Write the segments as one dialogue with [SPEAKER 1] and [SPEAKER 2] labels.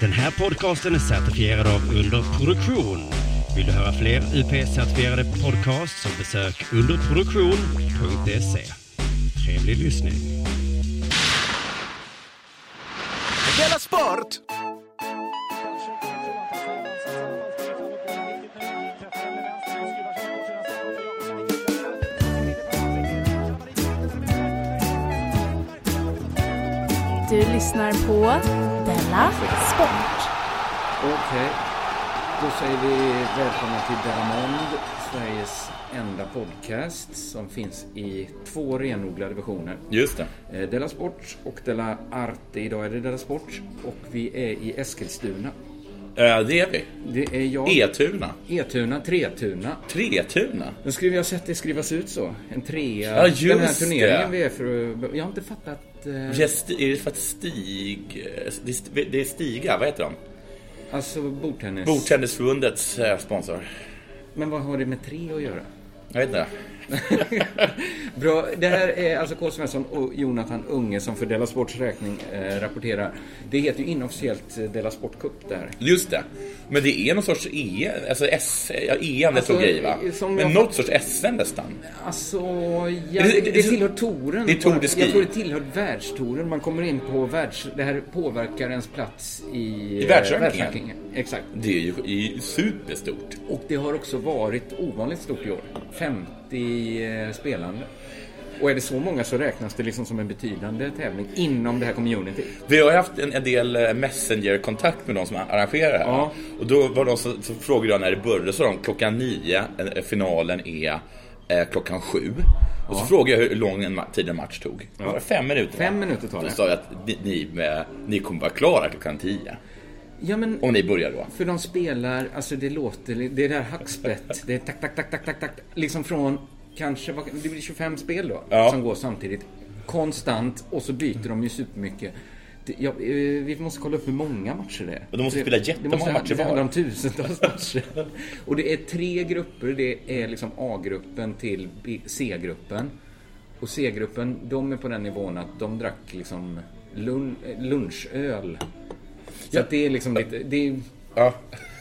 [SPEAKER 1] Den här podcasten är certifierad av Underproduktion. Vill du höra fler UP-certifierade podcasts så besök underproduktion.se. E. Trevlig lyssning.
[SPEAKER 2] Della Sport!
[SPEAKER 3] Du lyssnar på Della Sport.
[SPEAKER 4] Okej, då säger vi välkomna till Delamond, Sveriges enda podcast som finns i två renodlade versioner.
[SPEAKER 5] Just det.
[SPEAKER 4] Eh, Della Sport och Della Arte. Idag är det Della Sport och vi är i Eskilstuna.
[SPEAKER 5] Eh, det är vi.
[SPEAKER 4] Det är jag,
[SPEAKER 5] E- E-tuna.
[SPEAKER 4] Etuna, Tretuna.
[SPEAKER 5] Tretuna.
[SPEAKER 4] Nu skulle vi ha sett det skrivas ut så. En trea.
[SPEAKER 5] Ja, just
[SPEAKER 4] Den här turneringen
[SPEAKER 5] det.
[SPEAKER 4] vi är för Jag har inte fattat. Eh,
[SPEAKER 5] Gest, är det för att Stig... eh, det är st- Det är Stiga, vad heter de?
[SPEAKER 4] Alltså bordtennis.
[SPEAKER 5] Bordtennisförbundets eh, sponsor.
[SPEAKER 4] Men vad har det med tre att göra?
[SPEAKER 5] Jag vet inte.
[SPEAKER 4] Bra, det här är alltså K. Svensson och Jonathan Unge som för Della Sports räkning eh, rapporterar. Det heter ju inofficiellt eh, Della Sport Cup det här.
[SPEAKER 5] Just det. Men det är någon sorts E... Alltså S... Ja, EM det
[SPEAKER 4] Alltså,
[SPEAKER 5] tog i va?
[SPEAKER 4] som jag-
[SPEAKER 5] Men något sorts SM nästan.
[SPEAKER 4] Alltså, ja,
[SPEAKER 5] det-
[SPEAKER 4] det,
[SPEAKER 5] det-
[SPEAKER 4] tillhör touren.
[SPEAKER 5] det är Tour de Ski.
[SPEAKER 4] Jag tror det tillhör världstouren. Man kommer in på världs... Det här påverkar ens plats i, eh,
[SPEAKER 5] världsrankingen.
[SPEAKER 4] Exakt.
[SPEAKER 5] Det är ju det är ju superstort.
[SPEAKER 4] Och det har också varit ovanligt stort i år. 50 eh, spelande. Och är det så många så räknas det liksom som en betydande tävling inom det här community.
[SPEAKER 5] Vi har ju haft en, en del eh, messengerkontakt med de som arrangerar det här.
[SPEAKER 4] Ja.
[SPEAKER 5] Och då var de så, så frågade jag när det började, så sa de klockan nio, eh, finalen är eh, klockan sju. Och så frågade jag hur lång en ma- tid en match tog. Det var fem minuter.
[SPEAKER 4] Fem
[SPEAKER 5] va?
[SPEAKER 4] minuter tar
[SPEAKER 5] Då
[SPEAKER 4] det.
[SPEAKER 5] sa jag att ni, ni, eh, ni kommer vara klara klockan tio.
[SPEAKER 4] Ja, men...
[SPEAKER 5] Om ni börjar då.
[SPEAKER 4] För de spelar, alltså det låter, li- det är det här hackspett, det är tack, tack, tack, tack, tack, tack, liksom från kanske, vad- det blir 25 spel då,
[SPEAKER 5] Ja.
[SPEAKER 4] som går samtidigt. Konstant, och så byter de ju supermycket. Det- Ja, eh, vi måste kolla upp hur många matcher det är.
[SPEAKER 5] Och de måste
[SPEAKER 4] Det-
[SPEAKER 5] spela
[SPEAKER 4] det
[SPEAKER 5] jättemånga
[SPEAKER 4] måste-
[SPEAKER 5] matcher
[SPEAKER 4] Det
[SPEAKER 5] var.
[SPEAKER 4] handlar om tusentals matcher. Och det är tre grupper. Det är liksom A-gruppen till B- C-gruppen. Och C-gruppen, de är på den nivån att de drack liksom lun- eh, lunchöl. Så att det är liksom lite, det är,
[SPEAKER 5] Ja.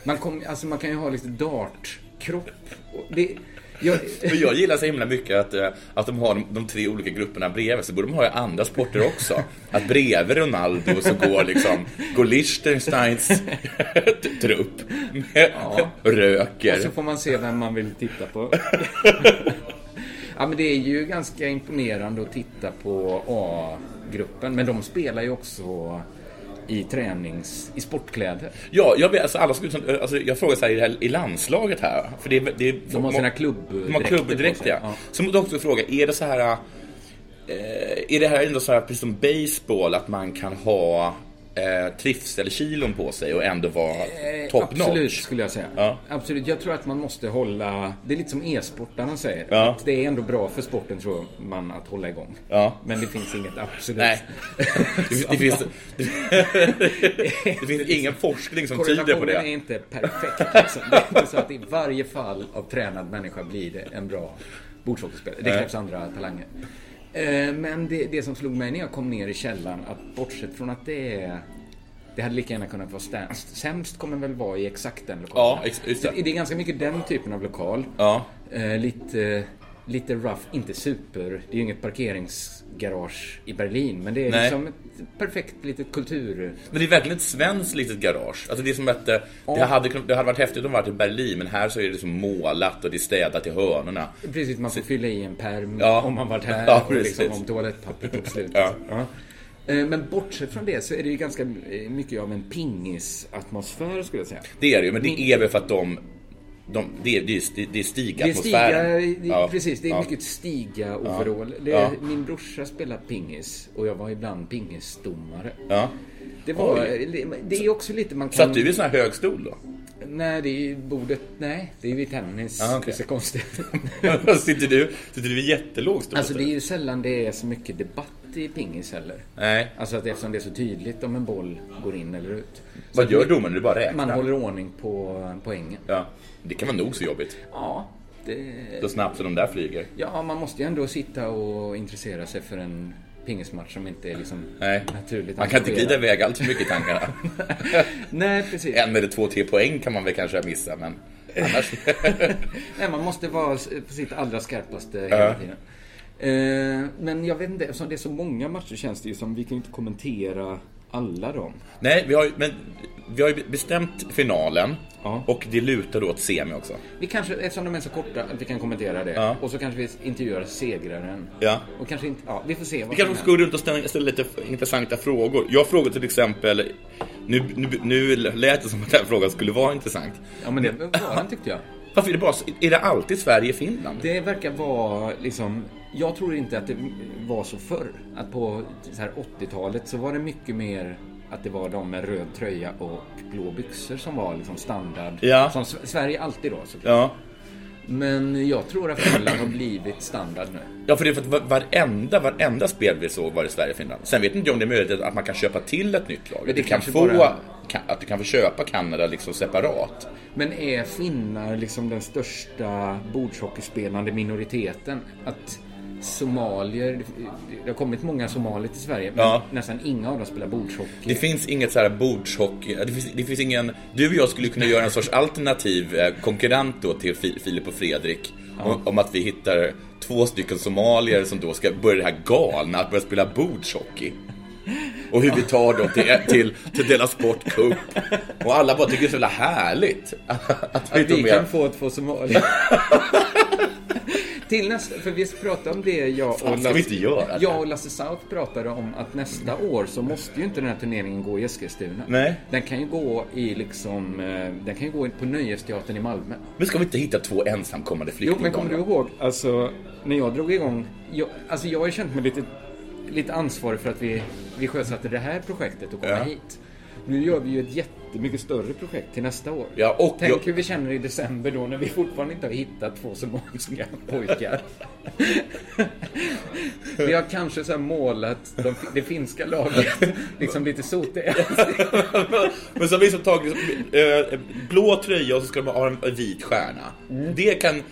[SPEAKER 4] man, kom, alltså man kan ju ha lite dartkropp. Och Det, jag,
[SPEAKER 5] Men jag gillar så himla mycket att, eh, att de har de, de tre olika grupperna bredvid, så borde de ha i andra sporter också. Att bredvid Ronaldo så går liksom, går Liechtensteins trupp, med, röker.
[SPEAKER 4] och så får man se vem man vill titta på. ja, men det är ju ganska imponerande att titta på A-gruppen. Men de spelar ju också i tränings... i sportkläder.
[SPEAKER 5] Ja, jag, vet, alltså, alla skulle, som- alltså, jag frågar så här i, det här, i landslaget här. För det, är- det, är-
[SPEAKER 4] De har sina
[SPEAKER 5] De har
[SPEAKER 4] klubbdräkter på
[SPEAKER 5] klubbdräkt,
[SPEAKER 4] sig.
[SPEAKER 5] ja.
[SPEAKER 4] Ja.
[SPEAKER 5] Så måste jag också fråga, är det så här... Eh, är det här ändå så här, precis som baseball att man kan ha eh, trivselkilon på sig och ändå vara top notch?
[SPEAKER 4] Eh, Absolut, skulle jag säga.
[SPEAKER 5] Ja.
[SPEAKER 4] Absolut. Jag tror att man måste hålla... Det är lite som e-sportarna säger.
[SPEAKER 5] Ja.
[SPEAKER 4] Att det är ändå bra för sporten, tror man, att hålla igång.
[SPEAKER 5] Ja.
[SPEAKER 4] Men det finns inget absolut.
[SPEAKER 5] Nej. Det, det, finns, det, det finns ingen forskning som tyder på
[SPEAKER 4] Korrelationen är
[SPEAKER 5] det.
[SPEAKER 4] inte perfekt. Liksom. Det är inte så att i varje fall av tränad människa blir det en bra bordshockeyspelare. Det krävs andra talanger. Eh, Men det, det som slog mig när jag kom ner i källaren, att bortsett från att det är... Det hade lika gärna kunnat vara sämst. Sämst kommer väl vara i exakt den lokalen.
[SPEAKER 5] Ja, ex- just det.
[SPEAKER 4] Så det är ganska mycket den typen av lokal.
[SPEAKER 5] Ja.
[SPEAKER 4] Eh, lite, lite rough, inte super. Det är ju inget parkeringsgarage i Berlin, men det är
[SPEAKER 5] Nej.
[SPEAKER 4] liksom ett perfekt litet kultur...
[SPEAKER 5] Men det är verkligen ett svenskt litet garage. Alltså det är som att eh, det, hade, kun- det hade varit häftigt om det varit i Berlin, men här så är det liksom målat och det är städat i hörnorna.
[SPEAKER 4] Precis, man får fylla i en pärm
[SPEAKER 5] Ja.
[SPEAKER 4] om man varit här
[SPEAKER 5] Ja,
[SPEAKER 4] och liksom
[SPEAKER 5] precis.
[SPEAKER 4] om toalettpappret tog slut.
[SPEAKER 5] Ja.
[SPEAKER 4] Ja. Eh, Men bortsett från det så är det ju ganska eh, mycket av en pingisatmosfär skulle jag säga.
[SPEAKER 5] Det är det ju, men
[SPEAKER 4] Mm.
[SPEAKER 5] det är väl för att de... de det, är, det, är, st- det är
[SPEAKER 4] Det är stiga,
[SPEAKER 5] stigatmosfären.
[SPEAKER 4] det,
[SPEAKER 5] Ja,
[SPEAKER 4] precis, det är
[SPEAKER 5] ja.
[SPEAKER 4] mycket stiga overall. Det,
[SPEAKER 5] Ja.
[SPEAKER 4] Min brorsa spelade pingis och jag var ibland pingisdomare.
[SPEAKER 5] Ja.
[SPEAKER 4] Det, var,
[SPEAKER 5] Oj.
[SPEAKER 4] det- det är också lite man kan...
[SPEAKER 5] Satt du i sån här hög stol då?
[SPEAKER 4] Nej, det är ju bordet. Nej, det är ju vid tennis.
[SPEAKER 5] Ah, okej.
[SPEAKER 4] Det är så konstigt.
[SPEAKER 5] sitter, du, sitter du i jättelåg stol?
[SPEAKER 4] alltså det är
[SPEAKER 5] istället?
[SPEAKER 4] ju sällan det är så mycket debatt i pingis heller.
[SPEAKER 5] Nej.
[SPEAKER 4] Alltså att eftersom det är så tydligt om en boll går in eller ut. Så
[SPEAKER 5] Vad
[SPEAKER 4] att
[SPEAKER 5] gör
[SPEAKER 4] man-
[SPEAKER 5] domaren? Du bara räknar?
[SPEAKER 4] Man håller ordning på poängen.
[SPEAKER 5] Ja. Det kan vara nog så jobbigt.
[SPEAKER 4] Ja, det,
[SPEAKER 5] Så snabbt som de där flyger.
[SPEAKER 4] ja, man måste ju ändå sitta och intressera sig för en pingismatch som inte är liksom
[SPEAKER 5] Nej.
[SPEAKER 4] naturligt.
[SPEAKER 5] Man kan inte glida
[SPEAKER 4] engagerad.
[SPEAKER 5] iväg allt för mycket i tankarna.
[SPEAKER 4] Nej, precis.
[SPEAKER 5] en eller två, tre poäng kan man väl kanske missa, men annars...
[SPEAKER 4] Nej, man måste vara s- på sitt allra skarpaste hela tiden. Eh, Men jag vet inte, eftersom det är så många matcher känns det ju som vi kan ju inte kommentera alla dem.
[SPEAKER 5] Nej, vi har, ju- men, vi har ju bestämt finalen
[SPEAKER 4] Ja.
[SPEAKER 5] och det lutar då åt semi också.
[SPEAKER 4] Vi kanske, eftersom de är så korta, att vi kan kommentera det.
[SPEAKER 5] Ja.
[SPEAKER 4] Och så kanske vi intervjuar segraren.
[SPEAKER 5] Ja.
[SPEAKER 4] Och kanske inte, ja, vi får se.
[SPEAKER 5] Vi kanske ska gå runt och ställa, ställa lite f- intressanta frågor. Jag frågade till exempel, nu, nu, nu lät det som att den här frågan skulle vara intressant.
[SPEAKER 4] Ja, men det var han tyckte jag.
[SPEAKER 5] Varför är det bara så- är det alltid Sverige-Finland?
[SPEAKER 4] Det verkar vara liksom... Jag tror inte att det var så förr. Att på så här 80-talet så var det mycket mer att det var de med röd tröja och blå byxor som var liksom standard.
[SPEAKER 5] Ja.
[SPEAKER 4] Som S- Sverige alltid då såklart.
[SPEAKER 5] Ja.
[SPEAKER 4] Men jag tror att Finland har blivit standard nu.
[SPEAKER 5] ja, för det är för att va- varenda, varenda spel vi såg var det Sverige-Finland. Sen vet inte jag om det är möjligt att man kan köpa till ett nytt lag.
[SPEAKER 4] det
[SPEAKER 5] Att du kan
[SPEAKER 4] kanske
[SPEAKER 5] få,
[SPEAKER 4] bara-
[SPEAKER 5] kan, att du kan få köpa Kanada liksom separat.
[SPEAKER 4] Men är finnar liksom den största bordshockeyspelande minoriteten? Att somalier... Det har kommit många somalier till Sverige men
[SPEAKER 5] Ja.
[SPEAKER 4] nästan inga av dem spelar bordshockey.
[SPEAKER 5] Det finns inget så här bordshockey, det finns, det finns ingen, du och jag skulle kunna göra en sorts alternativ eh, konkurrent då till Fi- Filip och Fredrik. Om, om att vi hittar två stycken somalier som då ska börja det här galna, att börja spela bordshockey. Och hur vi tar dem till, eh, till, till Dela Sport Cup. Och alla bara tycker det är så jävla härligt. Att vi,
[SPEAKER 4] Att
[SPEAKER 5] tar
[SPEAKER 4] vi
[SPEAKER 5] med.
[SPEAKER 4] kan få två somalier. Till nästa, för vi pratade om det jag och,
[SPEAKER 5] Fan, ska vi inte göra det?
[SPEAKER 4] jag och Lasse South pratade om att nästa år så måste ju inte den här turneringen gå i Eskilstuna.
[SPEAKER 5] Nej.
[SPEAKER 4] Den kan ju gå i liksom, eh, den kan ju gå på Nöjesteatern i Malmö.
[SPEAKER 5] Men ska vi inte hitta två ensamkommande
[SPEAKER 4] Jo,
[SPEAKER 5] flyktingbarn?
[SPEAKER 4] men kommer du ihåg, alltså, när jag drog igång, jag, alltså jag har ju känt mig lite, lite ansvarig för att vi, vi sjösatte det här projektet och kom
[SPEAKER 5] Ja.
[SPEAKER 4] hit. Nu gör vi ju ett jättemycket större projekt till nästa år.
[SPEAKER 5] Ja, och
[SPEAKER 4] Tänk
[SPEAKER 5] jag-
[SPEAKER 4] hur vi känner i december då när vi fortfarande inte har hittat två somaliska pojkar. vi har kanske så här målat de, det finska laget liksom lite sotiga.
[SPEAKER 5] Men så har vi så tagit eh, blå tröja och så ska de ha en vit stjärna. Det kan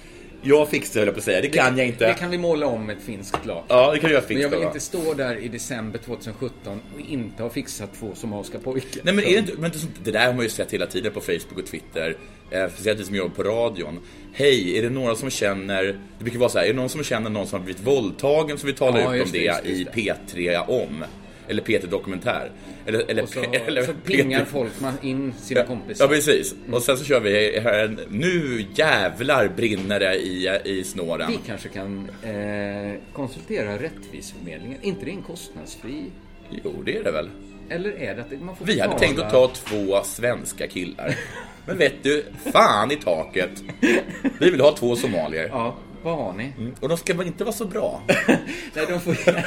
[SPEAKER 5] jag fixa höll jag på att säga. Det kan jag inte.
[SPEAKER 4] Mm. Det kan vi måla om ett finskt lag.
[SPEAKER 5] Ja, det kan jag
[SPEAKER 4] Men
[SPEAKER 5] fixa.
[SPEAKER 4] jag vill
[SPEAKER 5] va?
[SPEAKER 4] inte stå där i december 2017 och inte ha fixat två somaliska pojkar.
[SPEAKER 5] Nej, men är det, inte, men det är sånt- det där har man ju sett hela tiden på Facebook och Twitter. Eh, Speciellt vi som jobbar på radion. Hej, är det några som känner... Det brukar vara så här, är det någon som känner någon som har blivit våldtagen så vi talar
[SPEAKER 4] Ja,
[SPEAKER 5] ut om
[SPEAKER 4] just
[SPEAKER 5] det,
[SPEAKER 4] det, just det,
[SPEAKER 5] i P3 om. Eller P3 Dokumentär. Eller, eller,
[SPEAKER 4] Och så,
[SPEAKER 5] P- eller
[SPEAKER 4] så
[SPEAKER 5] P3
[SPEAKER 4] pingar folk man in sina kompisar.
[SPEAKER 5] Ja, precis. Och sen så kör vi här en Nu jävlar brinner det i, i snåren.
[SPEAKER 4] Vi kanske kan eh, konsultera Rättviseförmedlingen. inte det en kostnadsfri?
[SPEAKER 5] Jo, det är det väl.
[SPEAKER 4] Eller är det att man får
[SPEAKER 5] Vi hade
[SPEAKER 4] betala?
[SPEAKER 5] tänkt att ta två svenska killar. Men vet du, fan i taket. Vi vill ha två somalier. Mm.
[SPEAKER 4] Ja, vad har ni?
[SPEAKER 5] Och de ska väl inte vara så bra?
[SPEAKER 4] Nej, de får gärna...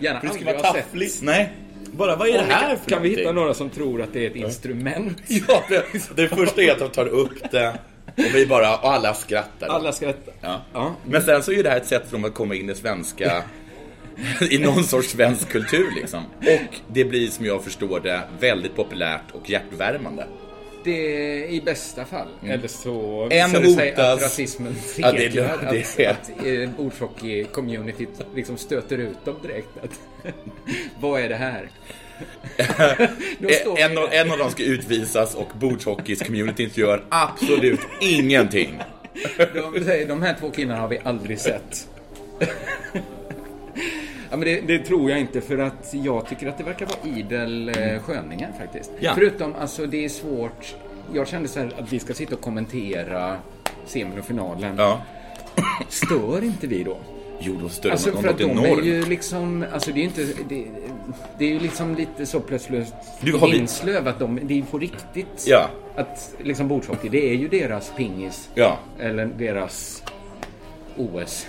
[SPEAKER 4] gärna
[SPEAKER 5] Det ska
[SPEAKER 4] aldrig
[SPEAKER 5] vara
[SPEAKER 4] ha sett.
[SPEAKER 5] tafflis. Nej. Bara, vad är det här för
[SPEAKER 4] Kan vi hitta
[SPEAKER 5] någonting?
[SPEAKER 4] några som tror att det är ett instrument?
[SPEAKER 5] Ja, det, det första är att de tar upp det och vi bara, och alla skrattar.
[SPEAKER 4] Alla skrattar.
[SPEAKER 5] Ja.
[SPEAKER 4] Ja.
[SPEAKER 5] Men sen så är ju det här ett sätt för dem att komma in i svenska i någon sorts svensk kultur liksom. Och det blir som jag förstår det väldigt populärt och hjärtvärmande.
[SPEAKER 4] Det är i bästa fall. Eller så
[SPEAKER 5] Mm.
[SPEAKER 4] visar
[SPEAKER 5] En
[SPEAKER 4] det sig
[SPEAKER 5] hotas.
[SPEAKER 4] att rasismen
[SPEAKER 5] Ja, det är
[SPEAKER 4] segrar.
[SPEAKER 5] lugnt,
[SPEAKER 4] Att,
[SPEAKER 5] det är-
[SPEAKER 4] att eh, bordshockey-communityt liksom stöter ut dem direkt. Att, vad är det här? Då står vi
[SPEAKER 5] Eh, En, av-
[SPEAKER 4] där.
[SPEAKER 5] en av dem ska utvisas och bordshockeys-communityn gör absolut ingenting.
[SPEAKER 4] De säger, de här två killarna har vi aldrig sett. Ja, men det, det tror jag inte för att jag tycker att det verkar vara idel eh, sköningar faktiskt.
[SPEAKER 5] Ja.
[SPEAKER 4] Förutom, alltså det är svårt. Jag kände så här att vi ska sitta och kommentera semin och finalen.
[SPEAKER 5] Ja.
[SPEAKER 4] Stör inte vi då?
[SPEAKER 5] Jo, då stör
[SPEAKER 4] Alltså
[SPEAKER 5] man
[SPEAKER 4] för att
[SPEAKER 5] något
[SPEAKER 4] de är
[SPEAKER 5] enormt.
[SPEAKER 4] ju liksom, alltså det är ju inte, det, det är ju liksom lite så plötsligt
[SPEAKER 5] Du, har vi-
[SPEAKER 4] Vinslöv att de, det är på riktigt.
[SPEAKER 5] Ja.
[SPEAKER 4] Att liksom bordshockey, det är ju deras pingis.
[SPEAKER 5] Ja.
[SPEAKER 4] Eller deras OS.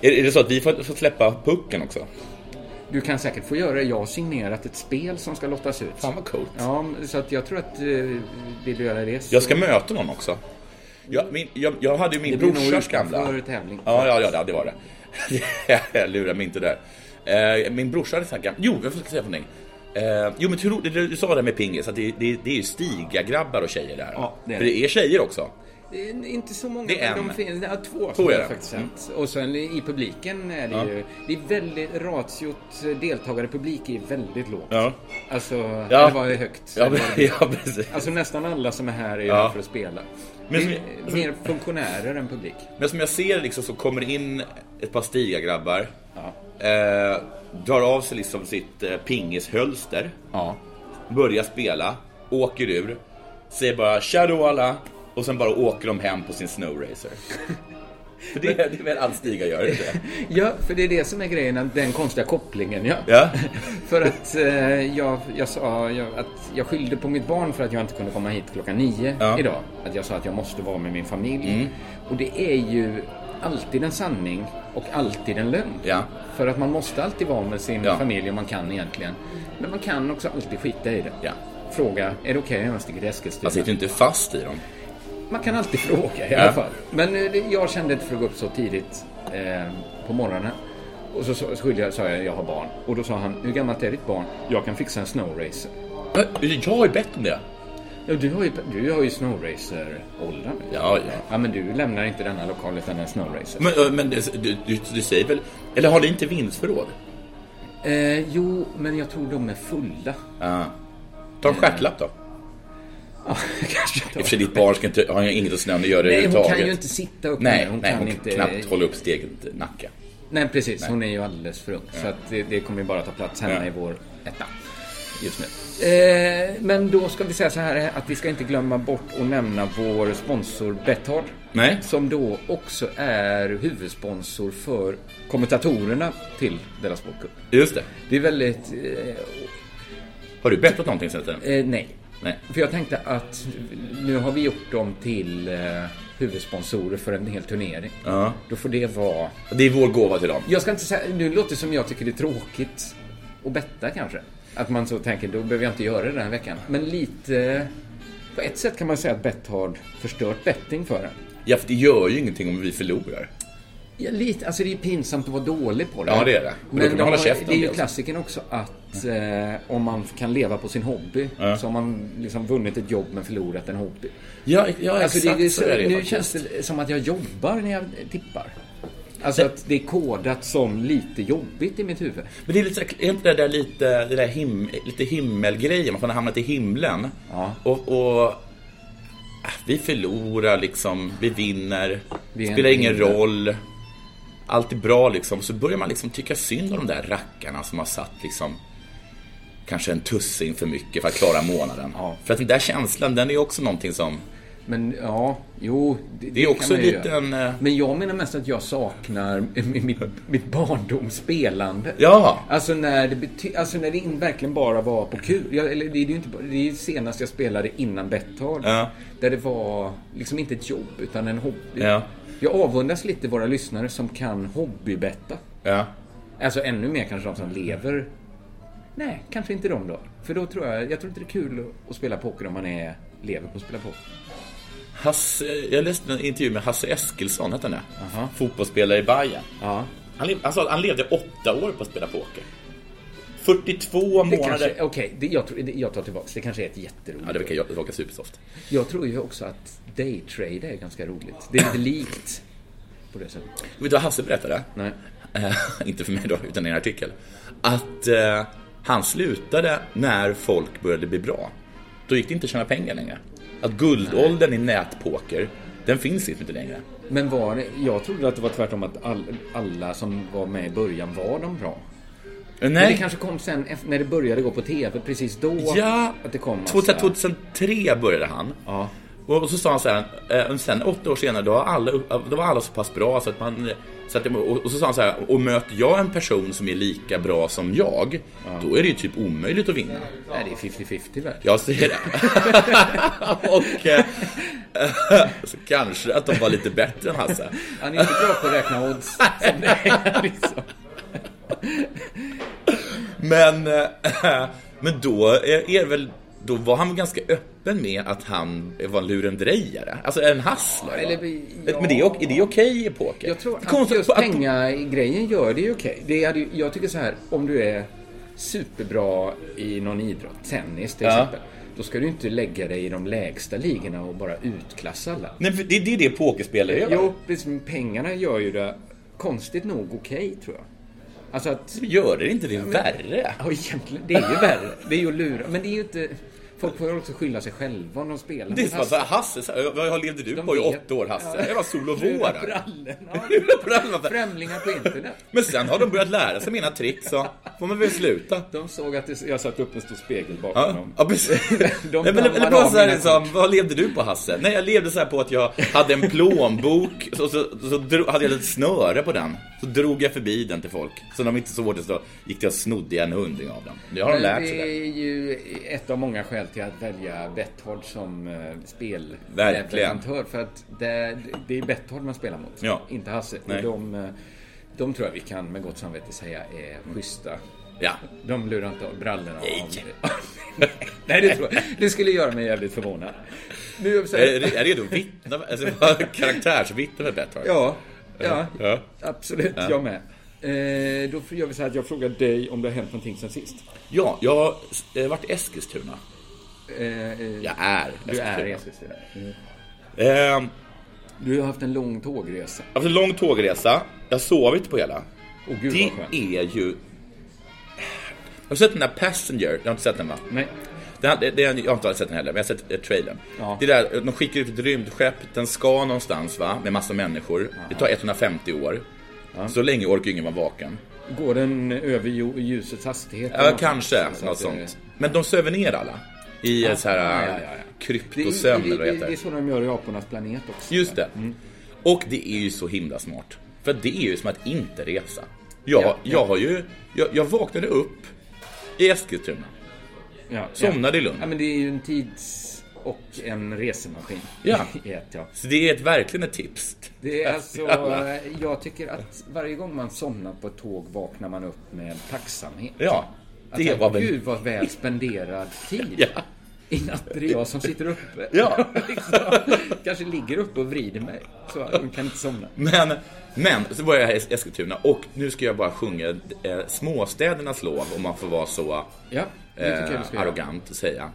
[SPEAKER 5] Är, är det så att vi får, får släppa pucken också?
[SPEAKER 4] Du kan säkert få göra det. Jag har signerat ett spel som ska lottas ut.
[SPEAKER 5] Fan vad coolt.
[SPEAKER 4] Ja, men- så att jag tror att eh, vill du göra det så...
[SPEAKER 5] Jag ska möta någon också. Jag, min, jag, jag hade ju min
[SPEAKER 4] Det blir nog
[SPEAKER 5] brorsas
[SPEAKER 4] utanför
[SPEAKER 5] gamla...
[SPEAKER 4] tävling.
[SPEAKER 5] Ja, ja, ja, ja, det var det. jag lurar mig inte där. Eh, min brorsa hade sagt... Jo, jag ska säga någonting. Eh, jo, men hur roligt, du, du sa det här med pingis, att det, det, det är ju stiga grabbar och tjejer där.
[SPEAKER 4] Ja, det är
[SPEAKER 5] För det är tjejer också.
[SPEAKER 4] Det är Inte så många,
[SPEAKER 5] Det är
[SPEAKER 4] men
[SPEAKER 5] en.
[SPEAKER 4] de finns. Ja, Mm. två
[SPEAKER 5] Två
[SPEAKER 4] har
[SPEAKER 5] är
[SPEAKER 4] jag
[SPEAKER 5] det.
[SPEAKER 4] faktiskt sett. Och sen i publiken är det
[SPEAKER 5] Ja.
[SPEAKER 4] ju... Det är väldigt... Ratiot eh, deltagare i publik är väldigt lågt.
[SPEAKER 5] Ja.
[SPEAKER 4] Alltså,
[SPEAKER 5] Ja.
[SPEAKER 4] det var ju högt.
[SPEAKER 5] Ja, ja, precis.
[SPEAKER 4] Alltså nästan alla som är här är ju
[SPEAKER 5] Ja.
[SPEAKER 4] här för att spela.
[SPEAKER 5] Men-
[SPEAKER 4] det är mer funktionärer än publik.
[SPEAKER 5] Men som jag ser det liksom så kommer det in ett par stigagrabbar.
[SPEAKER 4] Ja.
[SPEAKER 5] Eh, drar av sig liksom sitt eh, pingishölster.
[SPEAKER 4] Ja.
[SPEAKER 5] Börjar spela. Åker ur. Säger bara shadow alla. Och sen bara åker de hem på sin snowracer. För det, det är väl allt stiga gör inte?
[SPEAKER 4] Ja, för det är det som är grejen, att den konstiga kopplingen. Ja.
[SPEAKER 5] Ja.
[SPEAKER 4] för att eh, jag, jag sa jag, att jag skyllde på mitt barn för att jag inte kunde komma hit klockan nio
[SPEAKER 5] Ja. Mm.
[SPEAKER 4] idag. Att jag sa att jag måste vara med min familj. Och det är ju alltid en sanning och alltid en lögn.
[SPEAKER 5] Ja.
[SPEAKER 4] För att man måste alltid vara med sin
[SPEAKER 5] Ja.
[SPEAKER 4] familj om man kan egentligen. Men man kan också alltid skita i det.
[SPEAKER 5] Ja.
[SPEAKER 4] Fråga, är det okej om jag sticker till Eskilstuna?
[SPEAKER 5] Man sitter ju inte fast i dem.
[SPEAKER 4] Man kan alltid fråga i alla fall. Men eh, det- jag kände inte för att gå upp så tidigt eh, på morgonen. Och så sa- skyllde jag, sa jag, jag har barn. Och då sa han, hur gammalt är ditt barn? Jag kan fixa en snowracer.
[SPEAKER 5] Men Jag har ju bett om det.
[SPEAKER 4] Ja, du har ju, du har ju snowracer-åldern.
[SPEAKER 5] Ja, ja.
[SPEAKER 4] Ja, men du lämnar inte denna lokal utan en snowracer.
[SPEAKER 5] Men, eh, men det- du, du, du säger väl... Eller har ni inte vindsförråd?
[SPEAKER 4] Eh, jo, men jag tror de är fulla.
[SPEAKER 5] Ja. Ta en stjärtlapp då.
[SPEAKER 4] Ja, kanske
[SPEAKER 5] I och för
[SPEAKER 4] de.
[SPEAKER 5] sig, ditt barn ska inte, har ju inget att snön att göra
[SPEAKER 4] Nej, hon
[SPEAKER 5] överhuvudtaget.
[SPEAKER 4] kan ju inte sitta upp
[SPEAKER 5] Nej,
[SPEAKER 4] med, hon
[SPEAKER 5] nej,
[SPEAKER 4] kan
[SPEAKER 5] hon
[SPEAKER 4] inte...
[SPEAKER 5] knappt hålla upp steget nacka.
[SPEAKER 4] Nej, precis. Hon är ju alldeles för ung. Så att det, det kommer ju bara ta plats hemma
[SPEAKER 5] Ja.
[SPEAKER 4] i vår etta just nu. Eh, men då ska vi säga så här att vi ska inte glömma bort att nämna vår sponsor Betthard.
[SPEAKER 5] Nej.
[SPEAKER 4] Som då också är huvudsponsor för kommentatorerna till Della Sportcup.
[SPEAKER 5] Just det.
[SPEAKER 4] Det är väldigt... Eh,
[SPEAKER 5] Har du bettat någonting sen tiden?
[SPEAKER 4] eh, nej.
[SPEAKER 5] Nej.
[SPEAKER 4] För jag tänkte att nu har vi gjort dem till eh, huvudsponsorer för en hel turnering.
[SPEAKER 5] Ja.
[SPEAKER 4] Då får det vara
[SPEAKER 5] Det är vår gåva till dem.
[SPEAKER 4] Jag ska inte säga, nu låter det som jag tycker det är tråkigt att betta kanske. Att man så tänker, då behöver jag inte göra det den här veckan. Men lite, på ett sätt kan man säga att bett har förstört betting för en.
[SPEAKER 5] Ja, för det gör ju ingenting om vi förlorar.
[SPEAKER 4] Ja, lite, alltså det är pinsamt att vara dålig på det.
[SPEAKER 5] Ja, det är det. Och då
[SPEAKER 4] Men
[SPEAKER 5] kan man
[SPEAKER 4] de
[SPEAKER 5] hålla
[SPEAKER 4] har-
[SPEAKER 5] käften
[SPEAKER 4] det är
[SPEAKER 5] liksom. om det
[SPEAKER 4] ju
[SPEAKER 5] också.
[SPEAKER 4] klassiken också att eh, om man kan leva på sin hobby
[SPEAKER 5] Ja.
[SPEAKER 4] så har man liksom vunnit ett jobb men förlorat en hobby.
[SPEAKER 5] Ja, ja
[SPEAKER 4] Alltså det,
[SPEAKER 5] exakt
[SPEAKER 4] det,
[SPEAKER 5] så är det ju
[SPEAKER 4] nu
[SPEAKER 5] faktiskt.
[SPEAKER 4] känns det som att jag jobbar när jag tippar. Alltså att det är kodat som lite jobbigt i mitt huvud.
[SPEAKER 5] Men det är, lite, så här- är inte det där lite, det där him, lite himmelgrejen? Man får har hamnat i himlen.
[SPEAKER 4] Ja.
[SPEAKER 5] Och, och äh, vi förlorar liksom, vi vinner,
[SPEAKER 4] Vi är
[SPEAKER 5] spelar
[SPEAKER 4] en
[SPEAKER 5] ingen
[SPEAKER 4] himmel.
[SPEAKER 5] roll. Allt är bra liksom. Så börjar man liksom tycka synd om de där rackarna som har satt liksom kanske en tussing för mycket för att klara månaden.
[SPEAKER 4] Ja.
[SPEAKER 5] För att den där känslan, den är ju också någonting som,
[SPEAKER 4] Men ja, jo.
[SPEAKER 5] det är också
[SPEAKER 4] kan man ju
[SPEAKER 5] lite
[SPEAKER 4] göra.
[SPEAKER 5] en... eh,
[SPEAKER 4] Men jag menar mest att jag saknar m- mitt, mitt barndomsspelande.
[SPEAKER 5] Ja.
[SPEAKER 4] Alltså när det, bety- alltså när det in- verkligen bara var på kul. Jag, eller det är ju inte, bara- det är ju senast jag spelade innan Betthard.
[SPEAKER 5] Ja.
[SPEAKER 4] Där det var liksom inte ett jobb utan en hobby.
[SPEAKER 5] Ja.
[SPEAKER 4] Jag avundas lite våra lyssnare som kan hobbybetta.
[SPEAKER 5] Ja.
[SPEAKER 4] Alltså ännu mer kanske de som lever. Nej, kanske inte de då. För då tror jag, jag tror inte det är kul att spela poker om man är, lever på att spela poker.
[SPEAKER 5] Hasse, jag läste en intervju med Hasse Eskilsson, hette han det?
[SPEAKER 4] Aha.
[SPEAKER 5] Fotbollsspelare i Bayern.
[SPEAKER 4] Ja.
[SPEAKER 5] Han, lev, han sa att han levde åtta år på att spela poker. 42
[SPEAKER 4] Det
[SPEAKER 5] månader.
[SPEAKER 4] kanske, okej, det- jag, tror- det- jag tar tillbaka. Det kanske är ett jätteroligt
[SPEAKER 5] Ja, det
[SPEAKER 4] jobb.
[SPEAKER 5] verkar jag- verkar supersoft.
[SPEAKER 4] Jag tror ju också att daytrade är ganska roligt. Det är lite likt på det sättet.
[SPEAKER 5] Vet du vad Hasse berättade?
[SPEAKER 4] Nej.
[SPEAKER 5] Eh, inte för mig då, utan i en artikel. Att eh, han slutade när folk började bli bra. Då gick det inte att tjäna pengar längre. Att guldåldern i nätpoker, den finns inte längre.
[SPEAKER 4] Men var det, jag trodde att det var tvärtom att all, alla som var med i början var de bra.
[SPEAKER 5] Eh,
[SPEAKER 4] Men
[SPEAKER 5] Nej,
[SPEAKER 4] det kanske kom sen efter- när det började gå på TV precis då.
[SPEAKER 5] ja,
[SPEAKER 4] Att det kom massa-
[SPEAKER 5] 2003 började han.
[SPEAKER 4] Ja.
[SPEAKER 5] Och så sa han så här, eh, sen åtta år senare, då var alla, då var alla så pass bra så att man... Så att, och och så sa han så här, och möter jag en person som är lika bra som jag, då är det ju typ omöjligt att vinna.
[SPEAKER 4] Nej, det är 50-50 väl.
[SPEAKER 5] Jag säger det. och eh, så kanske att de var lite bättre än Hasse.
[SPEAKER 4] Han är inte bra på att räkna odds. Som det är, liksom.
[SPEAKER 5] Men, eh, men då är är det väl... Då var han ganska öppen med att han var en lurendrejare, alltså en hustler. va? Eh,
[SPEAKER 4] Eller vi- ja.
[SPEAKER 5] Men det är, ok- är det okej i poker?
[SPEAKER 4] Jag tror
[SPEAKER 5] Det är
[SPEAKER 4] att
[SPEAKER 5] konstigt
[SPEAKER 4] just
[SPEAKER 5] att-
[SPEAKER 4] pengagrejen gör det ju okej. Det hade ju- Jag tycker så här, om du är superbra i någon idrott, tennis till
[SPEAKER 5] Ja.
[SPEAKER 4] exempel, då ska du inte lägga dig i de lägsta ligorna och bara utklassa alla.
[SPEAKER 5] Nej, för det, det är det pokerspelare gör.
[SPEAKER 4] Jo, precis, men pengarna gör ju det konstigt nog okej, tror jag. Alltså att...
[SPEAKER 5] Gör det inte det värre?
[SPEAKER 4] Ja, egentligen, det är ju värre. Det är ju att lura. Men det är ju inte... Folk får ju också skylla sig själva om de spelar.
[SPEAKER 5] Det är som att säga, Hasse, så här, vad levde du
[SPEAKER 4] alltså- De
[SPEAKER 5] på i
[SPEAKER 4] vet.
[SPEAKER 5] åtta år Hasse?
[SPEAKER 4] Ja.
[SPEAKER 5] Det var sol och
[SPEAKER 4] Lura
[SPEAKER 5] vår.
[SPEAKER 4] brallorna.
[SPEAKER 5] Lura brallorna.
[SPEAKER 4] Främlingar på internet.
[SPEAKER 5] Men sen har de börjat lära sig mina trick så får man väl sluta.
[SPEAKER 4] De såg att det, jag satt upp en stor spegel bakom
[SPEAKER 5] Ja,
[SPEAKER 4] dem.
[SPEAKER 5] ja precis.
[SPEAKER 4] De
[SPEAKER 5] Nej, men,
[SPEAKER 4] dammar
[SPEAKER 5] eller bara
[SPEAKER 4] av
[SPEAKER 5] så här,
[SPEAKER 4] mina
[SPEAKER 5] liksom, vad levde du på Hasse? Nej, jag levde så här på att jag hade en plånbok och så, så, så dro, hade jag ett snöre på den. Så drog jag förbi den till folk. Så de inte såg det så gick jag och snodde en hundring av dem. Det har de
[SPEAKER 4] Men
[SPEAKER 5] lärt sig.
[SPEAKER 4] det
[SPEAKER 5] Det.
[SPEAKER 4] är ju ett av många skäl till att välja Betthard som eh, spelleverantör.
[SPEAKER 5] Verkligen.
[SPEAKER 4] För att det, det är Betthard man spelar mot,
[SPEAKER 5] Ja.
[SPEAKER 4] inte Hasse. Och
[SPEAKER 5] Nej.
[SPEAKER 4] de, eh, de tror jag vi kan med gott samvete säga är schyssta.
[SPEAKER 5] Ja.
[SPEAKER 4] De lurar inte av brallorna av... Nej, det tror jag. Det skulle göra mig jävligt förvånad. Nu är jag så här-
[SPEAKER 5] Är, det- är det då vittne? Alltså, vad- karaktärsvittne med Bethard?
[SPEAKER 4] Ja, ja,
[SPEAKER 5] eh. Ja.
[SPEAKER 4] absolut. Jag med. Eh, då gör vi så här att jag frågar dig om det har hänt någonting sen sist.
[SPEAKER 5] ja, jag har eh, varit i Eskilstuna.
[SPEAKER 4] Eh, eh,
[SPEAKER 5] Jag är
[SPEAKER 4] Du är i
[SPEAKER 5] Eskilstuna.
[SPEAKER 4] Eskilstuna.
[SPEAKER 5] Ehm,
[SPEAKER 4] Du har haft en lång tågresa.
[SPEAKER 5] Jag har haft en lång tågresa, jag har sovit på hela.
[SPEAKER 4] Åh, gud,
[SPEAKER 5] det
[SPEAKER 4] vad skönt.
[SPEAKER 5] är ju... Har du sett den där Passenger? Jag har inte sett den va?
[SPEAKER 4] Nej.
[SPEAKER 5] Den, det, det, jag har inte sett den heller, men jag har sett eh, trailern.
[SPEAKER 4] Ja.
[SPEAKER 5] Det där, de skickar ut ett rymdskepp, den ska någonstans va, med massa människor. Det tar 150 år. Så länge orkar ju ingen vara vaken.
[SPEAKER 4] Går den över ju- ljusets hastighet?
[SPEAKER 5] Ja, kanske
[SPEAKER 4] Så
[SPEAKER 5] något
[SPEAKER 4] att, eh,
[SPEAKER 5] sånt. Men de söver ner alla. I ja. så här
[SPEAKER 4] ja, ja, ja. Det, är-
[SPEAKER 5] kryptosömn
[SPEAKER 4] det,
[SPEAKER 5] eller vad
[SPEAKER 4] det, det
[SPEAKER 5] det
[SPEAKER 4] Mm. är
[SPEAKER 5] heter.
[SPEAKER 4] så de gör i apornas planet också.
[SPEAKER 5] Just det. Och det är ju så himla smart. För det är ju som att inte resa. Jag,
[SPEAKER 4] Ja, ja.
[SPEAKER 5] jag har ju, jag, jag vaknade upp i Eskilstuna.
[SPEAKER 4] Ja,
[SPEAKER 5] Somnade
[SPEAKER 4] ja.
[SPEAKER 5] i Lund.
[SPEAKER 4] Ja, men det är ju en tids och en resemaskin.
[SPEAKER 5] Ja.
[SPEAKER 4] I ett, ja.
[SPEAKER 5] Så det är ett, verkligen ett tips.
[SPEAKER 4] Det är alltså,
[SPEAKER 5] Alla.
[SPEAKER 4] eh, jag tycker att varje gång man somnar på ett tåg vaknar man upp med tacksamhet.
[SPEAKER 5] Ja,
[SPEAKER 4] Att,
[SPEAKER 5] det var väl...
[SPEAKER 4] Gud vad väl spenderad tid.
[SPEAKER 5] Ja.
[SPEAKER 4] I natt är det jag som sitter uppe.
[SPEAKER 5] Ja.
[SPEAKER 4] liksom, kanske ligger uppe och vrider mig. Så jag kan inte somna.
[SPEAKER 5] Men, men så var jag här i Eskilstuna och nu ska jag bara sjunga eh, småstädernas lov om man får vara så
[SPEAKER 4] Ja, det tycker jag
[SPEAKER 5] eh,
[SPEAKER 4] du ska göra.
[SPEAKER 5] arrogant och säga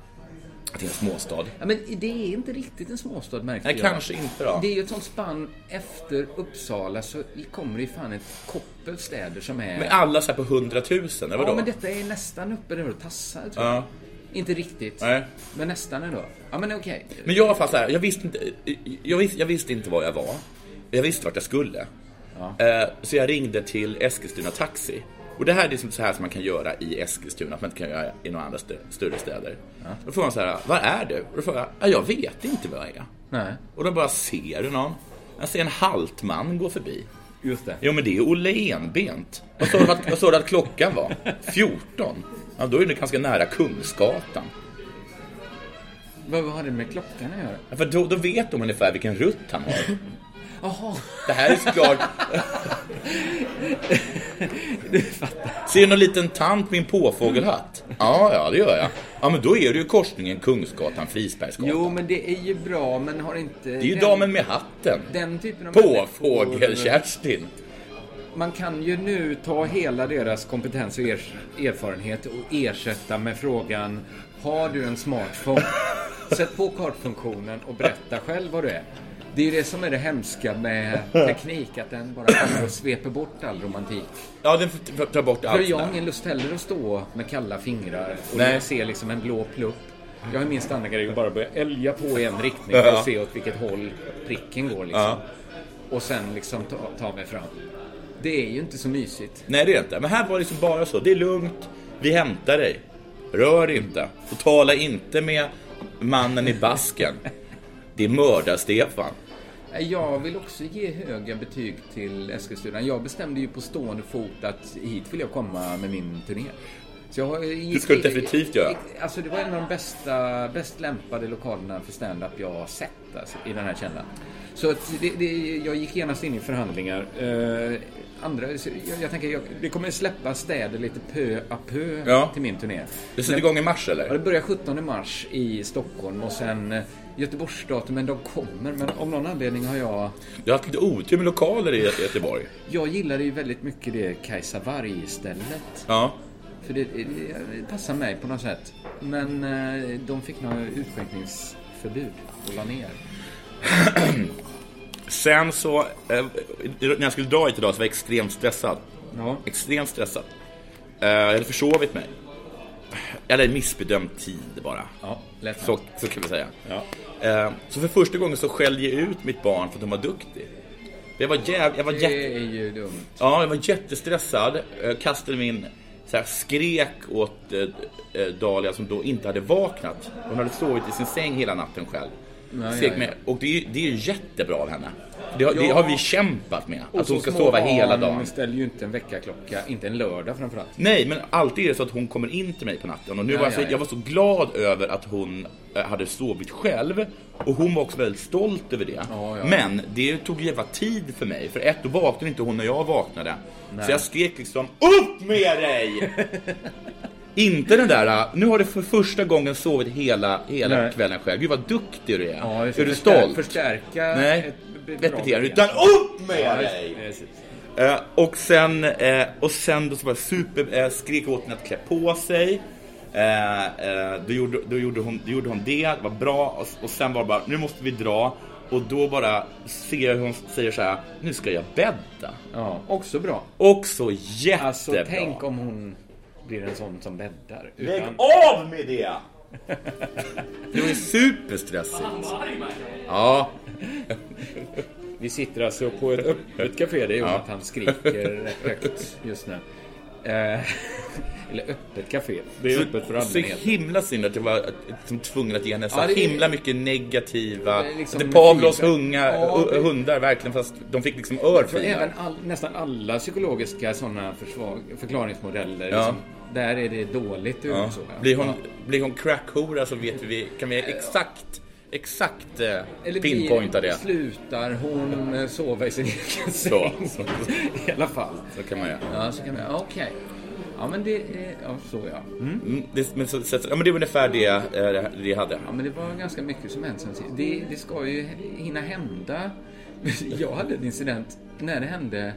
[SPEAKER 5] att det är en småstad.
[SPEAKER 4] Ja, men det är inte riktigt en småstad märkte
[SPEAKER 5] Nej,
[SPEAKER 4] jag.
[SPEAKER 5] kanske inte då.
[SPEAKER 4] Det är ju ett sånt spann efter Uppsala så kommer det ju fan ett koppel städer som är...
[SPEAKER 5] Men alla så här på hundratusen, eller
[SPEAKER 4] ja,
[SPEAKER 5] vadå?
[SPEAKER 4] men detta är nästan uppe där och tassar tror jag.
[SPEAKER 5] Ja.
[SPEAKER 4] Inte riktigt.
[SPEAKER 5] Nej.
[SPEAKER 4] Men nästan ändå. Ja, men okej.
[SPEAKER 5] Men jag var fast här, jag visste inte, jag visste, jag visste inte var jag var. Jag visste vart jag skulle. Eh, Så jag ringde till Eskilstuna Taxi. Och det här är liksom så här som man kan göra i Eskilstuna, som man inte kan göra i några andra stö- större städer. Då frågar man så här, var är du? Och då frågar jag, "Ja, jag vet inte var jag är.
[SPEAKER 4] Nej.
[SPEAKER 5] Och då bara, ser du någon? Jag ser en halt man gå förbi.
[SPEAKER 4] Just det.
[SPEAKER 5] Jo men det är Olle Enbent. Vad sa du att, vad sa du att klockan var? 14? Ja, då är det ganska nära Kungsgatan.
[SPEAKER 4] Vad vad har det med klockan att göra?
[SPEAKER 5] Ja, För då, då vet de ungefär vilken rutt han har.
[SPEAKER 4] Jaha.
[SPEAKER 5] Det här är såklart... Ser du någon liten tant med en påfågelhatt? Ja, ja, det gör jag. Ja, men då är det ju korsningen Kungsgatan, Frisbergsgatan.
[SPEAKER 4] Jo, men det är ju bra, men har inte...
[SPEAKER 5] det är ju damen med hatten.
[SPEAKER 4] Den typen av människor-
[SPEAKER 5] Påfågel-Kerstin.
[SPEAKER 4] Man kan ju nu ta hela deras kompetens och er, erfarenhet och ersätta med frågan Har du en smartphone? Sätt på kartfunktionen och berätta själv vad du är. Det är ju det som är det hemska med teknik, att den bara kommer och sveper bort all romantik.
[SPEAKER 5] Ja, den får- får ta bort
[SPEAKER 4] För
[SPEAKER 5] allt.
[SPEAKER 4] jag har
[SPEAKER 5] där.
[SPEAKER 4] ingen lust heller att stå med kalla fingrar och
[SPEAKER 5] Nej.
[SPEAKER 4] se liksom en blå plupp. Jag är min standardgrej att bara börja älga på i en riktning för
[SPEAKER 5] Ja.
[SPEAKER 4] att se åt vilket håll pricken går liksom.
[SPEAKER 5] Ja.
[SPEAKER 4] Och sen liksom ta, ta mig fram. Det är ju inte så mysigt.
[SPEAKER 5] Nej, det är det inte. Men här var det liksom bara så. Det är lugnt. Vi hämtar dig. Rör inte. Och tala inte med mannen i basken. Det är mördar-Stefan.
[SPEAKER 4] Eh, Jag vill också ge höga betyg till Eskilstuna. Jag bestämde ju på stående fot att hit vill jag komma med min turné. Så jag har-
[SPEAKER 5] Det ska du definitivt göra.
[SPEAKER 4] Alltså det var en av de bästa, bäst lämpade lokalerna för stand-up jag har sett alltså, i den här källaren. Så att det, det, jag gick genast in i förhandlingar. Eh, andra, så jag, jag tänker, jag, det kommer släppa städer lite pö à pö
[SPEAKER 5] Ja.
[SPEAKER 4] till min turné.
[SPEAKER 5] Det sätter igång i mars,
[SPEAKER 4] Ja, det
[SPEAKER 5] eller?
[SPEAKER 4] börjar 17 mars i Stockholm och sen eh, Göteborgsdatumen, de kommer. Men av någon anledning har jag...
[SPEAKER 5] Du har haft lite otur med lokaler i Göteborg.
[SPEAKER 4] Jag gillade ju väldigt mycket det Kajsa Warg-stället.
[SPEAKER 5] Ja.
[SPEAKER 4] För det, eh, det passar mig på något sätt. Men eh, de fick något utskänkningsförbud och la ner.
[SPEAKER 5] Sen så, eh, när jag skulle dra hit idag så var jag extremt stressad.
[SPEAKER 4] Ja.
[SPEAKER 5] Extremt stressad. Eh, jag hade försovit mig. Eller missbedömt tid bara.
[SPEAKER 4] Ja, lätt
[SPEAKER 5] Så, så kan vi säga.
[SPEAKER 4] Ja.
[SPEAKER 5] Eh, så för första gången så skällde jag ut mitt barn för att hon var duktig. Jag var, jäv, jag var, jätte,
[SPEAKER 4] Det är ju dumt.
[SPEAKER 5] ja, jag var jättestressad. Jag kastade min så här, skrek åt eh, eh, Dahlia som då inte hade vaknat. Hon hade sovit i sin säng hela natten själv.
[SPEAKER 4] Ja,
[SPEAKER 5] Skrek
[SPEAKER 4] ja,
[SPEAKER 5] med, och det är, ju- det är ju jättebra av henne. Det har, det
[SPEAKER 4] Ja.
[SPEAKER 5] har vi kämpat med.
[SPEAKER 4] Och
[SPEAKER 5] Att hon
[SPEAKER 4] så
[SPEAKER 5] ska
[SPEAKER 4] små
[SPEAKER 5] sova
[SPEAKER 4] barn
[SPEAKER 5] hela dagen.
[SPEAKER 4] ställer ju inte en väckarklocka, inte en lördag framförallt.
[SPEAKER 5] Nej, men alltid är det så att hon kommer in till mig på natten. Och nu
[SPEAKER 4] Ja,
[SPEAKER 5] var jag, så,
[SPEAKER 4] ja, ja.
[SPEAKER 5] jag var så glad över att hon eh, hade sovit själv. Och hon var också väldigt stolt över det.
[SPEAKER 4] Ja, ja.
[SPEAKER 5] Men det tog jävla tid för mig. För ett, då vaknade inte hon när jag vaknade. Så jag skrek liksom UPP med dig! inte den där, eh, nu har du för första gången sovit hela, hela
[SPEAKER 4] Nej.
[SPEAKER 5] kvällen själv. Gud vad duktig du är.
[SPEAKER 4] Ja, just det.
[SPEAKER 5] är du
[SPEAKER 4] Förstär-
[SPEAKER 5] stolt?
[SPEAKER 4] förstärka
[SPEAKER 5] Nej,
[SPEAKER 4] ett b-
[SPEAKER 5] ett
[SPEAKER 4] bra beteende.
[SPEAKER 5] beteende. Utan UPP med
[SPEAKER 4] Ja,
[SPEAKER 5] dig!
[SPEAKER 4] visst, precis.
[SPEAKER 5] Eh, och sen, eh, och sen då så var jag super, eh, skrek åt henne att klä på sig. Eh, eh, då, gjorde, då, gjorde hon, då gjorde hon det, det var bra. Och, och sen var det bara, nu måste vi dra. Och då bara ser jag hur hon säger så här, nu ska jag bädda.
[SPEAKER 4] Ja, också bra.
[SPEAKER 5] Och så jättebra.
[SPEAKER 4] Alltså tänk om hon blir en sån som bäddar.
[SPEAKER 5] Lägg
[SPEAKER 4] Utan...
[SPEAKER 5] av med det! Det var ju superstressigt. Ja,
[SPEAKER 4] Vi sitter alltså på ett öppet café. Det är ju att han skriker rätt högt just nu. Eh, Eller öppet café. Det är öppet för
[SPEAKER 5] så
[SPEAKER 4] allmänheten.
[SPEAKER 5] himla synd att jag var att- som tvungen att ge henne så
[SPEAKER 4] Ja, det är-
[SPEAKER 5] himla mycket negativa...
[SPEAKER 4] Det är liksom
[SPEAKER 5] det är Pavlos
[SPEAKER 4] fint.
[SPEAKER 5] hunga,
[SPEAKER 4] Ja,
[SPEAKER 5] hu-
[SPEAKER 4] det-
[SPEAKER 5] hundar verkligen, fast de fick liksom
[SPEAKER 4] För även
[SPEAKER 5] örfilar.
[SPEAKER 4] all, nästan alla psykologiska sådana försvag- förklaringsmodeller.
[SPEAKER 5] Ja.
[SPEAKER 4] Liksom, där är det dåligt ur
[SPEAKER 5] Ja.
[SPEAKER 4] så. ja.
[SPEAKER 5] Blir hon,
[SPEAKER 4] Ja.
[SPEAKER 5] blir hon crackhora så vet vi, kan vi exakt, exakt eh,
[SPEAKER 4] Eller
[SPEAKER 5] pinpointa
[SPEAKER 4] blir-
[SPEAKER 5] det.
[SPEAKER 4] slutar hon eh, sova i sin egen
[SPEAKER 5] Så.
[SPEAKER 4] säng? I alla fall.
[SPEAKER 5] Så kan man göra.
[SPEAKER 4] Ja, så kan man... ja, Okej. Ja, men det... är- Ja, så ja.
[SPEAKER 5] Mm, det, men, så, så, ja, men det var ungefär det, eh, det, det jag hade.
[SPEAKER 4] Ja, men det var ganska mycket som hände sen sist. Det, det ska ju hinna hända. Jag hade en incident när det hände.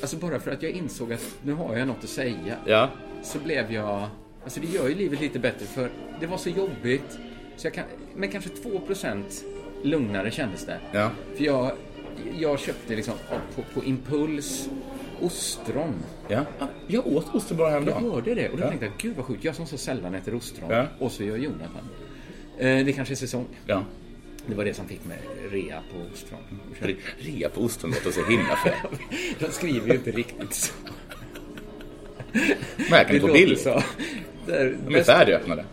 [SPEAKER 4] Alltså bara för att jag insåg att nu har jag något att säga.
[SPEAKER 5] Ja.
[SPEAKER 4] Så blev jag... Alltså det gör ju livet lite bättre för det var så jobbigt. Så jag kan, men kanske 2% lugnare kändes det.
[SPEAKER 5] Ja.
[SPEAKER 4] För jag, jag köpte liksom på, på impuls ostron.
[SPEAKER 5] ja. Ah, Jag åt osten bara
[SPEAKER 4] Jag
[SPEAKER 5] häromdagen.
[SPEAKER 4] hörde det och då
[SPEAKER 5] Ja.
[SPEAKER 4] tänkte jag, gud vad sjukt, jag som så sällan äter ostron
[SPEAKER 5] Ja.
[SPEAKER 4] och så gör Jonathan. Eh, det kanske är säsong.
[SPEAKER 5] Ja.
[SPEAKER 4] Det var det som fick mig rea på ostron.
[SPEAKER 5] Re- Rea på osten låter så himla fel.
[SPEAKER 4] De skriver ju inte riktigt så.
[SPEAKER 5] Men jag kan gå bild.
[SPEAKER 4] så. Det är
[SPEAKER 5] De är
[SPEAKER 4] bäst-
[SPEAKER 5] färdigöppnade.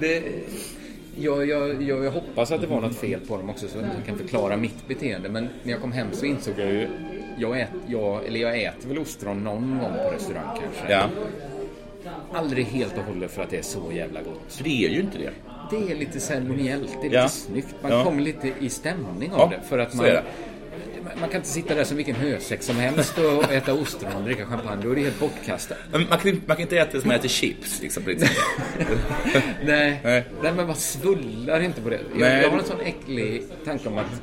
[SPEAKER 4] det, jag, jag, jag, jag hoppas att det var något fel på dem också så att jag kan förklara mitt beteende. Men när jag kom hem så insåg jag ju... Jag, ät, jag, eller jag äter väl ostron någon gång på restaurang kanske.
[SPEAKER 5] Ja.
[SPEAKER 4] Aldrig helt och hållet för att det är så jävla gott.
[SPEAKER 5] För det är ju inte det.
[SPEAKER 4] Det är lite ceremoniellt, det är lite
[SPEAKER 5] Ja.
[SPEAKER 4] snyggt. Man
[SPEAKER 5] Ja.
[SPEAKER 4] kommer lite i stämning av
[SPEAKER 5] Ja,
[SPEAKER 4] det. För att
[SPEAKER 5] så
[SPEAKER 4] man,
[SPEAKER 5] är det.
[SPEAKER 4] man kan inte sitta där som vilken hösäck som helst och äta ostron och dricka champagne. Då är det helt bortkastat.
[SPEAKER 5] Men man, kan, man kan inte äta det som man äter chips. Liksom, på det sättet.
[SPEAKER 4] Nej.
[SPEAKER 5] Nej.
[SPEAKER 4] Nej. men man svullar inte på det.
[SPEAKER 5] Nej.
[SPEAKER 4] Jag, jag har en sån äcklig tanke om att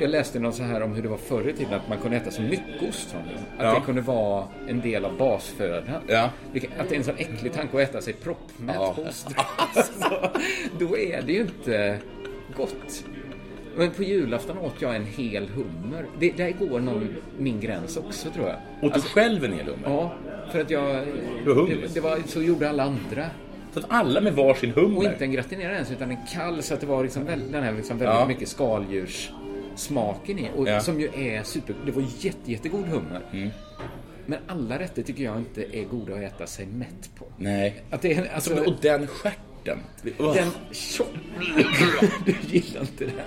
[SPEAKER 4] jag läste någon så här om hur det var förr i tiden att man kunde äta så mycket ostron. Att
[SPEAKER 5] Ja.
[SPEAKER 4] det kunde vara en del av basfödan.
[SPEAKER 5] Ja.
[SPEAKER 4] Vilket- Att det är en sån äcklig tanke att äta sig proppmätt
[SPEAKER 5] Ja.
[SPEAKER 4] på ostron. Alltså, då är det ju inte gott. Men på julafton åt jag en hel hummer. Det, där går någon, min gräns också tror jag.
[SPEAKER 5] Åt du själv en hel hummer?
[SPEAKER 4] Ja, för att jag...
[SPEAKER 5] Du var hungrig.
[SPEAKER 4] det, det var, så gjorde alla andra.
[SPEAKER 5] Så att alla med varsin
[SPEAKER 4] Och
[SPEAKER 5] hummer?
[SPEAKER 4] inte en gratinerad ens, utan en kall så att det var liksom väl, den här liksom väldigt
[SPEAKER 5] Ja.
[SPEAKER 4] mycket skaldjurs smaken i. Och
[SPEAKER 5] Ja. Mm.
[SPEAKER 4] som ju är super... Det var jätte, jättegod hummer. Men alla rätter tycker jag inte är goda att äta sig mätt på.
[SPEAKER 5] Nej.
[SPEAKER 4] Att det är, alltså,
[SPEAKER 5] Som, och den stjärten. Ugh.
[SPEAKER 4] den tjock... du gillar inte det.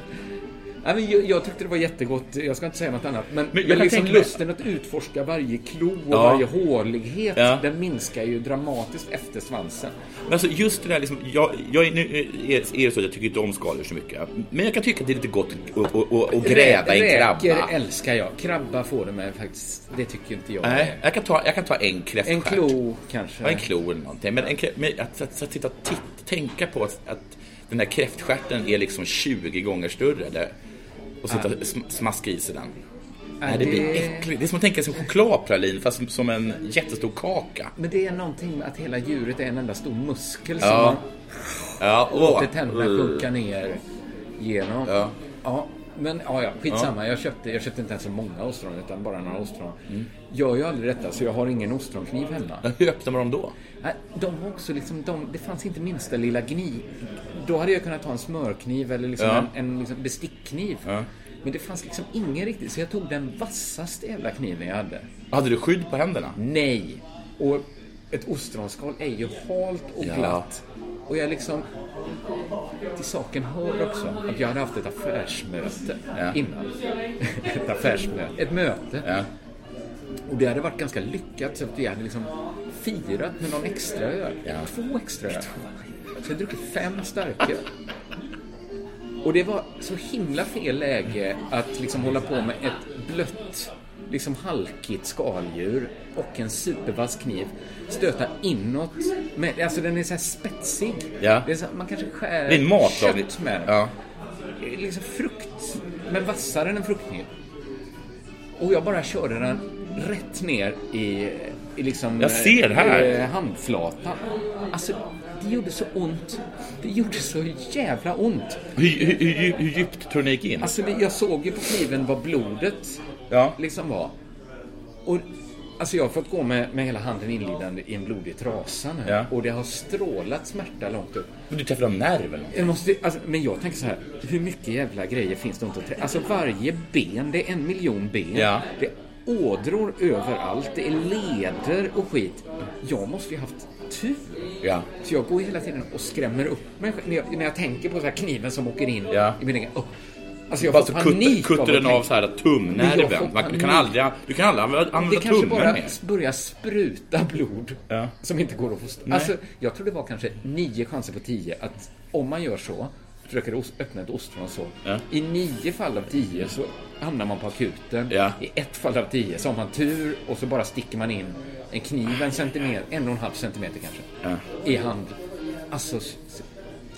[SPEAKER 4] Nej, men jag, jag tyckte det var jättegott, jag ska inte säga något annat. Men, men,
[SPEAKER 5] jag kan
[SPEAKER 4] liksom
[SPEAKER 5] tänka mig-
[SPEAKER 4] lusten att utforska varje klo och
[SPEAKER 5] Ja.
[SPEAKER 4] varje hålighet,
[SPEAKER 5] Ja.
[SPEAKER 4] den minskar ju dramatiskt efter svansen.
[SPEAKER 5] Men alltså just det där liksom, jag, jag, är- nu är, är det så att jag tycker inte om skaldjur så mycket. Men jag kan tycka att det är lite gott att- att- att att gräva i en
[SPEAKER 4] Räkor
[SPEAKER 5] krabba.
[SPEAKER 4] älskar jag. Krabba får du med faktiskt. Det tycker inte jag.
[SPEAKER 5] Nej, jag kan ta, jag kan ta en kräftstjärt.
[SPEAKER 4] En klo kanske.
[SPEAKER 5] Ja, en klo eller någonting. Men, en, krä- men att, att, att, titta, titt, tänka på att, att den där kräftstjärten är liksom 20 gånger större. Där, och sitta och sm- smaska i sig den. Nej, det blir äckligt. Det är som att tänka sig chokladpralin fast som- som en jättestor kaka.
[SPEAKER 4] Men det är någonting med att hela djuret är en enda stor muskel som
[SPEAKER 5] Ja.
[SPEAKER 4] man
[SPEAKER 5] Ja, åh.
[SPEAKER 4] låter tänderna sjunka ner genom.
[SPEAKER 5] Ja.
[SPEAKER 4] Ja, men ja, ja, skitsamma. Jag, köpte, jag köpte inte ens så många ostron utan bara några ostron.
[SPEAKER 5] Mm.
[SPEAKER 4] Gör ju aldrig detta så jag har ingen ostronkniv hemma.
[SPEAKER 5] Hur öppnar man dem då?
[SPEAKER 4] Nej, De var också liksom, de, det fanns inte minsta lilla gni. Då hade jag kunnat ta en smörkniv eller liksom
[SPEAKER 5] Ja.
[SPEAKER 4] en, en liksom bestickkniv.
[SPEAKER 5] Ja.
[SPEAKER 4] Men det fanns liksom ingen riktigt, så jag tog den vassaste jävla kniven jag hade.
[SPEAKER 5] Hade du skydd på händerna?
[SPEAKER 4] Nej! Och ett ostronskal är ju halt och
[SPEAKER 5] Ja.
[SPEAKER 4] glatt. Och jag liksom... Till saken hör också att jag hade haft ett affärsmöte
[SPEAKER 5] Ja.
[SPEAKER 4] innan. ett affärsmöte. Ett möte.
[SPEAKER 5] Ja.
[SPEAKER 4] Och det hade varit ganska lyckat så att vi hade liksom firat med någon extra öl.
[SPEAKER 5] Ja.
[SPEAKER 4] Två extra öl. Så jag druckit fem starka. Och det var så himla fel läge att liksom hålla på med ett blött, liksom halkigt skaldjur och en supervass kniv. Stöta inåt. Med, alltså den är så här spetsig.
[SPEAKER 5] Ja.
[SPEAKER 4] Det är så, man kanske skär
[SPEAKER 5] Det är en matlagning.
[SPEAKER 4] kött med den.
[SPEAKER 5] Ja.
[SPEAKER 4] Det är liksom frukt, men vassare än en fruktkniv. Och jag bara körde den rätt ner i, i liksom...
[SPEAKER 5] Jag ser här.
[SPEAKER 4] eh, handflatan. Alltså, det gjorde så ont. Det gjorde så jävla ont.
[SPEAKER 5] Hur, hur, hur, djup- hur djupt tror du ni gick in?
[SPEAKER 4] Alltså, det- jag såg ju på kniven vad blodet
[SPEAKER 5] Ja.
[SPEAKER 4] liksom var. Och, alltså, jag har fått gå med, med hela handen inlindad i en blodig trasa nu.
[SPEAKER 5] Ja.
[SPEAKER 4] Och det har strålat smärta långt upp.
[SPEAKER 5] Men Du träffade en nerv eller något?
[SPEAKER 4] Jag måste, alltså, men jag tänker så här, hur mycket jävla grejer finns det inte att trä- Alltså varje ben, det är en miljon ben.
[SPEAKER 5] Ja.
[SPEAKER 4] Det är ådror överallt, det är leder och skit. Jag måste ju haft tur.
[SPEAKER 5] Ja.
[SPEAKER 4] Så jag går ju hela tiden och skrämmer upp mig själv. när jag, när jag tänker på så här kniven som åker in
[SPEAKER 5] Ja.
[SPEAKER 4] i min egen... Oh. Alltså jag
[SPEAKER 5] Bara
[SPEAKER 4] får
[SPEAKER 5] så kutter,
[SPEAKER 4] panik av
[SPEAKER 5] kutter
[SPEAKER 4] att
[SPEAKER 5] den av
[SPEAKER 4] tänka-
[SPEAKER 5] så här
[SPEAKER 4] Men jag får
[SPEAKER 5] tumnerven. Man, du kan
[SPEAKER 4] panik.
[SPEAKER 5] aldrig, du kan aldrig använda,
[SPEAKER 4] Det
[SPEAKER 5] använda
[SPEAKER 4] kanske
[SPEAKER 5] tummen
[SPEAKER 4] bara
[SPEAKER 5] mer.
[SPEAKER 4] börjar spruta blod
[SPEAKER 5] Ja.
[SPEAKER 4] som inte går att få stopp Alltså, jag tror det var kanske nio chanser på tio att om man gör så, försöker os- öppna ett ostron så,
[SPEAKER 5] Ja.
[SPEAKER 4] i nio fall av tio så hamnar man på akuten.
[SPEAKER 5] Ja.
[SPEAKER 4] I ett fall av tio så har man tur och så bara sticker man in en kniv en centimeter, en och en halv centimeter kanske, i hand. Alltså, s- s-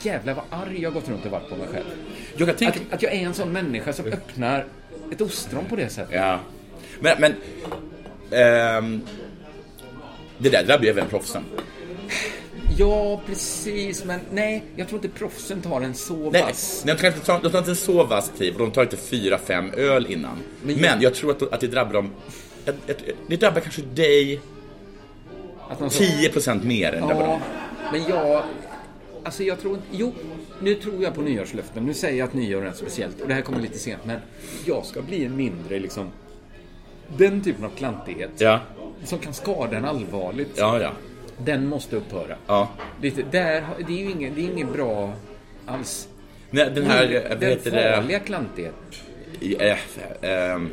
[SPEAKER 4] jävlar vad arg jag har gått runt och varit på mig själv.
[SPEAKER 5] Jag kan tänka
[SPEAKER 4] Att, att jag är en sån människa som öppnar ett ostron på det sättet.
[SPEAKER 5] Ja. Men, men ehm, det där drabbar ju även proffsen.
[SPEAKER 4] Ja, precis. Men nej, jag tror inte proffsen tar en så
[SPEAKER 5] Nej,
[SPEAKER 4] vass.
[SPEAKER 5] de, tar inte, de tar inte en så vass kniv och de tar inte fyra, fem öl innan. Men,
[SPEAKER 4] Men-
[SPEAKER 5] jag tror att, att det drabbar dem... Att, att, det drabbar kanske dig
[SPEAKER 4] Att man så,
[SPEAKER 5] 10% mer än drabbar dem.
[SPEAKER 4] ja, men jag... Alltså jag tror inte... Jo, nu tror jag på nyårslöften. Nu säger jag att nyår är något speciellt och det här kommer lite sent. Men jag ska bli en mindre liksom... Den typen av klantighet
[SPEAKER 5] Ja,
[SPEAKER 4] som kan skada en allvarligt,
[SPEAKER 5] ja, ja.
[SPEAKER 4] den måste upphöra.
[SPEAKER 5] ja.
[SPEAKER 4] Lite, där, har- det är ju inget, det är inget bra alls.
[SPEAKER 5] Nej, Den
[SPEAKER 4] Mm.
[SPEAKER 5] här... Vad
[SPEAKER 4] den
[SPEAKER 5] heter det?
[SPEAKER 4] farliga klantigheten.
[SPEAKER 5] Eh, ehm,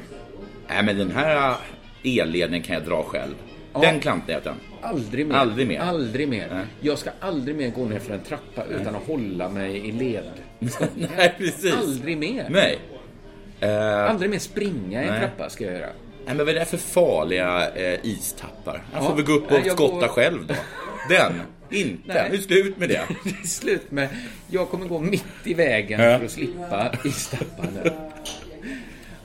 [SPEAKER 5] Nej, men den här elledningen kan jag dra själv. Den klantigheten.
[SPEAKER 4] Aldrig mer.
[SPEAKER 5] Aldrig mer.
[SPEAKER 4] Aldrig mer.
[SPEAKER 5] Nej.
[SPEAKER 4] Jag ska aldrig mer gå ner för en trappa utan att hålla mig i led.
[SPEAKER 5] Nej, precis.
[SPEAKER 4] Aldrig mer.
[SPEAKER 5] Nej.
[SPEAKER 4] Aldrig mer springa i en
[SPEAKER 5] Nej.
[SPEAKER 4] trappa ska jag göra.
[SPEAKER 5] Nej, men vad är det för farliga eh, istappar? Han
[SPEAKER 4] Ja.
[SPEAKER 5] får väl gå upp
[SPEAKER 4] Nej,
[SPEAKER 5] och
[SPEAKER 4] jag
[SPEAKER 5] skotta
[SPEAKER 4] går-
[SPEAKER 5] själv då. Den. Inte.
[SPEAKER 4] Nej.
[SPEAKER 5] Nu är det slut med det.
[SPEAKER 4] Det är slut med... Jag kommer gå mitt i vägen
[SPEAKER 5] Ja.
[SPEAKER 4] för att slippa i stappan. där.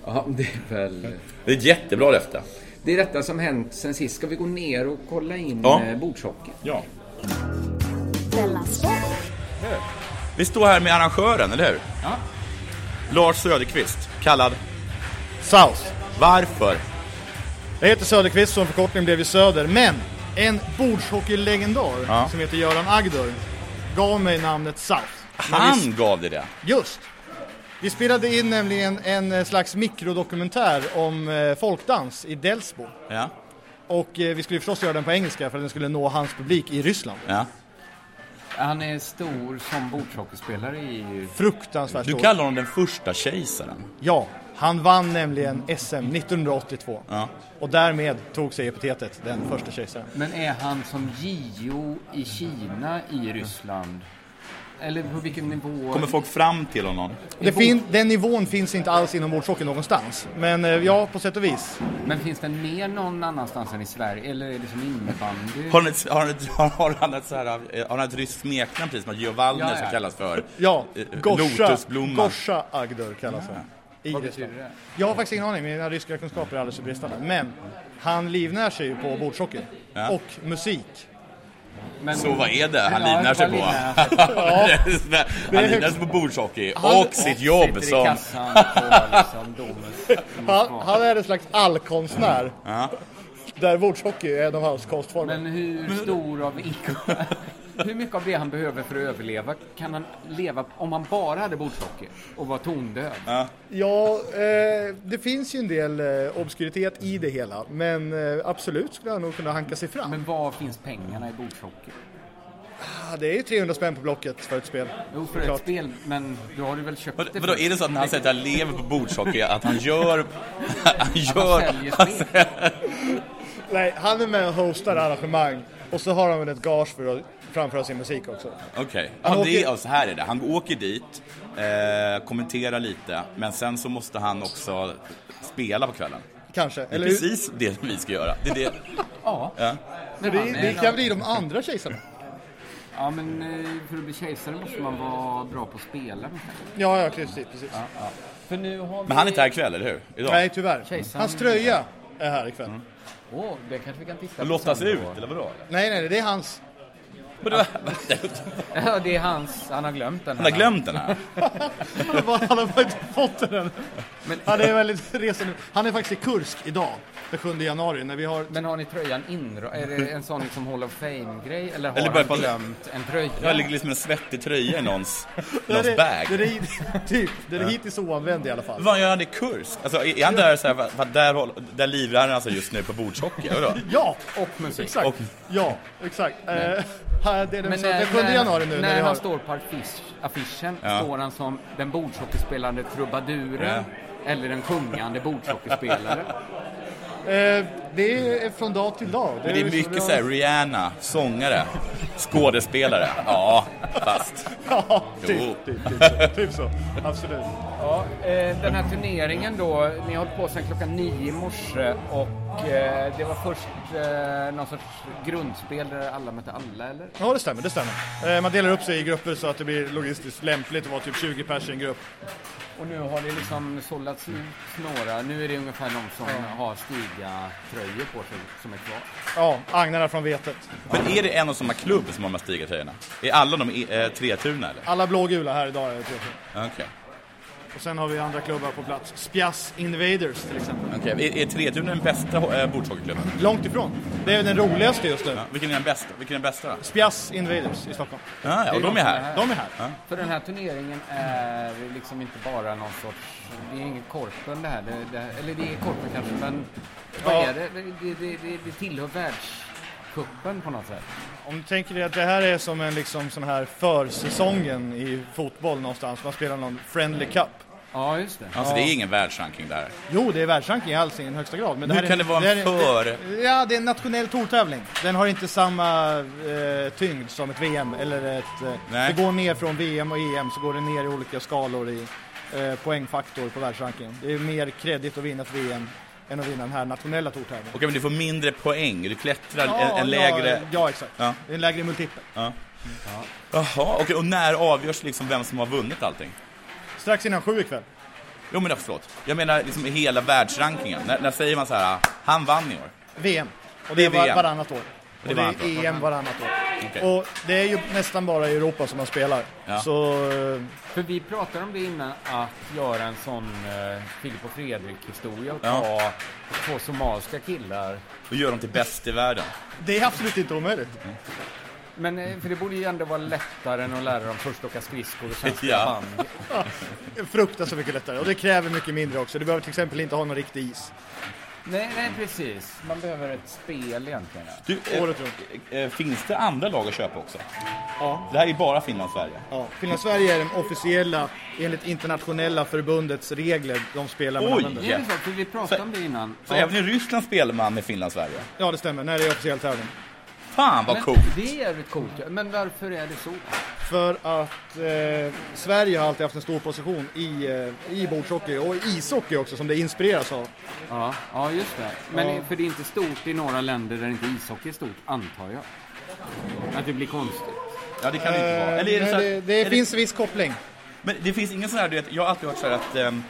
[SPEAKER 4] Ja, det är väl...
[SPEAKER 5] Det är ett jättebra löfte.
[SPEAKER 4] Det är detta som hänt sen sist. Ska vi gå ner och kolla in eh,
[SPEAKER 5] Ja.
[SPEAKER 4] ja. bordshockeyn?
[SPEAKER 5] Ja.
[SPEAKER 6] Della Sport.
[SPEAKER 5] Vi står här med arrangören, eller hur?
[SPEAKER 4] Ja.
[SPEAKER 5] Lars Söderqvist, kallad
[SPEAKER 3] South.
[SPEAKER 5] Varför?
[SPEAKER 3] Jag heter Söderqvist, som förkortning blev ju Söder. Men en bordshockeylegendar
[SPEAKER 5] Ja.
[SPEAKER 3] som heter Göran Agdor gav mig namnet South. Men vi-
[SPEAKER 5] Han gav dig det.
[SPEAKER 3] Just! Vi spelade in nämligen en eh, slags mikrodokumentär om eh, folkdans i Delsbo.
[SPEAKER 5] Ja.
[SPEAKER 3] Och eh, vi skulle förstås göra den på engelska för att den skulle nå hans publik i Ryssland.
[SPEAKER 5] ja.
[SPEAKER 4] Han är stor som bordshockeyspelare i...
[SPEAKER 3] Fruktansvärt
[SPEAKER 5] Du
[SPEAKER 3] stor.
[SPEAKER 5] kallar honom den första kejsaren.
[SPEAKER 3] Ja, han vann nämligen SM 1982.
[SPEAKER 5] Ja.
[SPEAKER 3] Och därmed tog sig epitetet den första kejsaren.
[SPEAKER 4] Men är han som Gio i Kina i Ryssland? Eller på vilken nivå?
[SPEAKER 5] Kommer folk fram till honom?
[SPEAKER 3] Det fin- den nivån finns inte alls inom bordshockey någonstans. Men eh, ja, på sätt och vis.
[SPEAKER 4] Men finns den mer någon annanstans än i Sverige? Eller är det som innebandy?
[SPEAKER 5] Har han ett, har han ett, har han ett, så här, eh, har han ett ryskt smeknamn precis som Geovalner
[SPEAKER 4] Ja, ja.
[SPEAKER 5] som kallas för
[SPEAKER 3] Ja,
[SPEAKER 5] eh,
[SPEAKER 3] Gorsa,
[SPEAKER 5] Lotusblomman?
[SPEAKER 3] Gorsa Agdor kallas han. i Ryssland.
[SPEAKER 4] Vad betyder det?
[SPEAKER 3] Jag har faktiskt ingen aning, mina ryska kunskaper är alldeles för bristande. Men han livnär sig ju på bordshockey
[SPEAKER 5] Ja.
[SPEAKER 3] och musik.
[SPEAKER 4] Men,
[SPEAKER 5] Så vad är det han
[SPEAKER 4] Ja,
[SPEAKER 5] livnär sig
[SPEAKER 4] vad
[SPEAKER 5] på?
[SPEAKER 4] livnär han sig
[SPEAKER 5] han livnär sig på bordshockey
[SPEAKER 3] Han-
[SPEAKER 5] och sitt jobb
[SPEAKER 4] Sitter i
[SPEAKER 5] som...
[SPEAKER 4] kassan på liksom Domus.
[SPEAKER 3] Han, han är en slags allkonstnär.
[SPEAKER 5] Ja.
[SPEAKER 3] Där bordshockey är en av hans konstformer.
[SPEAKER 4] Men hur stor av inkomst... Hur mycket av det han behöver för att överleva kan han leva om han bara hade bordshockey och var tondöv?
[SPEAKER 3] Ja, eh, det finns ju en del eh, obskuritet i det hela. Men eh, absolut skulle han nog kunna hanka sig fram.
[SPEAKER 4] Men var finns pengarna i bordshockey?
[SPEAKER 3] Ah, det är ju 300 spänn på Blocket för ett spel.
[SPEAKER 4] Jo, för
[SPEAKER 3] Såklart.
[SPEAKER 4] ett spel, men då har du väl köpt
[SPEAKER 5] Vad-
[SPEAKER 4] det?
[SPEAKER 5] Vadå,
[SPEAKER 4] först?
[SPEAKER 5] är det så att när han säger att han lever på bordshockey, att han gör... Han
[SPEAKER 4] Han
[SPEAKER 5] gör...
[SPEAKER 4] säljer spel.
[SPEAKER 3] Nej, han är med och hostar arrangemang. Och så har han väl ett gage för att framföra sin musik också.
[SPEAKER 5] Okej,
[SPEAKER 3] Han
[SPEAKER 5] ja, det är,
[SPEAKER 3] åker-
[SPEAKER 5] ja, så här är det. Han åker dit, eh, kommenterar lite, men sen så måste han också spela på kvällen.
[SPEAKER 3] Kanske.
[SPEAKER 5] Det är
[SPEAKER 3] Eller hur?
[SPEAKER 5] precis det vi ska göra. Det är det.
[SPEAKER 4] Ja.
[SPEAKER 5] Ja.
[SPEAKER 4] Men
[SPEAKER 3] Det,
[SPEAKER 4] han är
[SPEAKER 3] det
[SPEAKER 4] en
[SPEAKER 3] kan
[SPEAKER 4] av-
[SPEAKER 3] bli de andra kejsarna.
[SPEAKER 4] Ja, men eh, för att bli kejsare måste man vara bra på att spela. men kanske.
[SPEAKER 3] Ja, ja, precis. precis.
[SPEAKER 4] För nu har vi...
[SPEAKER 5] Men han är inte här ikväll, eller hur? Idag.
[SPEAKER 3] Nej, tyvärr.
[SPEAKER 4] Kejsaren- Mm.
[SPEAKER 3] Hans tröja är här ikväll.
[SPEAKER 4] Åh, det kanske vi kan titta på.
[SPEAKER 5] Han lottas
[SPEAKER 4] sen
[SPEAKER 5] ut,
[SPEAKER 4] då.
[SPEAKER 5] eller vadå?
[SPEAKER 3] Nej, nej, det är hans.
[SPEAKER 4] Ja, det är hans. Han har glömt den.
[SPEAKER 5] Han har glömt den här.
[SPEAKER 3] Han har bara- han har bara inte fått den än. Han är väldigt resande. Han är faktiskt i Kursk idag, den 7 januari, när vi har...
[SPEAKER 4] Men har ni tröjan inra... Är det en sån liksom Hall of Fame-grej? Eller har
[SPEAKER 5] Eller bara
[SPEAKER 4] han
[SPEAKER 5] på-
[SPEAKER 4] glömt en tröja?
[SPEAKER 5] Jag ligger liksom med en svettig tröja i någons,
[SPEAKER 3] Det är
[SPEAKER 5] någons
[SPEAKER 3] det-
[SPEAKER 5] bag.
[SPEAKER 3] det är det- Typ, det är det hittills oanvänd i alla fall.
[SPEAKER 5] Vad gör han i Kursk? Alltså, är är han där så här, va- där, håll- där livrar han alltså just nu på bordshockey? Vadå?
[SPEAKER 3] Ja,
[SPEAKER 4] Och musik.
[SPEAKER 3] exakt.
[SPEAKER 5] Och-
[SPEAKER 3] Ja, exakt. Eh, här, det är den,
[SPEAKER 4] Men eh,
[SPEAKER 3] så, den
[SPEAKER 4] när,
[SPEAKER 3] 7 januari nu
[SPEAKER 4] när,
[SPEAKER 3] när,
[SPEAKER 4] när
[SPEAKER 3] vi
[SPEAKER 4] han
[SPEAKER 3] har...
[SPEAKER 4] står på affisch- affischen
[SPEAKER 5] Ja.
[SPEAKER 4] står han som den bordshockeyspelande trubaduren eller den sjungande bordshockeyspelaren.
[SPEAKER 3] Eh, det är från dag till dag.
[SPEAKER 5] Men det är
[SPEAKER 3] ju så vi
[SPEAKER 5] mycket
[SPEAKER 3] har-
[SPEAKER 5] så här, Rihanna, sångare, skådespelare. Ja, fast.
[SPEAKER 3] Ja,
[SPEAKER 5] Jo.
[SPEAKER 3] typ, typ, typ, så. typ så. Absolut.
[SPEAKER 4] Ja, eh, den här turneringen då, ni har hållit på sedan klockan nio i morse och eh, det var först eh, någon sorts grundspel där alla mötte alla eller?
[SPEAKER 3] Ja, det stämmer. Det stämmer. Eh, man delar upp sig i grupper så att det blir logistiskt lämpligt att vara typ 20 pers i en grupp.
[SPEAKER 4] Och nu har det liksom sållats ut några, nu är det ungefär de som har Stiga-tröjor på sig som är kvar.
[SPEAKER 3] Ja, agnarna från vetet.
[SPEAKER 5] Men är det en och samma klubb som har de här Stiga-tröjorna? Är alla de i- eh, Tretuna eller?
[SPEAKER 3] Alla blågula här idag är det trevligt.
[SPEAKER 5] Okej.
[SPEAKER 3] Och sen har vi andra klubbar på plats. Spjass Invaders till exempel.
[SPEAKER 5] Okej, Är, är Tretuna den bästa eh, bordshockeyklubben?
[SPEAKER 3] Långt ifrån. Det är den roligaste just nu.
[SPEAKER 5] Ja. Vilken är den bästa? Vilken är den bästa då?
[SPEAKER 3] Spjass Invaders i Stockholm.
[SPEAKER 5] Ja, ja, och de är här.
[SPEAKER 3] De är här.
[SPEAKER 4] För den här turneringen är liksom inte bara någon sorts, det är ingen korpen det här, det, det, eller det är korpen kanske men vad
[SPEAKER 3] Ja.
[SPEAKER 4] är det? Det, det, det, det tillhör världscupen på något sätt.
[SPEAKER 3] Om du tänker dig att det här är som en liksom sån här försäsongen i fotboll någonstans. Man spelar någon Friendly Cup.
[SPEAKER 4] Ja, just det.
[SPEAKER 5] Alltså det är ingen världsranking där.
[SPEAKER 3] Jo, det är världsranking alls i den högsta grad. Men det
[SPEAKER 5] Hur
[SPEAKER 3] här
[SPEAKER 5] kan
[SPEAKER 3] är,
[SPEAKER 5] det vara en
[SPEAKER 3] här
[SPEAKER 5] för-
[SPEAKER 3] det- ja, det är en nationell tourtävling. Den har inte samma eh, tyngd som ett VM eller ett... Eh,
[SPEAKER 5] Nej.
[SPEAKER 3] det går ner från VM och EM så går det ner i olika skalor i eh, poängfaktor på världsrankingen. Det är mer kredit att vinna ett VM än att vinna den här nationella tourtävlingen.
[SPEAKER 5] Okej, men du får mindre poäng. Du klättrar en, en
[SPEAKER 3] Ja,
[SPEAKER 5] lägre...
[SPEAKER 3] ja, exakt.
[SPEAKER 5] Ja.
[SPEAKER 3] Det är en lägre multipel.
[SPEAKER 5] Jaha, okej. Och när avgörs liksom vem som har vunnit allting?
[SPEAKER 3] Strax innan sju ikväll.
[SPEAKER 5] Jo men förlåt. Jag menar liksom hela världsrankingen. När, när säger man så här, han vann i år?
[SPEAKER 3] VM. Och det är
[SPEAKER 5] Det är
[SPEAKER 3] var,
[SPEAKER 5] VM.
[SPEAKER 3] varannat år.
[SPEAKER 5] Det är
[SPEAKER 3] Och det
[SPEAKER 5] varannat
[SPEAKER 3] är EM varannat år.
[SPEAKER 5] Okej.
[SPEAKER 3] Och det är ju nästan bara i Europa som man spelar.
[SPEAKER 5] Ja.
[SPEAKER 3] Så... eh,
[SPEAKER 4] För vi pratade om det innan, att göra en sån eh, Filip och Fredrik-historia och
[SPEAKER 5] Ja.
[SPEAKER 4] ta två somaliska killar.
[SPEAKER 5] Då gör de till bäst i världen.
[SPEAKER 3] Det är absolut inte omöjligt.
[SPEAKER 4] Men eh, för det borde ju ändå vara lättare än att lära dem först åka skridskor och sen spela
[SPEAKER 5] Ja.
[SPEAKER 4] band.
[SPEAKER 3] Fruktar så mycket lättare och det kräver mycket mindre också. Du behöver till exempel inte ha någon riktig is.
[SPEAKER 4] Nej, nej, precis. Man behöver ett spel egentligen. ja.
[SPEAKER 5] Du, eh,
[SPEAKER 3] Året runt.
[SPEAKER 5] eh, finns det andra lag att köpa också?
[SPEAKER 3] Ja.
[SPEAKER 5] Det här är bara Finland-Sverige.
[SPEAKER 3] Ja, Finland-Sverige är den officiella, enligt internationella förbundets regler, de spelar man
[SPEAKER 5] Oj!
[SPEAKER 3] använder.
[SPEAKER 4] Är det så? För vi pratade om det innan.
[SPEAKER 5] Så även i Ryssland spelar man med Finland-Sverige?
[SPEAKER 3] Ja, det stämmer. När det är officiell tävling.
[SPEAKER 5] Fan vad
[SPEAKER 4] Men
[SPEAKER 5] coolt!
[SPEAKER 4] Det är jävligt coolt. ja. Men varför är det så?
[SPEAKER 3] För att eh, Sverige har alltid haft en stor position i, eh, i bordshockey och ishockey också, som det inspireras av.
[SPEAKER 4] Ja, ja just det. Men
[SPEAKER 3] Ja.
[SPEAKER 4] för det är inte stort i några länder där inte ishockey är stort, antar jag. Att det blir konstigt.
[SPEAKER 5] Ja, det kan det inte vara.
[SPEAKER 3] Eh,
[SPEAKER 5] Eller är det,
[SPEAKER 3] men
[SPEAKER 5] så att,
[SPEAKER 3] det,
[SPEAKER 5] är
[SPEAKER 3] det finns viss koppling.
[SPEAKER 5] Men det finns ingen sån här, du vet, jag har alltid hört så här att ehm,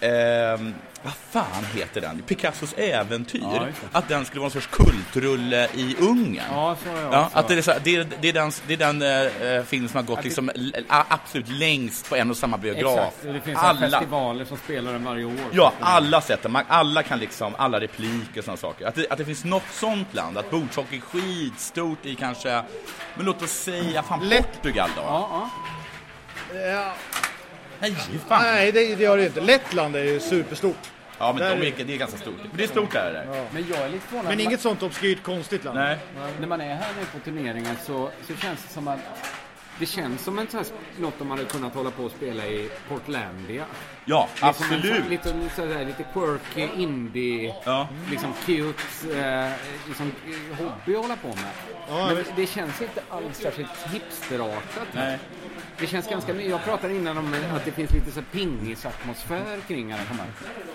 [SPEAKER 7] ehm, vad fan heter den? Picassos äventyr.
[SPEAKER 4] Ja, just det.
[SPEAKER 7] att den skulle vara en sorts kultrulle i Ungern.
[SPEAKER 4] Ja, så har jag
[SPEAKER 7] Ja,
[SPEAKER 4] också.
[SPEAKER 7] att det, är så, här- det, är, det är den, det är den eh, film som har gått liksom, l- a- absolut längst på en och samma biograf.
[SPEAKER 4] Exakt. Och Det finns alla.
[SPEAKER 7] alla,
[SPEAKER 4] festivaler som spelar den varje år.
[SPEAKER 7] ja, alla sätt. Man, alla kan liksom, alla repliker och sådana saker. Att det, att det finns något sånt land, att bordshockey är skitstort i kanske, men låt oss säga, fan Portugal då?
[SPEAKER 4] Ja, ja.
[SPEAKER 3] Ja,
[SPEAKER 7] Nej,
[SPEAKER 4] Eh,
[SPEAKER 7] fan.
[SPEAKER 3] nej, det, det gör det inte. Lettland är ju superstort.
[SPEAKER 7] Ja, men
[SPEAKER 3] Där-
[SPEAKER 7] de är, det är ganska stort. Men det är stort där. eller?
[SPEAKER 4] Men jag är lite förvånad.
[SPEAKER 3] Men
[SPEAKER 4] Man-
[SPEAKER 3] inget sånt obskyrt konstigt land.
[SPEAKER 7] Nej.
[SPEAKER 4] När man är här nu på turneringen så, så känns det som att det känns som en sån här, sp- något de hade kunnat hålla på och spela i Portlandia.
[SPEAKER 7] Ja,
[SPEAKER 4] Liksom en
[SPEAKER 7] absolut.
[SPEAKER 4] sån- Lite, så där, lite quirky, indie,
[SPEAKER 7] Ja.
[SPEAKER 4] liksom cute eh, liksom, eh, hobby att hålla på med. Men det, det känns inte alls särskilt hipsterartat.
[SPEAKER 7] Nej.
[SPEAKER 4] Det känns ganska mycket. Jag pratade innan om att det finns lite så här pingisatmosfär kring alla de här.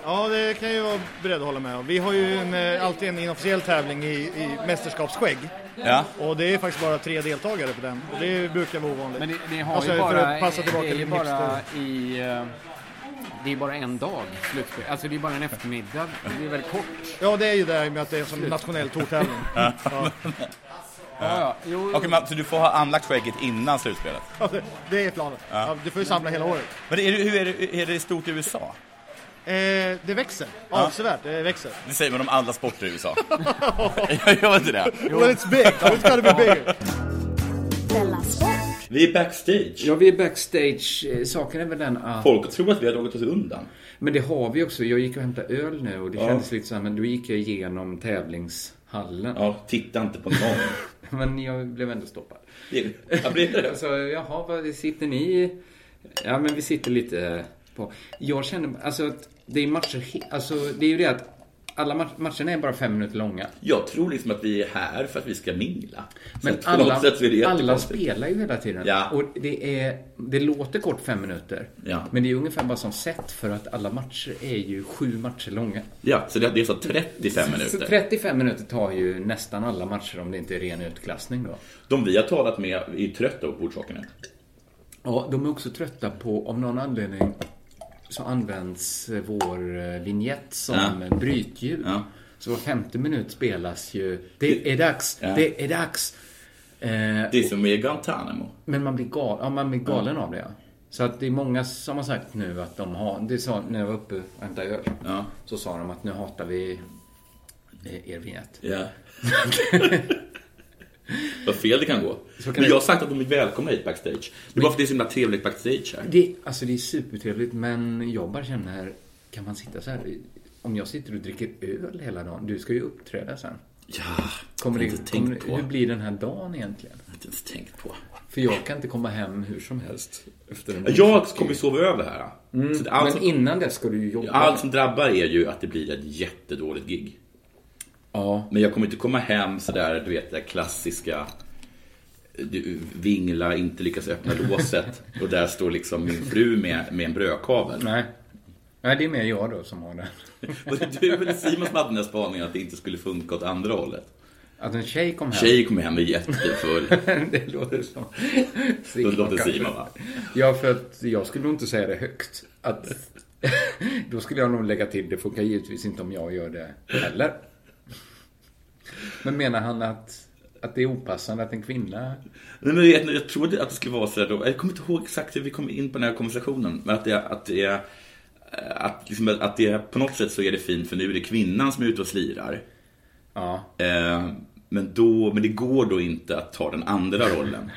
[SPEAKER 3] Ja, det kan jag ju vara beredd att hålla med om. Vi har ju en, eh, alltid en inofficiell tävling i, i mästerskapsskägg.
[SPEAKER 7] Ja.
[SPEAKER 3] Och det är faktiskt bara tre deltagare på den. Och det brukar vara ovanligt.
[SPEAKER 4] Men ni, ni har
[SPEAKER 3] Alltså,
[SPEAKER 4] ju
[SPEAKER 3] för
[SPEAKER 4] bara,
[SPEAKER 3] att passa tillbaka
[SPEAKER 4] det är ju
[SPEAKER 3] till
[SPEAKER 4] bara i... eh, Det är bara en dag slutspel. Alltså det är bara en eftermiddag. Det är väldigt kort.
[SPEAKER 3] Ja, det är ju det här med att det är som en nationell tourtävling. ja.
[SPEAKER 4] Ja, ja. Jo,
[SPEAKER 7] Okej, men så du får ha anlagt skägget innan slutspelet?
[SPEAKER 3] Det är planen. Ja, du får ju samla hela året.
[SPEAKER 7] Men är det, hur är det, är det stort i USA?
[SPEAKER 3] Eh, det växer. Avsevärt, det växer.
[SPEAKER 7] Det säger man om alla sporter i USA. jag gör inte det.
[SPEAKER 3] Well it's big, it's gotta be bigger.
[SPEAKER 8] Della Sport!
[SPEAKER 5] Vi är backstage.
[SPEAKER 4] ja, vi är backstage. Eh, Saken är väl den att...
[SPEAKER 5] Folk tror att vi har dragit oss undan.
[SPEAKER 4] Men det har vi också. Jag gick och hämtade öl nu och det kändes lite så här, men då gick jag igenom tävlingshallen.
[SPEAKER 5] Ja, titta inte på någon.
[SPEAKER 4] Men jag blev ändå stoppad.
[SPEAKER 5] Jag blir
[SPEAKER 4] Så jaha, vad sitter ni Ja, men vi sitter lite på... Jag känner, alltså att det är matcher, he- alltså det är ju det att alla ma- matcherna är bara fem minuter långa.
[SPEAKER 5] Jag tror liksom att vi är här för att vi ska mingla. Så
[SPEAKER 4] Men
[SPEAKER 5] att på
[SPEAKER 4] alla,
[SPEAKER 5] något sätt så är det
[SPEAKER 4] alla
[SPEAKER 5] jättekonstigt.
[SPEAKER 4] spelar ju hela tiden.
[SPEAKER 5] Ja.
[SPEAKER 4] Och det, är, det låter kort fem minuter.
[SPEAKER 5] Ja.
[SPEAKER 4] Men det är ungefär bara som set för att alla matcher är ju sju matcher långa.
[SPEAKER 5] Ja, så det, det är så 35
[SPEAKER 4] Så
[SPEAKER 5] minuter.
[SPEAKER 4] 35 minuter tar ju nästan alla matcher om det inte är ren utklassning då.
[SPEAKER 5] De vi har talat med är trötta på orsakerna.
[SPEAKER 4] Ja, de är också trötta på, av någon anledning, så används eh, vår eh, vignett som ja. brytljud.
[SPEAKER 5] Ja.
[SPEAKER 4] Så var femte minut spelas ju, det är dags,
[SPEAKER 5] Ja.
[SPEAKER 4] det är dags. Eh,
[SPEAKER 5] Det är som i Guantanamo.
[SPEAKER 4] men man blir, gal, ja, man blir galen av det. ja. Så att det är många som har sagt nu att de har, det sa när jag var uppe och hämtade öl,
[SPEAKER 5] Ja.
[SPEAKER 4] så sa de att nu hatar vi eh, er vignett.
[SPEAKER 5] Ja. Vad fel det kan gå.
[SPEAKER 4] kan
[SPEAKER 5] Men
[SPEAKER 4] det-
[SPEAKER 5] jag har sagt att de är välkomna hit backstage. Det är bara för att det är så himla trevligt backstage här.
[SPEAKER 4] Det, alltså det är supertrevligt men jag bara känner, kan man sitta så här? Om jag sitter och dricker öl hela dagen, du ska ju uppträda sen.
[SPEAKER 5] Ja,
[SPEAKER 4] Kommer
[SPEAKER 5] jag har
[SPEAKER 4] det,
[SPEAKER 5] inte
[SPEAKER 4] kommer,
[SPEAKER 5] tänkt
[SPEAKER 4] det-
[SPEAKER 5] på.
[SPEAKER 4] hur blir den här dagen egentligen?
[SPEAKER 5] Jag har inte ens tänkt på.
[SPEAKER 4] För jag kan inte komma hem hur som helst. Efter en
[SPEAKER 5] Jag kommer ju sova över här. Så det- allt,
[SPEAKER 4] Men
[SPEAKER 5] som,
[SPEAKER 4] innan det ska du ju jobba.
[SPEAKER 5] allt som drabbar är ju att det blir ett jättedåligt gig.
[SPEAKER 4] Ja.
[SPEAKER 5] Men jag kommer inte komma hem sådär, du vet, det där klassiska du, vingla, inte lyckas öppna låset och där står liksom min fru med, med en brödkavel.
[SPEAKER 4] Nej. Nej, det är mer jag då som har den.
[SPEAKER 5] Var det du eller Simon som hade den här spaningen att det inte skulle funka åt andra hållet?
[SPEAKER 4] Att en tjej kom hem.
[SPEAKER 5] Tjej kommer hem och är jättefull.
[SPEAKER 4] det låter som...
[SPEAKER 5] Då låter Simon va?
[SPEAKER 4] Ja, för att jag skulle nog inte säga det högt. Att... Då skulle jag nog lägga till, det funkar givetvis inte om jag gör det heller. Men menar han att, att det är opassande att en kvinna...
[SPEAKER 5] Nej, men jag, jag trodde att det skulle vara så här då. Jag kommer inte ihåg exakt hur vi kom in på den här konversationen. Men att det, att det, eh, att, liksom, att det på något sätt så är det fint för nu är det kvinnan som är ute och slirar.
[SPEAKER 4] Ja.
[SPEAKER 5] Eh, men, då, men det går då inte att ta den andra rollen.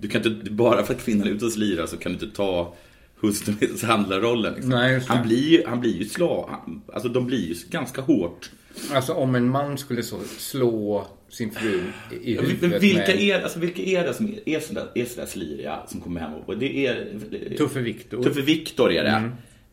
[SPEAKER 5] Du kan inte, bara för att kvinnan är ute och slirar så kan du inte ta hustruns handlarrollen. Liksom.
[SPEAKER 4] Nej, just det.
[SPEAKER 5] han, blir, ju- han blir ju slav. han- Alltså de blir ju ganska hårt.
[SPEAKER 4] Alltså om en man skulle så slå sin fru i- i huvudet
[SPEAKER 5] Men vilka,
[SPEAKER 4] med...
[SPEAKER 5] är, alltså, vilka är det som är, är, sådär, är sådär sliriga som kommer hem och... och Det är,
[SPEAKER 4] Tuffe Viktor. Mm.
[SPEAKER 5] Tuffe Viktor är det.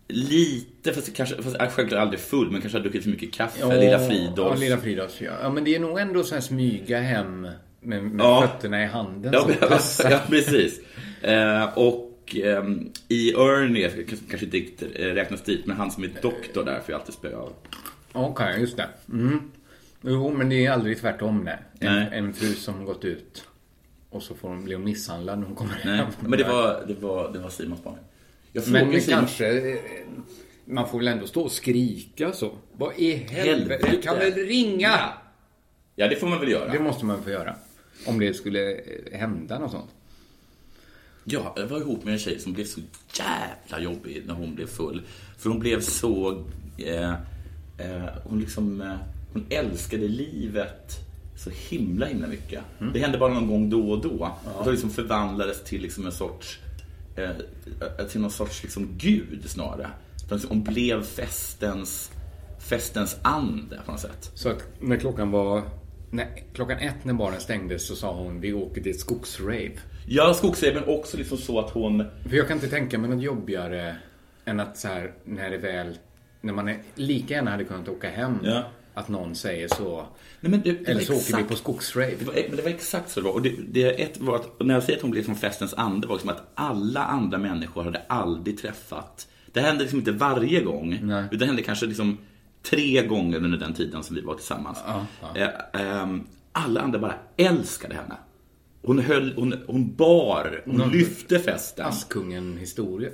[SPEAKER 5] Lite, fast, kanske, fast äh, självklart aldrig full, men kanske har druckit för mycket kaffe. Lilla
[SPEAKER 4] Ja,
[SPEAKER 5] Fridolf.
[SPEAKER 4] Lilla Fridolfs, ja. ja. Men det är nog ändå så här smyga hem med, med
[SPEAKER 5] Ja.
[SPEAKER 4] fötterna i handen.
[SPEAKER 5] Ja,
[SPEAKER 4] som
[SPEAKER 5] men-
[SPEAKER 4] tassar.
[SPEAKER 5] ja precis. Eh, och ehm, i Ernie, jag kanske- kanske inte riktigt eh, räknas dit, men han som är doktor där får jag alltid spöa av.
[SPEAKER 4] Okej, just det. Mm. Jo, men det är aldrig tvärtom det. En,
[SPEAKER 5] Nej.
[SPEAKER 4] en fru som gått ut och så får hon, blir hon misshandlad när hon kommer
[SPEAKER 5] Nej,
[SPEAKER 4] hem.
[SPEAKER 5] men det var, det var, det var Simons barn. Jag
[SPEAKER 4] Men,
[SPEAKER 5] frågade Simon,
[SPEAKER 4] kanske... eh,
[SPEAKER 9] Man får väl ändå stå och skrika så. Vad i helvete?
[SPEAKER 5] Helvete.
[SPEAKER 9] Du kan väl ringa?
[SPEAKER 5] Ja, det får man väl göra.
[SPEAKER 9] Det måste man få göra. Om det skulle eh, hända något sånt.
[SPEAKER 5] Ja, jag var ihop med en tjej som blev så jävla jobbig när hon blev full. För hon blev så... Eh, eh, hon liksom... Eh, hon älskade livet så himla, himla mycket.
[SPEAKER 9] Mm.
[SPEAKER 5] Det hände bara någon gång då och då. Och så liksom förvandlades till liksom en sorts... Eh, eh, till någon sorts liksom gud snarare. Så liksom, Hon blev festens, festens ande på något sätt.
[SPEAKER 9] Så att när klockan var... När, klockan ett när baren stängdes så sa hon vi åker till ett skogsrave.
[SPEAKER 5] Ja, skogsreben också liksom så att hon...
[SPEAKER 9] För jag kan inte tänka mig något jobbigare än att så här när det väl... När man är, lika gärna hade kunnat åka hem.
[SPEAKER 5] Ja.
[SPEAKER 9] Att någon säger så.
[SPEAKER 5] Nej, men det, det
[SPEAKER 9] Eller
[SPEAKER 5] var
[SPEAKER 9] så åker vi
[SPEAKER 5] exakt-
[SPEAKER 9] på skogsrave.
[SPEAKER 5] Det var, men det var exakt så det var. Och det, det ett var att, när jag säger att hon blev som festens ande var liksom att alla andra människor hade aldrig träffat. Det hände liksom inte varje gång.
[SPEAKER 9] Nej.
[SPEAKER 5] Utan det hände kanske liksom tre gånger under den tiden som vi var tillsammans.
[SPEAKER 9] Ja, ja.
[SPEAKER 5] Eh, ehm, alla andra bara älskade henne. Hon, höll, hon, hon bar, hon lyfte festen.
[SPEAKER 9] Alltså, Askungen historia.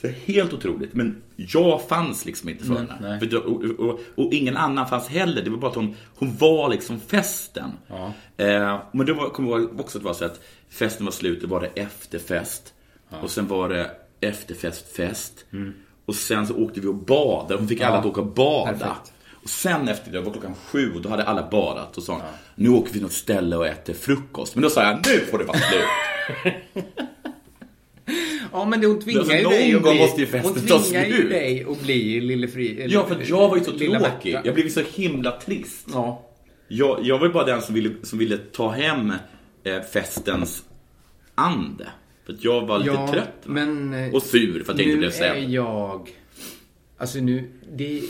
[SPEAKER 5] Så helt otroligt. Men jag fanns liksom inte för henne.
[SPEAKER 9] nej.
[SPEAKER 5] För, det- och, och, och ingen annan fanns heller. Det var bara att hon, hon var liksom festen.
[SPEAKER 9] Ja.
[SPEAKER 5] Eh, men det var, kommer jag ihåg också att det var så att festen var slut, det var det efterfest. Och sen var det efterfest, fest.
[SPEAKER 9] Mm.
[SPEAKER 5] Och sen så åkte vi och badade. Hon fick alla att åka och bada.
[SPEAKER 9] perfekt.
[SPEAKER 5] Och sen efter det, det var klockan sju, och då hade alla badat och sa hon, nu åker vi till något ställe och äter frukost. Men då sa jag, nu får det vara slut.
[SPEAKER 9] Ja men det- hon tvingar
[SPEAKER 5] Alltså,
[SPEAKER 9] ju
[SPEAKER 5] någon
[SPEAKER 9] dig att
[SPEAKER 5] gång
[SPEAKER 9] bli...
[SPEAKER 5] måste ju festen
[SPEAKER 9] hon
[SPEAKER 5] ta
[SPEAKER 9] tvingar ju
[SPEAKER 5] slut.
[SPEAKER 9] dig att bli lille fri...
[SPEAKER 5] Ja, för att jag var ju så
[SPEAKER 9] Lilla Märta.
[SPEAKER 5] tråkig. Jag blev ju så himla trist.
[SPEAKER 9] Ja.
[SPEAKER 5] Jag, jag var ju bara den som ville, som ville ta hem eh, festens ande. För att jag var lite
[SPEAKER 9] ja,
[SPEAKER 5] trött. va?
[SPEAKER 9] Men, eh,
[SPEAKER 5] Och sur för att jag inte blev
[SPEAKER 9] Nu är
[SPEAKER 5] sedd.
[SPEAKER 9] jag... Alltså nu... Det,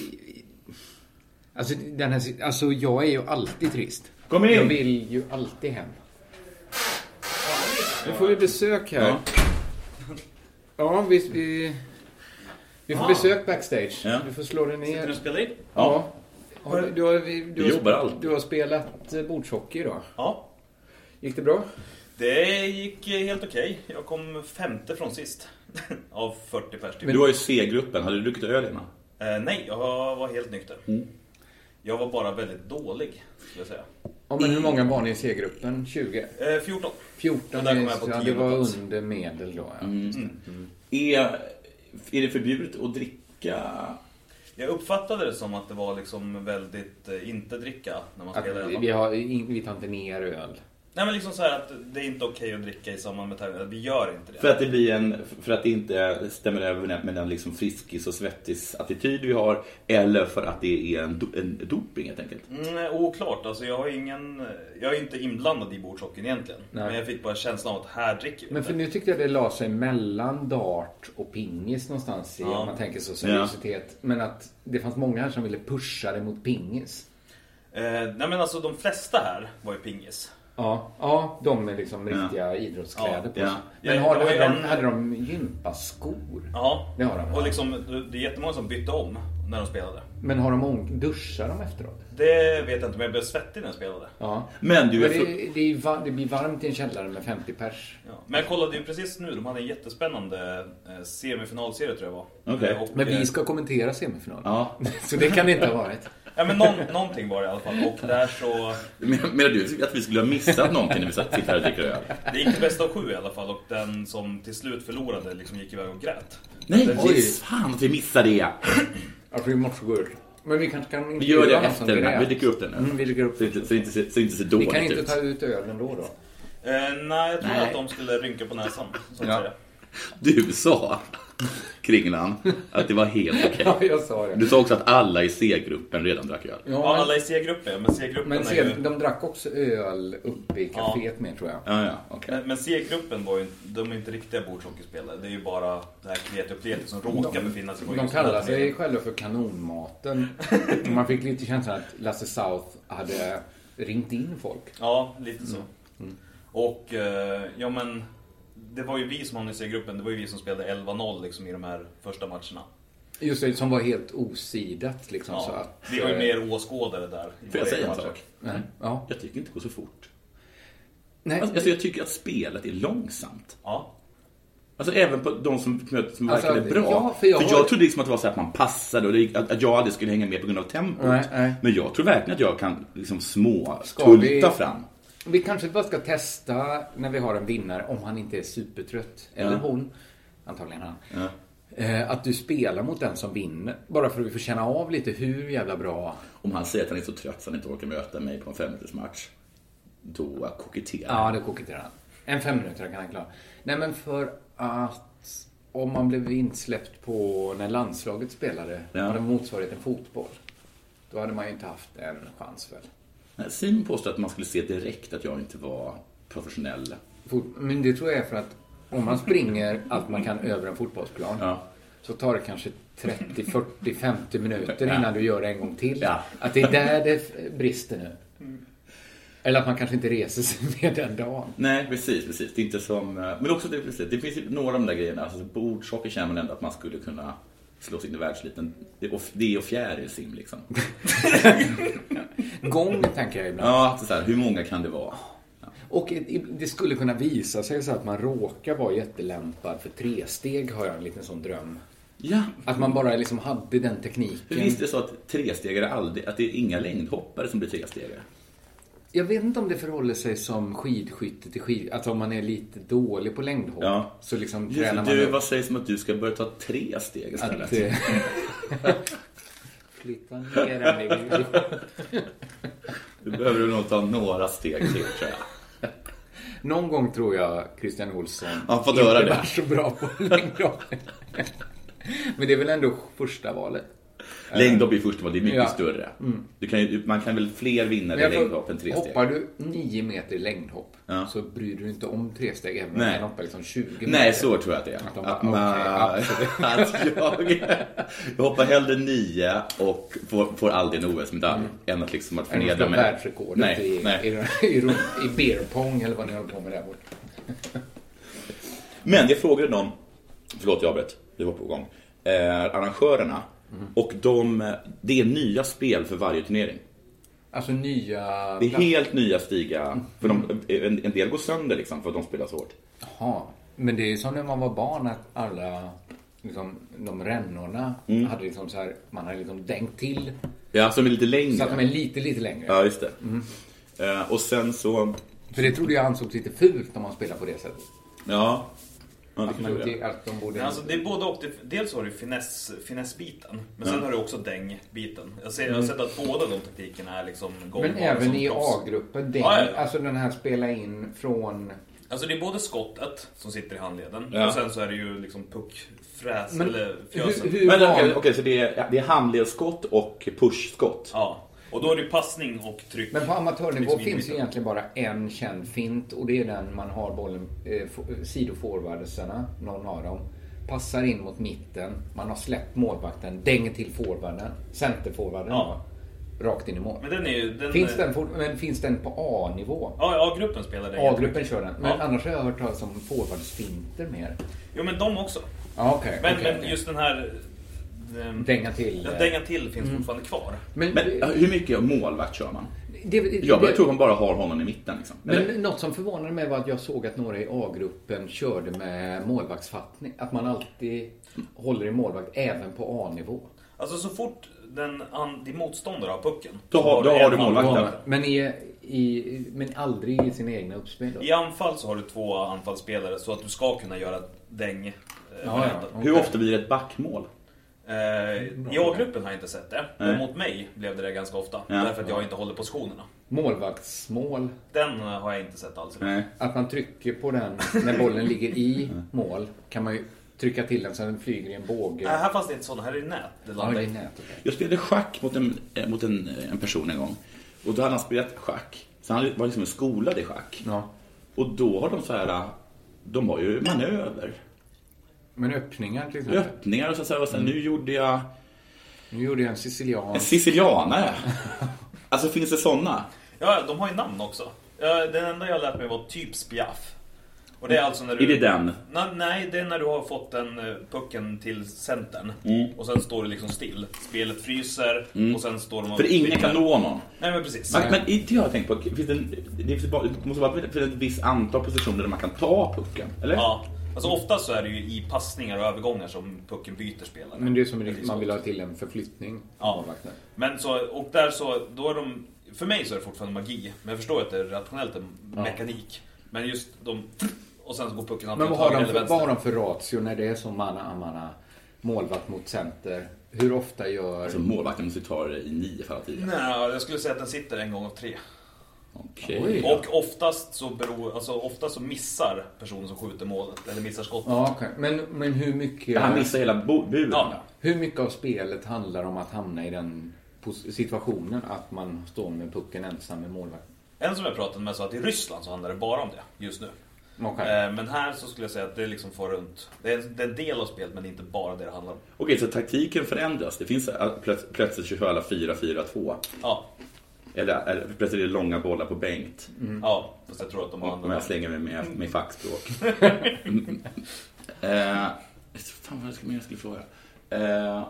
[SPEAKER 9] alltså, den här, alltså jag är ju alltid trist.
[SPEAKER 5] Kom in!
[SPEAKER 9] Jag vill ju alltid hem. Nu får vi besök här. Ja,
[SPEAKER 5] Ja.
[SPEAKER 9] vi... vi vi får besök backstage.
[SPEAKER 5] Ja.
[SPEAKER 9] Du får slå dig
[SPEAKER 10] Kan
[SPEAKER 9] ner.
[SPEAKER 10] du spela in?
[SPEAKER 9] Ja. Har du, du, har, vi- du,
[SPEAKER 5] Vi
[SPEAKER 9] har,
[SPEAKER 5] jobbar alltid.
[SPEAKER 9] du har spelat eh, bordshockey idag.
[SPEAKER 10] Ja.
[SPEAKER 9] Gick det bra?
[SPEAKER 10] Det gick eh, helt okej. Jag kom femte från sist. Av 40 pers typ.
[SPEAKER 5] Du var ju C-gruppen. Hade du druckit öl innan?
[SPEAKER 10] Eh, nej, jag var helt nykter. Jag var bara väldigt dålig, skulle jag säga.
[SPEAKER 9] Ja, men hur många var ni i C-gruppen? 20?
[SPEAKER 10] Eh, 14.
[SPEAKER 9] 14
[SPEAKER 10] Den där kom jag på Mm.
[SPEAKER 9] ja, det
[SPEAKER 10] tionde
[SPEAKER 9] var
[SPEAKER 10] plats.
[SPEAKER 9] under medel då. Ja.
[SPEAKER 5] Är, är det förbjudet att dricka?
[SPEAKER 10] Jag uppfattade det som att det var liksom väldigt eh, inte dricka när man
[SPEAKER 9] Att
[SPEAKER 10] spelade hemma.
[SPEAKER 9] vi, har, in- vi tar inte ner öl.
[SPEAKER 10] Nej men liksom så här att det är inte okej att dricka i samband med tävlingar. Vi gör inte det.
[SPEAKER 5] För att det blir en, för att det inte stämmer överens med den liksom friskis och svettis-attityd vi har. Eller för att det är en, do, en doping helt enkelt.
[SPEAKER 10] Mm, oklart, alltså jag har ingen... Jag är inte inblandad i bordshockeyn egentligen.
[SPEAKER 9] Nej.
[SPEAKER 10] Men jag fick bara känslan av att här dricker vi
[SPEAKER 9] Men för
[SPEAKER 10] inte.
[SPEAKER 9] nu tyckte jag det la sig mellan dart och pingis någonstans i,
[SPEAKER 10] Ja.
[SPEAKER 9] om man tänker så seriositet. Men att det fanns många här som ville pusha det mot pingis.
[SPEAKER 10] Eh, nej men alltså de flesta här var ju pingis.
[SPEAKER 9] Ja, ja de med liksom riktiga idrottskläder
[SPEAKER 10] Ja,
[SPEAKER 9] på sig.
[SPEAKER 5] ja.
[SPEAKER 9] Men
[SPEAKER 10] Ja,
[SPEAKER 9] har,
[SPEAKER 10] det var ju
[SPEAKER 9] hade, de,
[SPEAKER 10] en-
[SPEAKER 9] hade de gympaskor?
[SPEAKER 10] Ja,
[SPEAKER 9] Det har de.
[SPEAKER 10] och liksom, det är jättemånga som bytte om när de spelade.
[SPEAKER 9] Men har de ång- duschar de efteråt?
[SPEAKER 10] Det vet jag inte, men jag blev svettig när jag spelade.
[SPEAKER 9] Ja.
[SPEAKER 5] Men du är...
[SPEAKER 9] Men
[SPEAKER 5] för-
[SPEAKER 9] det, det, är va- det blir varmt i en källare med 50 pers.
[SPEAKER 10] Ja. Men jag kollade ju precis nu, de hade en jättespännande eh, semifinalserie tror jag det var.
[SPEAKER 5] Okej.
[SPEAKER 10] Eh, och,
[SPEAKER 9] Men
[SPEAKER 10] eh,
[SPEAKER 9] vi ska kommentera semifinalen.
[SPEAKER 5] Ja.
[SPEAKER 9] Så det kan det inte ha varit.
[SPEAKER 10] Ja men någon, någonting var det i alla fall. Och där så...
[SPEAKER 5] Men- Menar du att vi skulle ha missat någonting när vi satt sitter här och dricker öl?
[SPEAKER 10] Det gick till bästa av sju i alla fall och den som till slut förlorade liksom gick iväg och grät.
[SPEAKER 5] Nej,
[SPEAKER 9] oj.
[SPEAKER 5] fan att vi missade det!
[SPEAKER 9] Alltså vi måste gå ut. Men vi kanske kan
[SPEAKER 5] Vi gör det
[SPEAKER 9] intervjua någon som
[SPEAKER 5] efter den här. Vi
[SPEAKER 9] grät.
[SPEAKER 5] dricker upp den nu.
[SPEAKER 9] Mm, vi dricker upp
[SPEAKER 5] Så det inte, så det inte, ser- så det inte ser
[SPEAKER 9] Vi
[SPEAKER 5] dåligt
[SPEAKER 9] kan inte
[SPEAKER 5] ut.
[SPEAKER 9] ta ut ölen då då.
[SPEAKER 10] Eh, nej, jag tror
[SPEAKER 5] Nej.
[SPEAKER 10] att de skulle rynka på näsan. Så att
[SPEAKER 9] Ja.
[SPEAKER 10] säga.
[SPEAKER 5] Du sa, Kringlan, att det var helt okej.
[SPEAKER 9] Ja, jag sa det.
[SPEAKER 5] Du sa också att alla i C-gruppen redan drack öl.
[SPEAKER 10] Ja,
[SPEAKER 9] Ja,
[SPEAKER 10] alla i C-gruppen, men C-gruppen
[SPEAKER 9] men, men
[SPEAKER 10] är
[SPEAKER 9] se,
[SPEAKER 10] ju...
[SPEAKER 9] de drack också öl uppe i kaféet med tror jag.
[SPEAKER 5] Ja, ja, okej.
[SPEAKER 10] Men men C-gruppen var ju de är inte riktiga bordshockeyspelare. Det är ju bara det här kleti och pleti som råkar befinna sig på
[SPEAKER 9] De
[SPEAKER 10] just den här
[SPEAKER 9] kallade sig
[SPEAKER 10] turneringen.
[SPEAKER 9] själva för kanonmaten. Och Man fick lite känslan att Lasse South hade ringt in folk.
[SPEAKER 10] Ja, lite så. Och, eh, ja men... Det var ju vi som hamnade i C-gruppen, det var ju vi som spelade 11-0 liksom i de här första matcherna.
[SPEAKER 9] Just det, som var helt osidat liksom. Så
[SPEAKER 10] Ja,
[SPEAKER 9] att,
[SPEAKER 10] vi var ju
[SPEAKER 9] eh,
[SPEAKER 10] mer åskådare där. i
[SPEAKER 5] Får jag
[SPEAKER 10] våra
[SPEAKER 5] säga en
[SPEAKER 10] matcher.
[SPEAKER 5] sak?
[SPEAKER 9] nej, Ja.
[SPEAKER 5] Jag tycker inte det går så fort.
[SPEAKER 9] Nej,
[SPEAKER 5] Alltså, jag tycker att spelet är långsamt.
[SPEAKER 10] Ja.
[SPEAKER 5] Alltså även på de som, som
[SPEAKER 9] Alltså,
[SPEAKER 5] verkligen är bra.
[SPEAKER 9] ja,
[SPEAKER 5] för
[SPEAKER 9] för jag
[SPEAKER 5] jag,
[SPEAKER 9] har-
[SPEAKER 5] trodde liksom att det var så att man passade och det, gick- att, att jag aldrig skulle hänga med på grund av tempot.
[SPEAKER 9] Nej, nej.
[SPEAKER 5] Men jag tror verkligen att jag kan liksom små
[SPEAKER 9] Ska vi-
[SPEAKER 5] tulta fram.
[SPEAKER 9] Vi kanske bara ska testa när vi har en vinnare, om han inte är supertrött, eller
[SPEAKER 5] Ja.
[SPEAKER 9] hon, antagligen han. Eh, Att du spelar mot den som vinner, bara för att vi får känna av lite hur jävla bra...
[SPEAKER 5] Om han säger att han är så trött så han inte orkar möta mig på en femminutersmatch. Då koketterar
[SPEAKER 9] Ja,
[SPEAKER 5] han.
[SPEAKER 9] det koketterar han. En fem minuter kan han klara. Nej, men för att om man blev insläppt på när landslaget spelade,
[SPEAKER 5] Ja.
[SPEAKER 9] hade motsvarigheten fotboll, då hade man ju inte haft en chans väl.
[SPEAKER 5] Nej, Simon påstår att man skulle se direkt att jag inte var professionell.
[SPEAKER 9] Fot- Men det tror jag är för att om man springer allt man kan över en fotbollsplan
[SPEAKER 5] Ja.
[SPEAKER 9] så tar det kanske 30, 40, 50 minuter
[SPEAKER 5] Ja.
[SPEAKER 9] innan du gör det en gång till.
[SPEAKER 5] Ja.
[SPEAKER 9] Att det är där det f- brister nu. Eller att man kanske inte reser sig mer den dagen.
[SPEAKER 5] Nej, precis, precis. Det är inte som... eh, Men också det, precis, det finns ju några av de där grejerna. Alltså, bordshockey känner man ändå att man skulle kunna slå sig in i världsliten. Det är och- Det är och fjärilsim liksom.
[SPEAKER 9] Gång tänker jag ibland.
[SPEAKER 5] Ja, så här, hur många kan det vara?
[SPEAKER 9] Och i- i- det skulle kunna visa sig så att man råkar vara jättelämpad för tresteg har jag en liten sån dröm.
[SPEAKER 5] Ja,
[SPEAKER 9] Att man bara liksom hade den
[SPEAKER 5] hur
[SPEAKER 9] tekniken.
[SPEAKER 5] visst är det så att trestegare aldrig... Att det är inga längdhoppare som blir trestegare?
[SPEAKER 9] Jag vet inte om det förhåller sig som skidskytte till skid... Alltså om man är lite dålig på längdhopp
[SPEAKER 5] Ja.
[SPEAKER 9] så liksom
[SPEAKER 5] Just,
[SPEAKER 9] tränar
[SPEAKER 5] det,
[SPEAKER 9] man
[SPEAKER 5] du,
[SPEAKER 9] upp
[SPEAKER 5] vad sägs om att du ska börja ta tre steg istället?
[SPEAKER 9] att... eh, Flytta ner den i-
[SPEAKER 5] Du behöver du nog ta några steg till tror jag.
[SPEAKER 9] Någon gång tror jag Christian Olsson
[SPEAKER 5] Han får
[SPEAKER 9] inte
[SPEAKER 5] höra det.
[SPEAKER 9] var så bra på längdhopp. Men det är väl ändå första valet.
[SPEAKER 5] Längdhopp är först och det är mycket
[SPEAKER 9] Ja. Mm.
[SPEAKER 5] större. Du kan, ju- man kan väl fler vinnare i
[SPEAKER 9] Men jag tror-
[SPEAKER 5] längdhopp än tre steg?
[SPEAKER 9] Hoppar du 9 meter längdhopp
[SPEAKER 5] Ja.
[SPEAKER 9] så bryr du dig inte om tre steg även om du
[SPEAKER 5] Nej.
[SPEAKER 9] kan hoppa liksom 20 meter.
[SPEAKER 5] Nej, så tror jag att det är.
[SPEAKER 9] Att de bara,
[SPEAKER 5] Att, man,
[SPEAKER 9] okej,
[SPEAKER 5] att jag, jag hoppar hellre nio och får, får aldrig en OS-medalj än att liksom att
[SPEAKER 9] Mm. Än att
[SPEAKER 5] förnedra
[SPEAKER 9] slå
[SPEAKER 5] mig.
[SPEAKER 9] världsrekordet
[SPEAKER 5] Nej,
[SPEAKER 9] i,
[SPEAKER 5] nej.
[SPEAKER 9] i, i, i beer pong eller vad ni håller på med där borta.
[SPEAKER 5] Men jag frågade någon, förlåt jag avbröt, vi var på gång, eh, arrangörerna och de, eh, det är nya spel för varje turnering.
[SPEAKER 9] Alltså nya...
[SPEAKER 5] Det är helt nya stiga, för de, eh, en, en del går sönder liksom för att de spelar så hårt.
[SPEAKER 9] Jaha. Men det är ju som när man var barn att alla liksom, de rännorna hade liksom så här, man hade liksom dängt till
[SPEAKER 5] Ja, som är lite
[SPEAKER 9] så att de
[SPEAKER 5] längre.
[SPEAKER 9] är lite, lite längre.
[SPEAKER 5] Ja, just det. Eh, och sen så,
[SPEAKER 9] För det trodde jag ansågs lite fult om man spelar på det sättet.
[SPEAKER 5] ja. ja det
[SPEAKER 9] Att,
[SPEAKER 5] kanske
[SPEAKER 9] man,
[SPEAKER 5] det är.
[SPEAKER 9] inte- att de borde...
[SPEAKER 10] Alltså, det är både och. Det- Dels har du finess, finessbiten, men sen har du också dängbiten. Jag, ser, jag
[SPEAKER 5] Mm.
[SPEAKER 10] har sett att båda de taktikerna är liksom gångbara
[SPEAKER 9] Men även
[SPEAKER 10] som
[SPEAKER 9] i
[SPEAKER 10] proffs.
[SPEAKER 9] A-gruppen, den,
[SPEAKER 10] Ja, ja.
[SPEAKER 9] alltså den här spela in från...
[SPEAKER 10] Alltså det är både skottet som sitter i handleden
[SPEAKER 5] Ja.
[SPEAKER 10] och sen så är det ju liksom puckfräs
[SPEAKER 9] Men
[SPEAKER 10] eller
[SPEAKER 9] hur,
[SPEAKER 10] fjösen.
[SPEAKER 9] hur
[SPEAKER 5] Men
[SPEAKER 9] van...
[SPEAKER 5] okej, okej, så det är, det är handledsskott och pushskott?
[SPEAKER 10] Ja. Och då är det ju passning och tryck.
[SPEAKER 9] Men på amatörnivå
[SPEAKER 10] Liksom
[SPEAKER 9] finns ju
[SPEAKER 10] inbiten.
[SPEAKER 9] egentligen bara en känd fint och det är den man har bollen, eh, fo- sidoforwardsarna, någon av dem, passar in mot mitten, man har släppt målvakten, dänger till forwarden, centerforwarden,
[SPEAKER 10] Ja.
[SPEAKER 9] då, rakt in i mål.
[SPEAKER 10] Men den är ju... Den,
[SPEAKER 9] finns, den for... Men finns den på A-nivå?
[SPEAKER 10] Ja, A-gruppen spelar det.
[SPEAKER 9] A-gruppen kör den, men
[SPEAKER 10] Ja.
[SPEAKER 9] annars har jag hört talas om forwardsfinter mer.
[SPEAKER 10] Jo men de också.
[SPEAKER 9] Ja, okej.
[SPEAKER 10] Men,
[SPEAKER 9] okej,
[SPEAKER 10] men
[SPEAKER 9] okej.
[SPEAKER 10] just den här... ehm,
[SPEAKER 9] Dänga till.
[SPEAKER 10] Ja,
[SPEAKER 9] eh,
[SPEAKER 10] dänga till finns fortfarande kvar.
[SPEAKER 9] Men,
[SPEAKER 5] Men eh, hur mycket målvakt kör man?
[SPEAKER 9] det, det,
[SPEAKER 5] Jag bara
[SPEAKER 9] det-
[SPEAKER 5] tror man bara har honom i mitten. Liksom. Eller?
[SPEAKER 9] Men något som förvånade mig var att jag såg att några i A-gruppen körde med målvaktsfattning. Att man alltid håller i målvakt även på A-nivå.
[SPEAKER 10] Alltså så fort den, an, din motståndare har pucken.
[SPEAKER 5] Då
[SPEAKER 10] så
[SPEAKER 5] har- då har
[SPEAKER 10] en
[SPEAKER 5] du
[SPEAKER 10] hand-
[SPEAKER 5] målvakten. Fakta.
[SPEAKER 9] Men, i, i, men aldrig i sina egna uppspel. Då.
[SPEAKER 10] I anfall så har du två anfallsspelare så att du ska kunna göra däng. eh,
[SPEAKER 9] Ja,
[SPEAKER 10] varenda.
[SPEAKER 9] ja.
[SPEAKER 5] Hur ofta blir det ett backmål?
[SPEAKER 10] Eh, I A-gruppen har jag inte sett det. Men mot mig blev det det ganska ofta.
[SPEAKER 5] Ja.
[SPEAKER 10] Därför att jag inte håller positionerna.
[SPEAKER 9] Målvaktsmål.
[SPEAKER 10] Den eh, har jag inte sett alls.
[SPEAKER 5] Nej.
[SPEAKER 9] Att man trycker på den när bollen ligger i mål. Kan man ju trycka till den så den flyger i en båge.
[SPEAKER 10] Nej, här fanns det inte sådana. Här är det nät. Det
[SPEAKER 9] Ja,
[SPEAKER 10] landar
[SPEAKER 9] det är
[SPEAKER 10] i.
[SPEAKER 9] nät, okej.
[SPEAKER 5] Jag spelade schack mot, en, eh, mot en, eh, en person en gång. Och då hade han spelat schack. Så han var liksom skolad i schack.
[SPEAKER 9] Ja.
[SPEAKER 5] Och då har de så här, eh, de har ju manöver.
[SPEAKER 9] Men öppningar till exempel.
[SPEAKER 5] Öppningar och så här, och så här nu gjorde jag
[SPEAKER 9] Nu gjorde jag en sicilian.
[SPEAKER 5] en sicilianare. alltså finns det sådana?
[SPEAKER 10] Ja, de har ju namn också. Ja, Den enda jag lärt mig var typ spjaff. Och det är alltså när du...
[SPEAKER 5] Är det den?
[SPEAKER 10] Na, nej, det är när du har fått den eh, pucken till centern.
[SPEAKER 5] Mm.
[SPEAKER 10] Och sen står det liksom still. Spelet fryser och sen står de och...
[SPEAKER 5] För ingen kan nå någon.
[SPEAKER 10] Nej, men precis.
[SPEAKER 5] Men, men inte jag har tänkt på, finns det, en, det, finns bara, det måste vara för ett visst antal positioner där man kan ta pucken, eller?
[SPEAKER 10] Ja. Alltså oftast så är det ju i passningar och övergångar som pucken byter spelare.
[SPEAKER 9] Men det är som en- man vill ha till en förflyttning.
[SPEAKER 10] Ja.
[SPEAKER 9] Målvakter.
[SPEAKER 10] Men så, och där så, då är de... För mig så är det fortfarande magi, men jag förstår att det är rationellt en mekanik. Men just de... Och sen så går pucken
[SPEAKER 9] Men
[SPEAKER 10] antingen
[SPEAKER 9] vad har,
[SPEAKER 10] åt höger
[SPEAKER 9] de
[SPEAKER 10] eller
[SPEAKER 9] för, vad har
[SPEAKER 10] vänster.
[SPEAKER 9] de för ratio när det är som manna amana målvakt mot center? Hur ofta gör...
[SPEAKER 5] Alltså målvakten måste ju ta det i nio fall av tio.
[SPEAKER 10] Nej, jag skulle säga att den sitter en gång av tre.
[SPEAKER 5] Okej.
[SPEAKER 9] Oj.
[SPEAKER 10] Och oftast så, beror, alltså oftast så missar personen som skjuter målet, eller missar skottet.
[SPEAKER 9] Ja, okej. men, men hur mycket...
[SPEAKER 5] Han missar hela bo- buren.
[SPEAKER 10] Ja.
[SPEAKER 9] Hur mycket av spelet handlar om att hamna i den pos- situationen att man står med pucken ensam med målvakten?
[SPEAKER 10] En som jag pratade med sa att i Ryssland så handlar det bara om det, just nu.
[SPEAKER 9] Okej.
[SPEAKER 10] Eh, Men här så skulle jag säga att det liksom får runt... Det är en, det är en del av spelet, men det är inte bara det det handlar om.
[SPEAKER 5] Okej, så taktiken förändras. Det finns äh, plöts- plötsligt så kör alla 4-4-2.
[SPEAKER 10] Ja,
[SPEAKER 5] Eller, eller plötsligt är det långa bollar på Bengt.
[SPEAKER 9] Mm.
[SPEAKER 10] ja. Fast jag tror att de har
[SPEAKER 5] Om jag
[SPEAKER 10] andra...
[SPEAKER 5] slänger mig med, med fackspråk. Mm. eh, fan vad jag skulle, jag skulle fråga. Eh,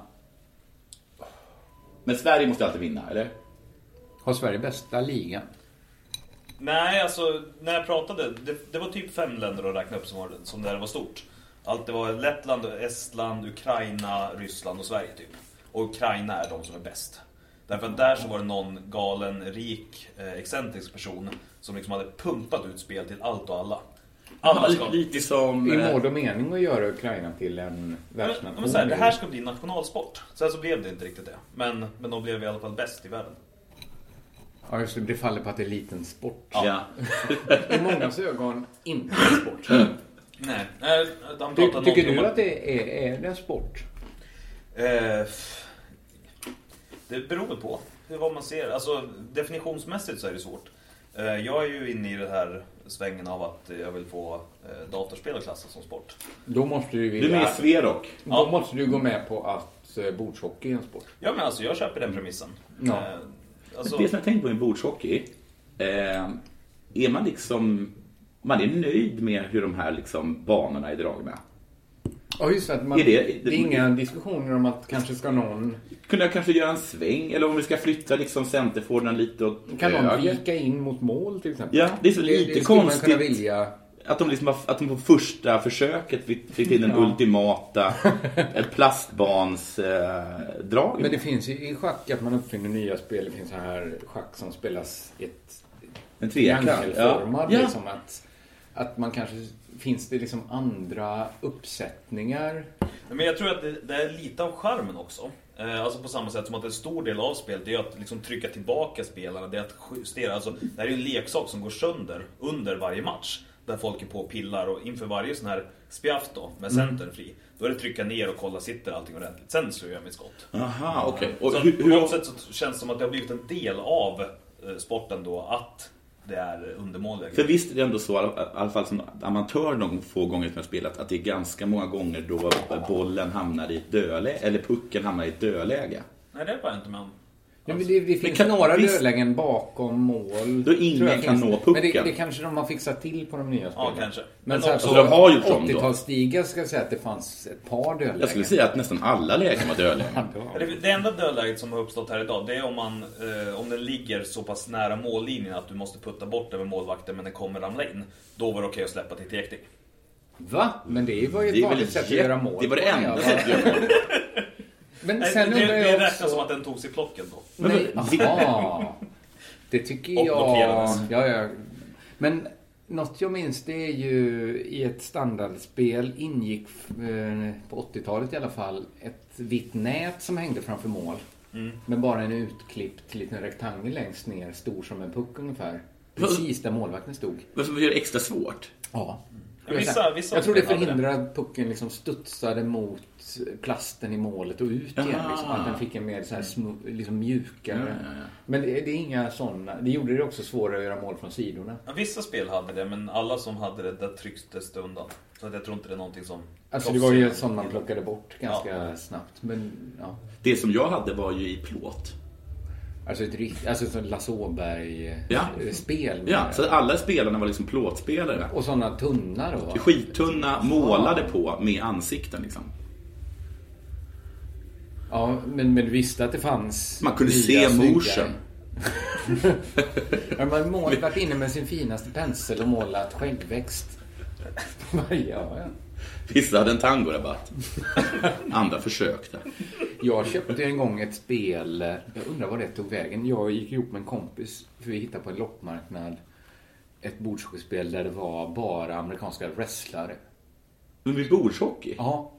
[SPEAKER 5] men Sverige måste alltid vinna, eller?
[SPEAKER 9] Har Sverige bästa ligan?
[SPEAKER 10] Nej, alltså när jag pratade, det, det var typ fem länder att räkna upp som, var, som där det var stort. Allt det var Lettland, Estland, Ukraina, Ryssland och Sverige typ. Och Ukraina är de som är bäst. Därför att där så var det någon galen, rik, eh, excentrisk person som liksom hade pumpat ut spel till allt och alla. Alla ska...
[SPEAKER 5] Lite, lite som...
[SPEAKER 9] I
[SPEAKER 5] eh,
[SPEAKER 9] mål och mening att göra Ukraina till en
[SPEAKER 10] Men,
[SPEAKER 9] världsnation.
[SPEAKER 10] men så här, det här ska bli nationalsport. Sen så blev det inte riktigt det. Men, men de blev i alla fall bäst i världen.
[SPEAKER 9] Ja, just det, det faller på att det är liten sport.
[SPEAKER 5] ja.
[SPEAKER 9] I mångas ögon inte en sport.
[SPEAKER 10] Nej, eh, han pratade
[SPEAKER 9] Ty,
[SPEAKER 10] någonting
[SPEAKER 9] tycker
[SPEAKER 10] om
[SPEAKER 9] du att det är, är det en sport?
[SPEAKER 10] Eh, f- Det beror på hur- vad man ser. Alltså, definitionsmässigt så är det svårt. Eh, Jag är ju inne i den här svängen av att jag vill få eh, datorspel att klassas som sport.
[SPEAKER 9] Då måste du,
[SPEAKER 5] Du är med
[SPEAKER 9] vilja,
[SPEAKER 5] i Sverok.
[SPEAKER 10] Ja.
[SPEAKER 9] då måste du gå med på att eh, bordshockey är en sport.
[SPEAKER 10] Ja men alltså jag köper den premissen.
[SPEAKER 9] Ja.
[SPEAKER 10] Eh, Alltså,
[SPEAKER 5] Det som jag tänkt på med bordshockey. Eh, är man liksom... Man är nöjd med hur de här liksom banorna är dragna.
[SPEAKER 9] Ja, just det, att man,
[SPEAKER 5] Är det-
[SPEAKER 9] det är inga diskussioner om att kanske ska någon
[SPEAKER 5] Kunde jag kanske göra en sväng? Eller om vi ska flytta liksom centerforwarden lite Eh, åt
[SPEAKER 9] Kan någon
[SPEAKER 5] höger?
[SPEAKER 9] vika in mot mål till exempel?
[SPEAKER 5] Ja, det är så lite
[SPEAKER 9] skulle man
[SPEAKER 5] konstigt.
[SPEAKER 9] kunna vilja.
[SPEAKER 5] Att de, liksom, att de på första försöket fick fick in den ultimata eh, plastbansdragen.
[SPEAKER 9] Men det finns ju i schack att man uppfinner nya spel. Det finns så här schack som spelas i ett
[SPEAKER 5] en trekant. Ja.
[SPEAKER 9] triangelformad.
[SPEAKER 5] Ja.
[SPEAKER 9] Liksom att, att man kanske... Finns det liksom andra uppsättningar?
[SPEAKER 10] men jag tror att det, det är lite av charmen också. Eh, Alltså på samma sätt som att en stor del av spelet det är att liksom trycka tillbaka spelarna, det är att justera. Alltså, det här är ju en leksak som går sönder under varje match. Där folk är på och pillar och inför varje sån här spjaff då, med
[SPEAKER 5] Mm.
[SPEAKER 10] centern fri. Då är det trycka ner och kolla, sitter allting ordentligt? Sen slår jag mitt skott.
[SPEAKER 5] Aha, okej.
[SPEAKER 10] Så
[SPEAKER 5] Och hur,
[SPEAKER 10] på något
[SPEAKER 5] hur,
[SPEAKER 10] sätt så känns det som att det har blivit en del av eh, sporten då, att det är undermåliga
[SPEAKER 5] för
[SPEAKER 10] grejer.
[SPEAKER 5] visst är det ändå så, i alla- i alla fall som amatör de få gånger som jag spelat, att det är ganska många gånger då bollen hamnar i ett dödläge, eller pucken hamnar i ett dödläge.
[SPEAKER 10] Nej, det var jag inte med om.
[SPEAKER 9] Ja, men det, det finns
[SPEAKER 5] kan-
[SPEAKER 9] några
[SPEAKER 5] visst-
[SPEAKER 9] dödlägen bakom mål.
[SPEAKER 5] Då ingen
[SPEAKER 9] tror jag
[SPEAKER 5] kan
[SPEAKER 9] finns.
[SPEAKER 5] nå
[SPEAKER 9] Men det,
[SPEAKER 5] pucken.
[SPEAKER 9] det kanske de har fixat till på de nya spelen.
[SPEAKER 10] kanske. Men
[SPEAKER 9] Men, så här
[SPEAKER 10] också-
[SPEAKER 9] på
[SPEAKER 5] Så de har gjort om då?
[SPEAKER 9] 80-talsstigar ska jag säga att det fanns ett par dödlägen.
[SPEAKER 5] Jag skulle säga att nästan alla lägen var dödlägen.
[SPEAKER 10] Ja, Det, det enda dödläget som har uppstått här idag, det är om, man, eh, om den ligger så pass nära mållinjen att du måste putta bort den med målvakten men den kommer ramla in. Då var det okej att släppa till tekning.
[SPEAKER 9] Va? Men det var ju ett
[SPEAKER 5] Det är väl
[SPEAKER 9] vanligt sätt att göra mål
[SPEAKER 5] jätte- Det var det
[SPEAKER 9] på, ja,
[SPEAKER 5] enda
[SPEAKER 9] va?
[SPEAKER 5] sättet att göra mål.
[SPEAKER 9] Men
[SPEAKER 10] Nej,
[SPEAKER 9] sen
[SPEAKER 10] Eh, det
[SPEAKER 9] undrar
[SPEAKER 10] det
[SPEAKER 9] jag
[SPEAKER 10] räknas som
[SPEAKER 9] också...
[SPEAKER 10] att den togs i plocken då.
[SPEAKER 9] Nej, aha. Det tycker
[SPEAKER 10] Och
[SPEAKER 9] jag...
[SPEAKER 10] blockerades.
[SPEAKER 9] Ja, ja. Men något jag minns det är ju i ett standardspel ingick eh, på 80-talet i alla fall ett vitt nät som hängde framför mål. Med bara en utklippt liten rektangel längst ner, stor som en puck ungefär. Precis där målvakten stod.
[SPEAKER 5] Vad som gör det extra svårt?
[SPEAKER 9] Ja.
[SPEAKER 10] Ja, vissa- vissa
[SPEAKER 9] jag tror det
[SPEAKER 10] spel hade
[SPEAKER 9] förhindrar att pucken liksom studsade mot plasten i målet och ut igen.
[SPEAKER 5] Aha.
[SPEAKER 9] Liksom, att den fick en mer så här smu, liksom mjukare. Men det, det är inga sådana. Det gjorde det också svårare att göra mål från sidorna.
[SPEAKER 10] Ja, Vissa spel hade det, men alla som hade det, där trycktes det undan. Så att jag tror inte det är någonting som...
[SPEAKER 9] Alltså det var ju
[SPEAKER 10] proffsen-
[SPEAKER 9] sånt man plockade bort ganska snabbt. Men ja.
[SPEAKER 5] Det som jag hade var ju i plåt.
[SPEAKER 9] Alltså ett rikt, alltså ett sånt Lasse
[SPEAKER 5] Ja.
[SPEAKER 9] Åberg-spel.
[SPEAKER 5] Ja, så att alla spelarna var liksom plåtspelare.
[SPEAKER 9] Och sådana tunna då.
[SPEAKER 5] Skittunna, målade på med ansikten liksom.
[SPEAKER 9] Ja, men, men du visste att det fanns
[SPEAKER 5] Man kunde
[SPEAKER 9] nya,
[SPEAKER 5] se
[SPEAKER 9] snygga-
[SPEAKER 5] morsen.
[SPEAKER 9] Ja, Man har varit inne med sin finaste pensel och målat skäggväxt. Vad gör jag?
[SPEAKER 5] Vissa hade en tangorabatt. Andra försökte.
[SPEAKER 9] Jag köpte en gång ett spel, jag undrar vad det tog vägen. Jag gick ihop med en kompis, för vi hittade på en loppmarknad ett bordshockeyspel där det var bara amerikanska wrestlare.
[SPEAKER 5] Men vid bordshockey?
[SPEAKER 9] Ja.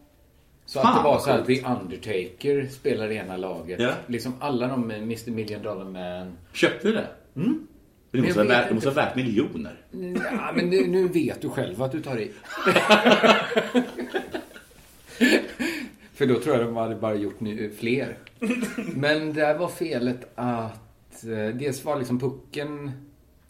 [SPEAKER 9] Så
[SPEAKER 5] Fan,
[SPEAKER 9] att det var
[SPEAKER 5] vad
[SPEAKER 9] så att
[SPEAKER 5] coolt.
[SPEAKER 9] The Undertaker spelade i ena laget.
[SPEAKER 5] Ja.
[SPEAKER 9] Liksom alla de med Mr Million Dollar Man.
[SPEAKER 5] Köpte du det? Mm. Det måste,
[SPEAKER 9] jag
[SPEAKER 5] ha värt,
[SPEAKER 9] vet
[SPEAKER 5] det måste ha värt miljoner.
[SPEAKER 9] Ja, men nu, nu vet du själv att du tar i. För då tror jag de hade bara gjort nu, fler. Men där var felet att eh, dels var liksom pucken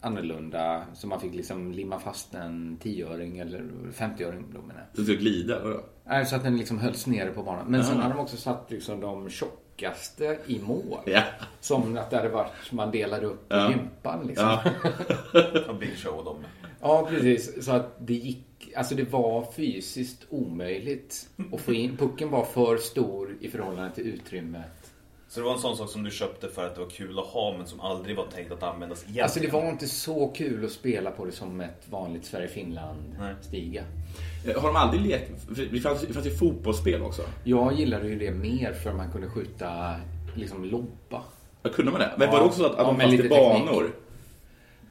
[SPEAKER 9] annorlunda. Så man fick liksom limma fast en 10-öring eller 50-öring. Då menar jag.
[SPEAKER 5] Så det skulle glida, vadå?
[SPEAKER 9] Nej, så att den liksom hölls nere på banan. Men sen har de också satt liksom de tjockaste i mål.
[SPEAKER 5] Ja.
[SPEAKER 9] Som att det hade varit, man delade upp
[SPEAKER 5] Ja.
[SPEAKER 9] gympan liksom.
[SPEAKER 5] Ja.
[SPEAKER 10] Som Big Show och dem.
[SPEAKER 9] Ja, precis. Så att det gick, alltså det var fysiskt omöjligt att få in. Pucken var för stor i förhållande till utrymmet.
[SPEAKER 10] Så det var en sån sak som du köpte för att det var kul att ha men som aldrig var tänkt att användas egentligen.
[SPEAKER 9] Alltså det var inte så kul att spela på det som ett vanligt
[SPEAKER 10] Nej.
[SPEAKER 9] Sverige-Finland-stiga.
[SPEAKER 5] Eh, Har de aldrig lekt... för Det fanns, det fanns ju fotbollsspel också.
[SPEAKER 9] Jag gillade ju det mer för man kunde skjuta liksom lobba.
[SPEAKER 5] Ja, kunde man det? Men
[SPEAKER 9] Ja.
[SPEAKER 5] var det också så att, att
[SPEAKER 9] Ja,
[SPEAKER 5] de
[SPEAKER 9] men
[SPEAKER 5] fanns i
[SPEAKER 9] lite teknik.
[SPEAKER 5] banor?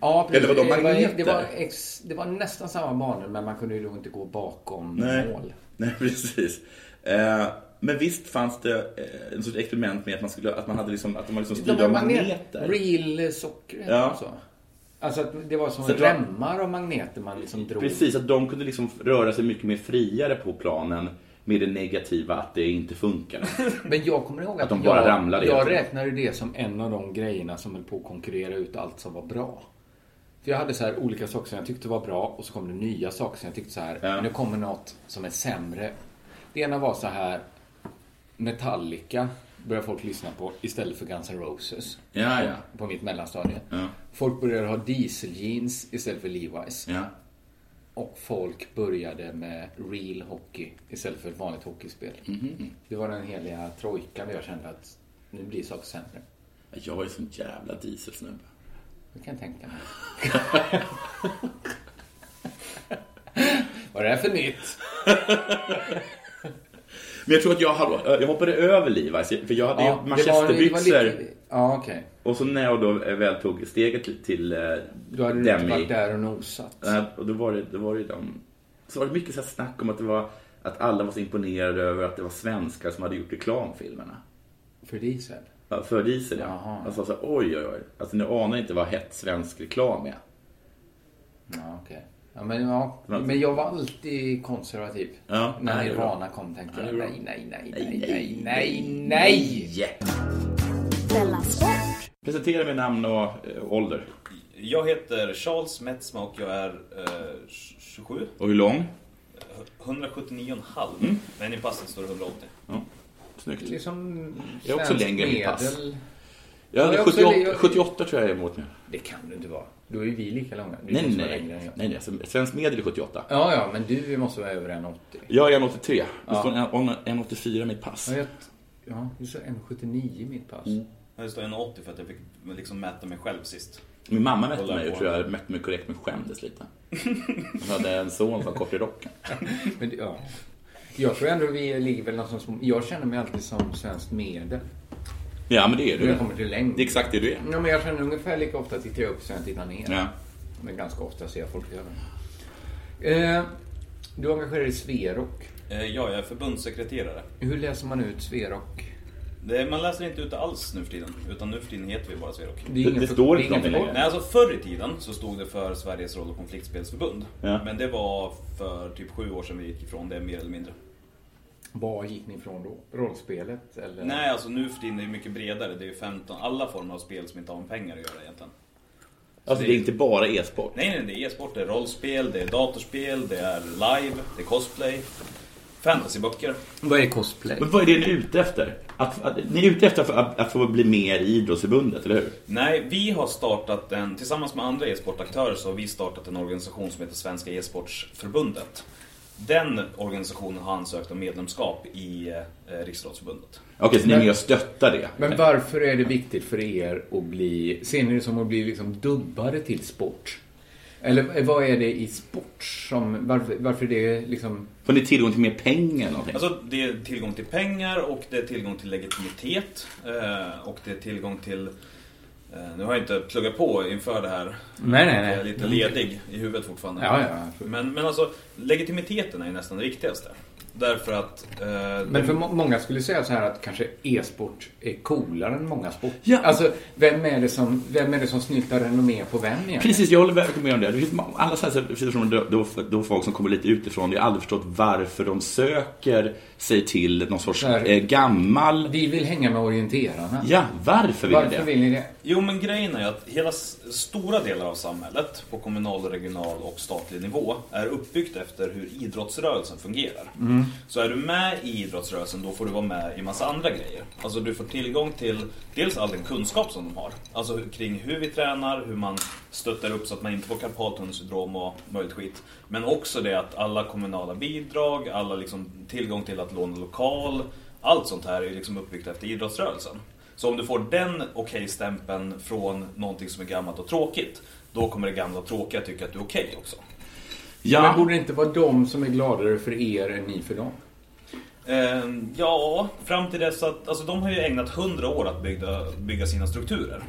[SPEAKER 9] Ja, precis.
[SPEAKER 5] Eller var de
[SPEAKER 9] det, var, det,
[SPEAKER 5] magneter?
[SPEAKER 9] var ex, det var nästan samma banor men man kunde ju då inte gå bakom
[SPEAKER 5] Nej.
[SPEAKER 9] mål.
[SPEAKER 5] Nej, precis. Eh, men visst fanns det eh, en sorts experiment med att man, skulle, att man hade liksom, att de var liksom styrda av magneter?
[SPEAKER 9] Real socker
[SPEAKER 5] Ja.
[SPEAKER 9] och så. Alltså att det var som
[SPEAKER 5] Så det var-
[SPEAKER 9] remmar av magneter man liksom drog.
[SPEAKER 5] Precis, att de kunde liksom röra sig mycket mer friare på planen med det negativa att det inte funkar.
[SPEAKER 9] Men jag kommer ihåg att,
[SPEAKER 5] Att de bara
[SPEAKER 9] jag,
[SPEAKER 5] ramlade
[SPEAKER 9] jag
[SPEAKER 5] egentligen.
[SPEAKER 9] räknade det som en av de grejerna som höll på att konkurrera ut allt som var bra. För jag hade så här olika saker som jag tyckte var bra och så kom det nya saker som jag tyckte så här,
[SPEAKER 5] Ja.
[SPEAKER 9] nu kommer något som är sämre. Det ena var så här, Metallica började folk lyssna på istället för Guns N' Roses.
[SPEAKER 5] Ja, ja.
[SPEAKER 9] På mitt mellanstadie.
[SPEAKER 5] Ja.
[SPEAKER 9] Folk började ha dieseljeans istället för Levi's.
[SPEAKER 5] Ja.
[SPEAKER 9] Och folk började med real hockey istället för ett vanligt hockeyspel.
[SPEAKER 10] Mhm.
[SPEAKER 9] Det var den heliga trojkan där jag kände att nu blir saker sämre.
[SPEAKER 5] Jag är sån jävla dieselsnubbe.
[SPEAKER 9] Det kan jag tänka mig. Vad är det här för nytt?
[SPEAKER 5] Men jag tror att jag, hallå, jag hoppade över Levi's, för jag hade ju manchesterbyxor.
[SPEAKER 9] lite- Ja, okej.
[SPEAKER 5] Och så när jag då eh, väl tog steget till, till eh,
[SPEAKER 9] Då hade du inte
[SPEAKER 5] Demi,
[SPEAKER 9] varit där och nosat.
[SPEAKER 5] eh, och då var det, då var det ju de, så var det mycket så här snack om att det var att alla var så imponerade över att det var svenskar som hade gjort reklamfilmerna.
[SPEAKER 9] För diesel.
[SPEAKER 5] Ja, För diesel, ja.
[SPEAKER 9] Jaha.
[SPEAKER 5] Alltså, så här, oj, oj, oj. Alltså, ni anar inte vad hett svensk reklam är.
[SPEAKER 9] Ja, okej. Ja, men, ja. men jag var alltid konservativ.
[SPEAKER 5] Ja,
[SPEAKER 9] När
[SPEAKER 5] nej, det är
[SPEAKER 9] Nirvana kom tänkte jag
[SPEAKER 5] det är bra.
[SPEAKER 9] nej, nej, nej, nej, nej, nej, nej.
[SPEAKER 5] Yeah.
[SPEAKER 11] Della Sport!
[SPEAKER 5] Presentera med namn och eh, ålder.
[SPEAKER 10] Jag heter Charles Metzma och jag är eh, 27.
[SPEAKER 5] Och hur lång?
[SPEAKER 10] 179,5. Men i passet står det 180.
[SPEAKER 5] Snyggt.
[SPEAKER 9] Liksom
[SPEAKER 5] Jag är också
[SPEAKER 9] svenskt
[SPEAKER 5] längre än mitt pass.
[SPEAKER 9] medel.
[SPEAKER 5] Jag
[SPEAKER 9] Jag
[SPEAKER 5] hade
[SPEAKER 9] är också-
[SPEAKER 5] 78,
[SPEAKER 9] jag-
[SPEAKER 5] 78 tror jag är emot nu.
[SPEAKER 9] Det kan du inte vara. Då är ju vi lika långa.
[SPEAKER 5] Nej,
[SPEAKER 9] Du
[SPEAKER 5] nej,
[SPEAKER 9] måste vara
[SPEAKER 5] nej.
[SPEAKER 9] längre än
[SPEAKER 5] nej,
[SPEAKER 9] jag.
[SPEAKER 5] nej. alltså, Svensk medel är 78.
[SPEAKER 9] Ja, ja, men du måste vara över 1,80.
[SPEAKER 5] Jag är 1,83. Det står en- en 1,84 i mitt pass.
[SPEAKER 9] Ja, jag, ja, du sa 1,79 i mitt pass.
[SPEAKER 10] Det står 180 för att jag fick liksom mäta mig själv sist.
[SPEAKER 5] Min mamma mätte
[SPEAKER 10] Kolla
[SPEAKER 5] mig och
[SPEAKER 10] på.
[SPEAKER 5] tror jag mätte mig korrekt men skämdes lite. Hon hade en son som var kort i rocken.
[SPEAKER 9] Men, det- ja. Jag tror ändå vi ligger väl någonstans som, Jag känner mig alltid som svenskt medel.
[SPEAKER 5] Ja men det är
[SPEAKER 9] När
[SPEAKER 5] du.
[SPEAKER 9] jag kommer till
[SPEAKER 5] Det är
[SPEAKER 9] längd.
[SPEAKER 5] exakt det du är.
[SPEAKER 9] Ja, men jag känner ungefär lika ofta tittar jag upp som jag tittar ner.
[SPEAKER 5] Ja.
[SPEAKER 9] Men ganska ofta ser jag folk i ögonen. Eh, du engagerar dig i Sverok.
[SPEAKER 10] Eh, ja, jag är förbundssekreterare.
[SPEAKER 9] Hur läser man ut Sverok?
[SPEAKER 10] Det, man läser inte ut det alls nu för tiden. Utan nu för tiden heter vi bara Sverok.
[SPEAKER 9] är
[SPEAKER 5] Det-
[SPEAKER 9] ingen
[SPEAKER 5] det
[SPEAKER 9] för-
[SPEAKER 5] står inte
[SPEAKER 9] är ingen
[SPEAKER 5] någonting
[SPEAKER 9] förkortning.
[SPEAKER 10] Nej, alltså förr i tiden så stod det för Sveriges roll och konfliktspelsförbund.
[SPEAKER 5] Ja.
[SPEAKER 10] Men det var för typ sju år sedan vi gick ifrån det, mer eller mindre.
[SPEAKER 9] Var gick ni ifrån då? Rollspelet? Eller?
[SPEAKER 10] Nej, alltså nu för tiden är det mycket bredare. Det är ju 15, alla former av spel som inte har med pengar att göra egentligen.
[SPEAKER 5] Alltså det är inte bara e-sport.
[SPEAKER 10] Nej, nej, det är e-sport, det är rollspel, det är datorspel, det är live, det är cosplay, fantasyböcker.
[SPEAKER 9] Vad är cosplay?
[SPEAKER 5] Men vad är det ni är ute efter? Att, att, ni är ute efter att, att, att få bli med i idrottsförbundet, eller hur?
[SPEAKER 10] Nej, vi har startat en, tillsammans med andra e-sportaktörer så har vi startat en organisation som heter Svenska e-sportsförbundet. Den organisationen har ansökt om medlemskap i eh, Riksrådsförbundet.
[SPEAKER 5] Okej, så ni är med och stöttar det?
[SPEAKER 9] Men varför är det viktigt för er att bli... Ser ni det som att bli liksom dubbade till sport?
[SPEAKER 4] Eller eh, vad är det i sport som... Varför, varför det liksom...
[SPEAKER 5] Får ni tillgång till mer pengar eller någonting?
[SPEAKER 10] Alltså det är tillgång till pengar och det är tillgång till legitimitet. eh, Och det är tillgång till... eh, Nu har jag inte pluggat på inför det här.
[SPEAKER 4] Nej, nej,
[SPEAKER 10] Jag är lite ledig i huvudet fortfarande.
[SPEAKER 4] Ja, ja.
[SPEAKER 10] Men, men alltså, legitimiteten är ju nästan det viktigaste. Därför att... eh,
[SPEAKER 4] Men
[SPEAKER 10] den-
[SPEAKER 4] för må- många skulle säga så här att kanske e-sport är coolare än många sporter.
[SPEAKER 5] Ja.
[SPEAKER 4] Alltså, vem är det som, vem är det som snyltar renommé på vem egentligen?
[SPEAKER 5] Precis, jag håller verkligen med om det. det finns ma- alla så här, precis som då, då, då folk som kommer lite utifrån, jag har aldrig förstått varför de söker sig till någon sorts
[SPEAKER 4] Nej.
[SPEAKER 5] eh, gammal...
[SPEAKER 4] Vi vill hänga med orienterarna.
[SPEAKER 5] Ja, varför vill
[SPEAKER 4] Varför
[SPEAKER 5] det?
[SPEAKER 4] vill ni det?
[SPEAKER 10] Jo men grejen är ju att hela s- stora delar av samhället på kommunal, regional och statlig nivå är uppbyggt efter hur idrottsrörelsen fungerar. Så är du med i idrottsrörelsen då får du vara med i massa andra grejer. Alltså du får tillgång till dels all den kunskap som de har. Alltså hur- kring hur vi tränar, hur man stöttar upp så att man inte får karpaltunnelsyndrom och möjligt skit. Men också det att alla kommunala bidrag, alla liksom tillgång till att låna lokal, allt sånt här är liksom uppbyggt efter idrottsrörelsen. Så om du får den okej-stämpeln från någonting som är gammalt och tråkigt, då kommer det gamla och tråkiga tycka att du är okej också.
[SPEAKER 4] Men
[SPEAKER 5] Ja,
[SPEAKER 4] borde det inte vara de som är gladare för er än ni för dem?
[SPEAKER 10] Ehm, ja, fram till dess att... Alltså de har ju ägnat hundra år att bygga, bygga sina strukturer.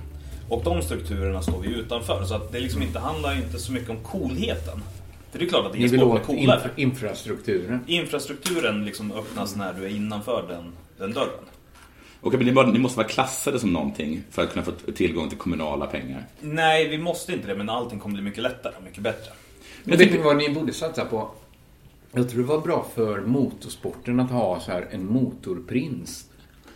[SPEAKER 10] Och de strukturerna står vi utanför, så att det liksom inte handlar inte så mycket om coolheten. För det är klart att
[SPEAKER 4] Ni vill
[SPEAKER 10] e-sport är
[SPEAKER 4] åt
[SPEAKER 10] coolare.
[SPEAKER 4] infra- infrastrukturen.
[SPEAKER 10] Infrastrukturen liksom öppnas när du är innanför den, den dörren.
[SPEAKER 5] Okej, men ni, bara, ni måste vara klassade som någonting för att kunna få t- tillgång till kommunala pengar.
[SPEAKER 10] Nej, vi måste inte det, men allting kommer bli mycket lättare och mycket bättre.
[SPEAKER 4] Men vet ni vad ni borde satsa på? Jag tror det var bra för motorsporten att ha så här en motorprins.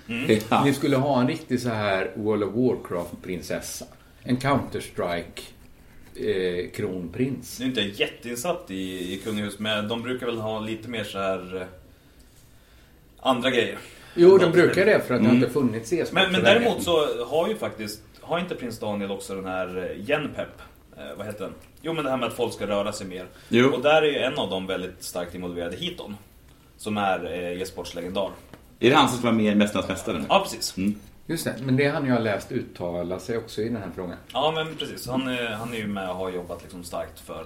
[SPEAKER 10] Mm.
[SPEAKER 5] Ja.
[SPEAKER 4] Ni skulle ha en riktig så här World of Warcraft-prinsessa. En eh, Counter-Strike-kronprins.
[SPEAKER 10] Nu är inte jag jätteinsatt i, i kungahus, men de brukar väl ha lite mer så här eh, andra grejer.
[SPEAKER 4] jo, de brukar det för att det har inte funnits e
[SPEAKER 10] Mm. Men, men däremot så har ju faktiskt, har inte prins Daniel också den här eh, Genpep? Eh, vad heter den? Jo, men det här med att folk ska röra sig mer.
[SPEAKER 5] Jo.
[SPEAKER 10] Och där är ju en av dem väldigt starkt involverade, Hiton. Som är eh, e-sportslegendar.
[SPEAKER 5] Är det han som ska vara med i Mästarnas Mästare nu?
[SPEAKER 10] Ja, precis.
[SPEAKER 4] Just det, men det han jag har läst uttala sig också i den här frågan.
[SPEAKER 10] Ja, men precis. Han, är- han är ju med och har jobbat liksom starkt för,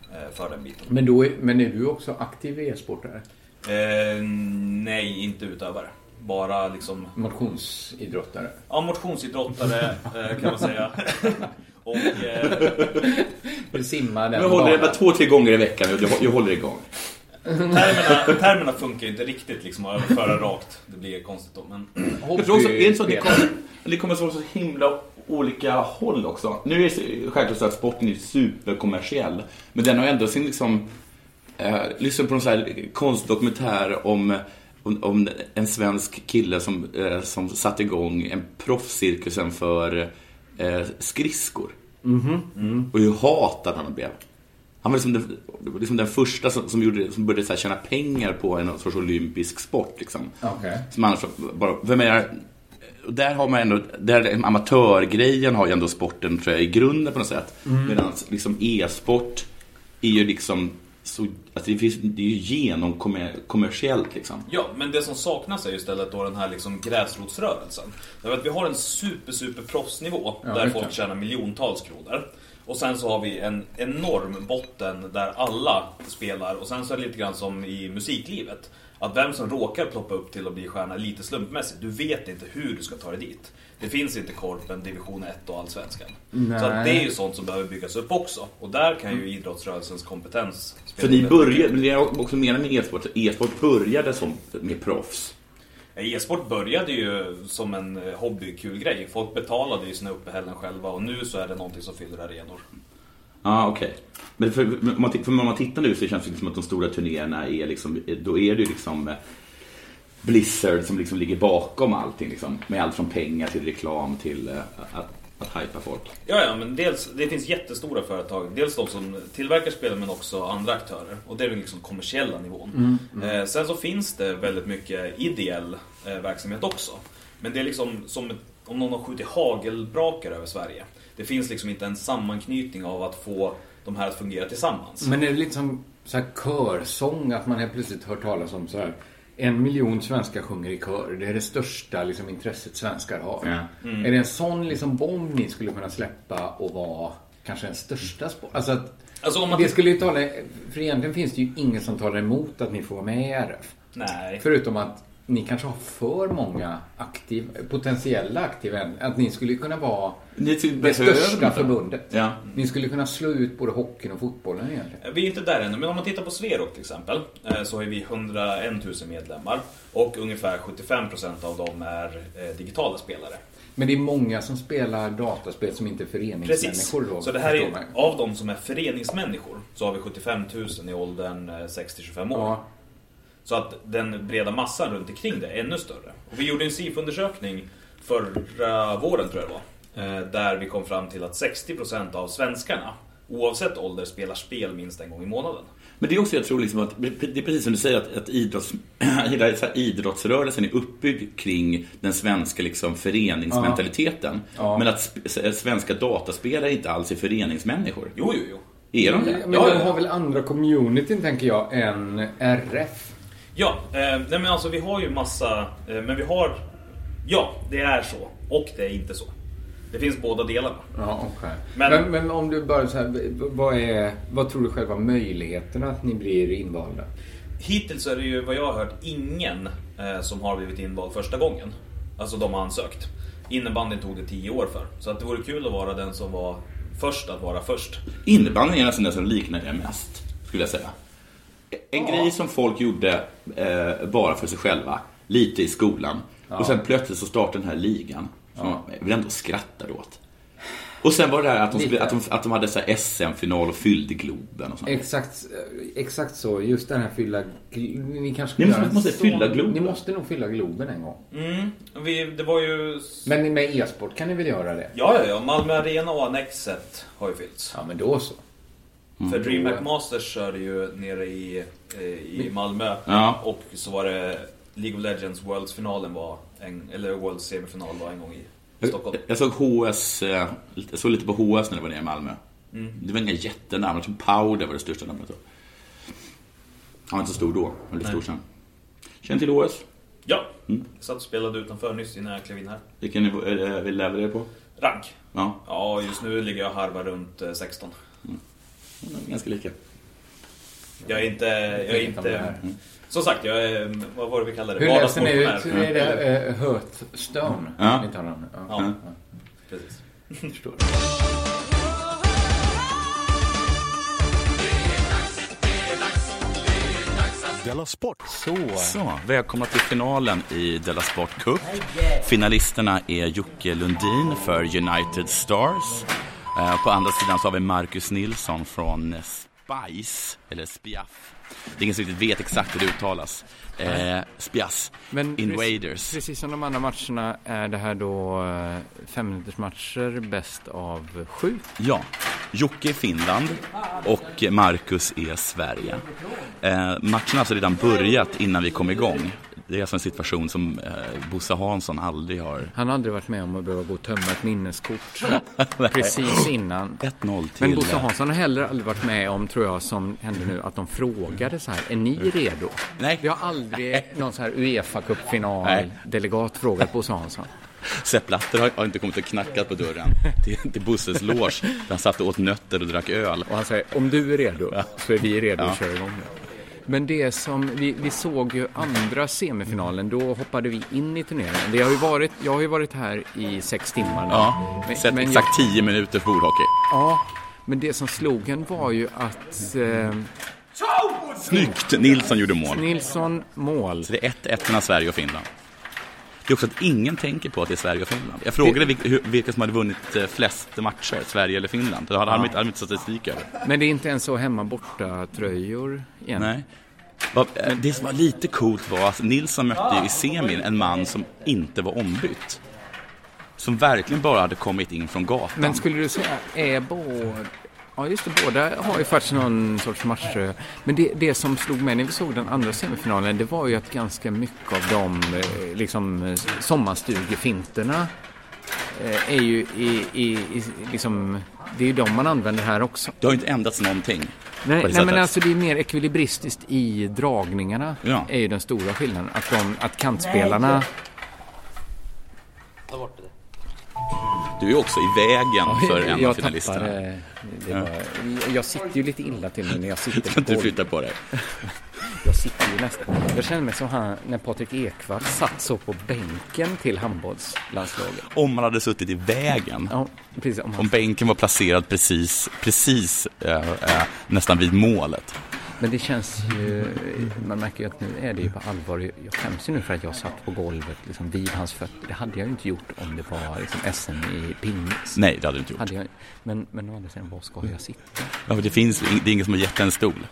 [SPEAKER 10] eh, för den biten.
[SPEAKER 4] Men, då är, men är du också aktiv e-sportare?
[SPEAKER 10] Eh, nej, inte utövare. Bara liksom
[SPEAKER 4] Motionsidrottare?
[SPEAKER 10] Ja, motionsidrottare eh, kan man säga. Och, eh,
[SPEAKER 4] Du simmar den
[SPEAKER 5] Jag håller det
[SPEAKER 4] banan.
[SPEAKER 5] bara två, tre gånger i veckan. Jag, jag, jag håller igång.
[SPEAKER 10] termerna, termerna funkar ju inte riktigt liksom, att överföra rakt. Det blir konstigt då. Men,
[SPEAKER 4] Hobby-
[SPEAKER 5] Jag tror också, är det inte så att det kommer, det kommer från så himla olika håll också? Nu är det så- självklart så att sporten är superkommersiell, men den har ändå sin liksom... Eh, lyssna på någon sån här konstdokumentär om, om, om en svensk kille som, eh, som satte igång en proffscirkusen för eh, skridskor. Och hur hatad han blev. Han var liksom den, liksom den första som, som, gjorde, som började så här tjäna pengar på en sorts olympisk sport. Liksom.
[SPEAKER 4] Okej.
[SPEAKER 5] Som annars bara, vem är och där har man ändå, där amatörgrejen har ju ändå sporten tror jag, i grunden på något sätt. Medan liksom e-sport är ju liksom så, att det, finns, det är ju genomkommersiellt liksom.
[SPEAKER 10] ja, men det som saknas är ju istället då den här liksom, gräsrotsrörelsen. Därför att vi har en super, super proffsnivå där
[SPEAKER 4] just
[SPEAKER 10] folk
[SPEAKER 4] det.
[SPEAKER 10] tjänar miljontals kronor. Och sen så har vi en enorm botten där alla spelar. Och sen så är det lite grann som i musiklivet. Att vem som råkar ploppa upp till att bli stjärna är lite slumpmässigt. Du vet inte hur du ska ta dig dit. Det finns inte korpen, division 1 och allsvenskan. Så att det är ju sånt som behöver byggas upp också. Och där kan ju idrottsrörelsens kompetens spela
[SPEAKER 5] För ni
[SPEAKER 10] väldigt
[SPEAKER 5] började, men det jag också menar med e-sport, e-sport började som med proffs.
[SPEAKER 10] Eh, E-sport började ju som en eh, hobbykul grej. Folk betalade ju sina uppehällen själva och nu så är det någonting som fyller arenor.
[SPEAKER 5] Ja, okej. Men för, men om man, ti- för om man tittar nu så känns det liksom som att de stora turnéerna är liksom, då är det ju liksom eh, Blizzard som liksom ligger bakom allting liksom. Med allt från pengar till reklam till eh, att, att hypa folk.
[SPEAKER 10] Ja, ja, men dels, det finns jättestora företag. Dels de som tillverkar spelen men också andra aktörer. Och det är den liksom kommersiella nivån. Eh, sen så finns det väldigt mycket ideell eh, verksamhet också. Men det är liksom som ett, om någon har skjutit hagelbrakar över Sverige. Det finns liksom inte en sammanknytning av att få de här att fungera tillsammans.
[SPEAKER 4] Men är det lite som så här körsång, att man helt plötsligt hör talas om så här en miljon svenskar sjunger i kör. Det är det största liksom, intresset svenskar har.
[SPEAKER 5] Ja.
[SPEAKER 10] Mm.
[SPEAKER 4] Är det en sån liksom, bomb ni skulle kunna släppa och vara... kanske den största sport. Alltså att,
[SPEAKER 10] Alltså om man...
[SPEAKER 4] det skulle ju tala, för egentligen finns det ju ingen som talar emot att ni får vara med i RF.
[SPEAKER 10] Nej.
[SPEAKER 4] Förutom att ni kanske har för många aktiv, potentiella aktiva än- Att ni skulle kunna vara
[SPEAKER 5] Ni typ
[SPEAKER 4] det
[SPEAKER 5] behöver
[SPEAKER 4] största
[SPEAKER 5] inte.
[SPEAKER 4] förbundet.
[SPEAKER 5] Ja.
[SPEAKER 4] Ni skulle kunna slå ut både hockeyn och fotbollen egentligen.
[SPEAKER 10] Eh, Vi är inte där ännu, men om man tittar på Sverok till exempel eh, så har vi 101 000 medlemmar och ungefär 75% av dem är eh, digitala spelare.
[SPEAKER 4] Men det är många som spelar dataspel som inte är
[SPEAKER 10] Precis.
[SPEAKER 4] föreningsmänniskor då.
[SPEAKER 10] Så det här
[SPEAKER 4] förstår
[SPEAKER 10] är,
[SPEAKER 4] man.
[SPEAKER 10] av de som är föreningsmänniskor så har vi 75 000 i åldern eh, 6-25 år.
[SPEAKER 4] Ja,
[SPEAKER 10] Så att den breda massan runt omkring det är ännu större. Och vi gjorde en SIFO-undersökning förra våren tror jag det var. eh, Där vi kom fram till att 60% av svenskarna oavsett ålder spelar spel minst en gång i månaden.
[SPEAKER 5] Men det är också, jag tror liksom att, det är precis som du säger att, att idrotts, hela så här idrottsrörelsen är uppbyggd kring den svenska liksom föreningsmentaliteten.
[SPEAKER 4] Ja.
[SPEAKER 5] Men att sp- s- svenska dataspelare inte alls är föreningsmänniskor.
[SPEAKER 10] Jo, jo, jo.
[SPEAKER 5] Är de det?
[SPEAKER 4] Men
[SPEAKER 5] Ja,
[SPEAKER 4] de
[SPEAKER 5] ja.
[SPEAKER 4] har väl andra communityn tänker jag än RF.
[SPEAKER 10] Ja, eh, nej men alltså vi har ju massa, eh, men vi har, ja det är så och det är inte så. Det finns båda delarna.
[SPEAKER 4] Ja, okay. men,
[SPEAKER 10] Men-
[SPEAKER 4] men, om du bara så här, v- vad, är, vad tror du själva möjligheterna att ni blir invalda?
[SPEAKER 10] Hittills är det ju vad jag har hört ingen eh, som har blivit invald första gången. Alltså de har ansökt. Innebandyn tog det 10 år för. Så att det vore kul att vara den som var först att vara först.
[SPEAKER 5] Innebandyn är nästan den som liknar det mest, skulle jag säga. En grej som folk gjorde eh, bara för sig själva, lite i skolan. Och sen plötsligt så startade den här ligan, som man väl ändå skrattar åt. Och sen var det här att de, skulle, att de, att de hade så här SM-final och fyllde Globen och sånt.
[SPEAKER 4] Exakt, eh, exakt så, just den här fylla... gl- Ni kanske
[SPEAKER 5] Ni
[SPEAKER 4] skulle
[SPEAKER 5] måste-
[SPEAKER 4] göra en
[SPEAKER 5] måste
[SPEAKER 4] sån-
[SPEAKER 5] fylla Globen.
[SPEAKER 4] Ni måste nog fylla Globen en gång.
[SPEAKER 10] Vi, det var ju...
[SPEAKER 4] Men med e-sport kan ni väl göra det?
[SPEAKER 10] Ja, ja, ja. Malmö Arena och Annexet har ju fyllts.
[SPEAKER 4] Ja, men då så.
[SPEAKER 10] För DreamHack Masters körde ju nere i, eh, i Malmö.
[SPEAKER 5] Ja.
[SPEAKER 10] Och så var det League of Legends Worlds-finalen var, en, eller Worlds semifinal var en gång i
[SPEAKER 5] Jag,
[SPEAKER 10] Stockholm.
[SPEAKER 5] jag såg HS, eh, lite- jag såg lite på HS när det var nere i Malmö.
[SPEAKER 10] Mm.
[SPEAKER 5] Det var inga jättenamn, jag tror Powder var det största namnet då. Han var inte så stor då, men lite stor sen. Känner till HS?
[SPEAKER 10] Ja, jag satt och spelade utanför nyss innan jag klev in här.
[SPEAKER 5] Vilken nivå eh, vill lever er på?
[SPEAKER 10] Rank.
[SPEAKER 5] Ja,
[SPEAKER 10] Ja, just nu ligger jag och harvar runt eh, 16.
[SPEAKER 5] ganska lika.
[SPEAKER 10] Jag är inte... Jag är inte... Som sagt, jag är... mm, Vad var det vi kallade det?
[SPEAKER 4] Hur läser ni
[SPEAKER 10] Vardagsmotionär.
[SPEAKER 4] ut? Hur är det? Uh, Hearthstone?
[SPEAKER 5] Ja.
[SPEAKER 4] Ni talar om. det. Ja.
[SPEAKER 10] Ja, precis.
[SPEAKER 12] Della Sport!
[SPEAKER 5] Så, välkomna till finalen i Della Sport Cup. Finalisterna är Jocke Lundin för United Stars. Eh, På andra sidan så har vi Marcus Nilsson från Spice, eller Spiaf. Det är ingen som riktigt vet exakt hur det uttalas. Eh, Spias,
[SPEAKER 4] Men
[SPEAKER 5] Invaders.
[SPEAKER 4] Precis som de andra matcherna är det här då eh, femminutersmatcher bäst av sju.
[SPEAKER 5] Ja, Jocke är Finland och Marcus är Sverige. Eh, matchen har alltså redan börjat innan vi kom igång. Det är alltså en situation som eh, Bosse Hansson aldrig har...
[SPEAKER 4] Han har aldrig varit med om att behöva gå och tömma ett minneskort precis innan.
[SPEAKER 5] 1-0 till...
[SPEAKER 4] Men Bosse Hansson har heller aldrig varit med om, tror jag, som hände nu, att de frågade så här, är ni redo?
[SPEAKER 5] Mm. Nej.
[SPEAKER 4] Vi har aldrig någon så här uefa
[SPEAKER 5] Nej.
[SPEAKER 4] cupfinal delegat frågat Bosse Hansson.
[SPEAKER 5] Sepp Blatter har, har inte kommit och knackat på dörren till, till Busses loge där han satt och åt nötter och drack öl.
[SPEAKER 4] Och han säger, om du är redo så är vi redo att köra igång nu. Men det som, vi, vi såg ju andra semifinalen, då hoppade vi in i turneringen. Det har ju varit, jag har ju varit här i sex timmar nu.
[SPEAKER 5] Ja,
[SPEAKER 4] Men-
[SPEAKER 5] sett
[SPEAKER 4] men jag-
[SPEAKER 5] exakt 10 minuter för bordhockey.
[SPEAKER 4] Ja, men det som slog en var ju att eh,
[SPEAKER 5] Snyggt! Nilsson gjorde mål.
[SPEAKER 4] Nilsson mål.
[SPEAKER 5] Så det är 1-1 mellan Sverige och Finland. Det är också att ingen tänker på att det är Sverige och Finland. Jag frågade vil- hur- vilka som hade vunnit eh, flest matcher, Sverige eller Finland. Det hade han inte, hade inte statistik över.
[SPEAKER 4] Men det är inte ens så hemma borta tröjor igen.
[SPEAKER 5] Nej. Vad- eh, Det som var lite coolt var att Nilsson mötte ju i semin en man som inte var ombytt. Som verkligen bara hade kommit in från gatan.
[SPEAKER 4] Men skulle du säga, är båda... Ja, just det, båda har ju faktiskt någon sorts matcher. Men det, det som slog mig när vi såg den andra semifinalen, det var ju att ganska mycket av de eh, liksom, eh, sommarstugefinterna eh, är ju i, i, i liksom... Det är ju de man använder här också.
[SPEAKER 5] Det har ju inte ändrats någonting.
[SPEAKER 4] Nej,
[SPEAKER 5] på det
[SPEAKER 4] nej men
[SPEAKER 5] sättet.
[SPEAKER 4] alltså det är mer ekvilibristiskt i dragningarna.
[SPEAKER 5] Ja.
[SPEAKER 4] är ju den stora skillnaden. Att, de, att kantspelarna...
[SPEAKER 5] Du är också i vägen för en av
[SPEAKER 4] jag
[SPEAKER 5] finalisterna.
[SPEAKER 4] tappar... eh, Det var, jag sitter ju lite illa till nu när jag sitter
[SPEAKER 5] Kan
[SPEAKER 4] på
[SPEAKER 5] inte du
[SPEAKER 4] golvet.
[SPEAKER 5] flytta på dig?
[SPEAKER 4] Jag sitter ju nästan... Jag känner mig som han, när Patrik Ekwall satt så på bänken till handbollslandslaget.
[SPEAKER 5] Om man hade suttit i vägen.
[SPEAKER 4] Ja, precis. Om han,
[SPEAKER 5] Om bänken var placerad precis, precis eh, eh, nästan vid målet.
[SPEAKER 4] men det känns ju... Man märker ju att nu är det ju på allvar. Jag jag skäms ju nu för att jag satt på golvet liksom vid hans fötter. Det hade jag ju inte gjort om det var liksom SM i pinnis.
[SPEAKER 5] Nej, det hade du inte gjort.
[SPEAKER 4] Hade jag, men, men å andra sidan, var ska jag sitta?
[SPEAKER 5] Ja, för det, finns, det är ingen som har gett en stol.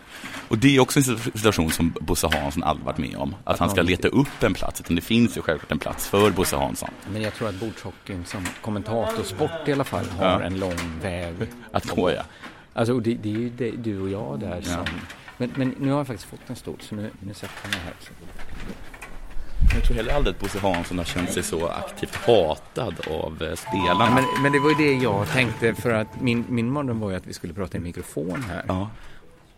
[SPEAKER 5] Och det är också en situation som Bosse Hansson aldrig varit med om. Att han ska leta upp en plats. Utan det finns ju självklart en plats för Bosse Hansson.
[SPEAKER 4] Men jag tror att bordshockeyn som kommentatorsport i alla fall har en lång väg
[SPEAKER 5] Att gå, ja.
[SPEAKER 4] Alltså och det, det är ju det, du och jag där som... Men, men nu har jag faktiskt fått en stol så nu, nu sätter jag mig här.
[SPEAKER 5] Jag tror heller aldrig att Bosse Hansson har känt sig så aktivt hatad av eh, spelarna.
[SPEAKER 4] Men, men det var ju det jag tänkte för att min, min mardröm var ju att vi skulle prata i mikrofon här.
[SPEAKER 5] Ja.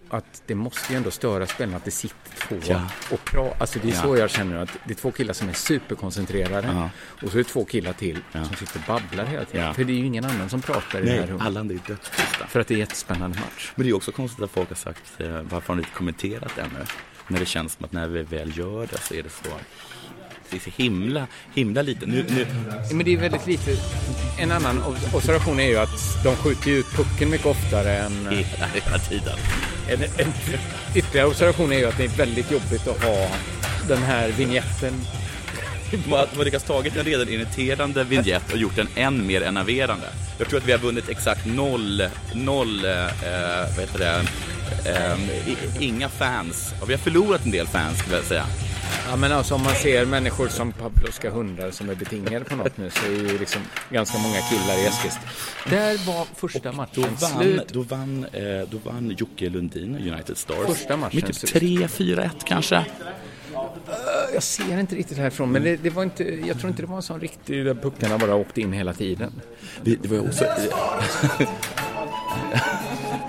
[SPEAKER 4] Att det måste ju ändå störa spelarna att det sitter två
[SPEAKER 5] Ja.
[SPEAKER 4] och pratar. Alltså det är
[SPEAKER 5] Ja.
[SPEAKER 4] så jag känner att det är två killar som är superkoncentrerade och så är det två killar till som sitter och babblar hela tiden.
[SPEAKER 5] Ja.
[SPEAKER 4] För det är ju ingen annan som pratar i det här
[SPEAKER 5] Nej,
[SPEAKER 4] rummet.
[SPEAKER 5] alla är dödstysta.
[SPEAKER 4] För att det är en jättespännande match.
[SPEAKER 5] Men det är också konstigt att folk har sagt eh, varför har ni inte kommenterat det ännu? När det känns som att när vi väl gör det så är det så det är så himla, himla lite. Nu, nu,
[SPEAKER 4] Men det är väldigt lite. En annan ob- observation är ju att de skjuter ju ut pucken mycket oftare än...
[SPEAKER 5] hela, hela tiden.
[SPEAKER 4] En, en ytterligare observation är ju att det är väldigt jobbigt att ha den här vignetten.
[SPEAKER 5] De har- de har lyckats tagit en redan irriterande vignett och gjort den än mer enerverande. Jag tror att vi har vunnit exakt noll, noll, eh, eh, vad heter det, eh, i- inga fans. Och vi har förlorat en del fans skulle jag säga.
[SPEAKER 4] Ja, men alltså om man ser människor som pavlovska hundar som är betingade på något nu så är ju liksom ganska många killar i Eskilstuna. Där var första
[SPEAKER 5] Då
[SPEAKER 4] matchen
[SPEAKER 5] vann,
[SPEAKER 4] slut.
[SPEAKER 5] då, vann, eh, då vann Jocke Lundin och United Stars.
[SPEAKER 4] Första matchen
[SPEAKER 5] Med typ
[SPEAKER 4] slut.
[SPEAKER 5] 3-4-1 kanske.
[SPEAKER 4] Jag ser inte riktigt härifrån, men det, det var inte, jag tror inte det var en sån riktig Alltså, där puckarna bara åkte in hela tiden.
[SPEAKER 5] Det, det var ju också... eh,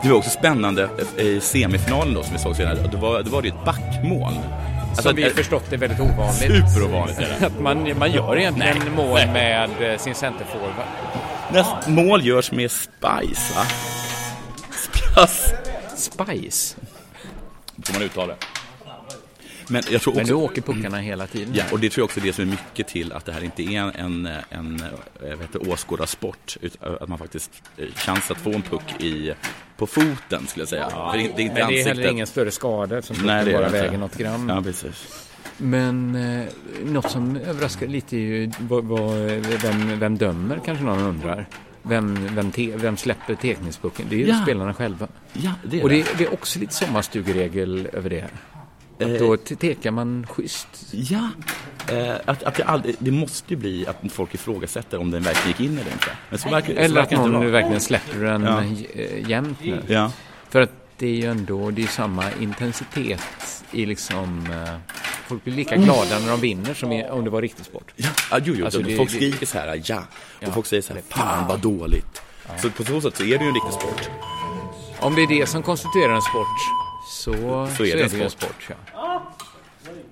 [SPEAKER 5] det var också spännande eh, i semifinalen då som vi såg senare. Då var, då var det ju ett backmål. Alltså,
[SPEAKER 4] Som vi
[SPEAKER 5] eh,
[SPEAKER 4] förstått är väldigt ovanligt.
[SPEAKER 5] Superovanligt är det.
[SPEAKER 4] Att man, man gör egentligen mål med eh, sin centerforward.
[SPEAKER 5] Näst mål görs med spice, va? Spice.
[SPEAKER 4] Spice.
[SPEAKER 5] Får man uttala det. Men jag tror
[SPEAKER 4] Men nu
[SPEAKER 5] också...
[SPEAKER 4] åker puckarna hela tiden.
[SPEAKER 5] Ja, och det tror jag också är det som är mycket till att det här inte är en, en, en eh, vad heter, det, åskådarsport. Utan att man faktiskt eh, chans att få en puck i, på foten, skulle jag säga. För det, är- det är inte
[SPEAKER 4] Men det är
[SPEAKER 5] ansiktet.
[SPEAKER 4] heller ingen större skada som
[SPEAKER 5] Nej, det är
[SPEAKER 4] bara
[SPEAKER 5] det inte.
[SPEAKER 4] väger något gram.
[SPEAKER 5] Ja, precis.
[SPEAKER 4] Men eh, något som överraskar lite är ju vad, vad, vem, vem dömer kanske någon undrar. Vem, vem, te, vem släpper teckningspucken? Det är ju
[SPEAKER 5] Ja.
[SPEAKER 4] spelarna själva.
[SPEAKER 5] Ja, det är
[SPEAKER 4] Och
[SPEAKER 5] det.
[SPEAKER 4] det, det är också lite sommarstugeregel över det. Att då te- tekar man schysst.
[SPEAKER 5] Ja, eh, att, att det, aldrig, det måste ju bli att folk ifrågasätter om den verkligen gick in eller inte. Men så verkar, så
[SPEAKER 4] Eller att
[SPEAKER 5] verkar
[SPEAKER 4] någon
[SPEAKER 5] inte
[SPEAKER 4] nu
[SPEAKER 5] vara.
[SPEAKER 4] verkligen släpper den
[SPEAKER 5] Ja.
[SPEAKER 4] eh, jämnt nu.
[SPEAKER 5] Ja.
[SPEAKER 4] För att det är ju ändå, det är ju samma intensitet i liksom... eh, Folk blir
[SPEAKER 5] Mm.
[SPEAKER 4] lika glada när de vinner som i- om det var riktig sport.
[SPEAKER 5] Ja, ah, jo, jo,
[SPEAKER 4] Alltså,
[SPEAKER 5] det,
[SPEAKER 4] det-
[SPEAKER 5] folk
[SPEAKER 4] det-
[SPEAKER 5] skriker så här, ja.
[SPEAKER 4] Ja.
[SPEAKER 5] Och folk säger så här,
[SPEAKER 4] Eller,
[SPEAKER 5] fan vad dåligt. Så på så sätt så är det ju en riktig sport.
[SPEAKER 4] Om det är det som konstituerar en sport så, så
[SPEAKER 5] det en
[SPEAKER 4] ju en
[SPEAKER 5] sport.
[SPEAKER 4] sport ja.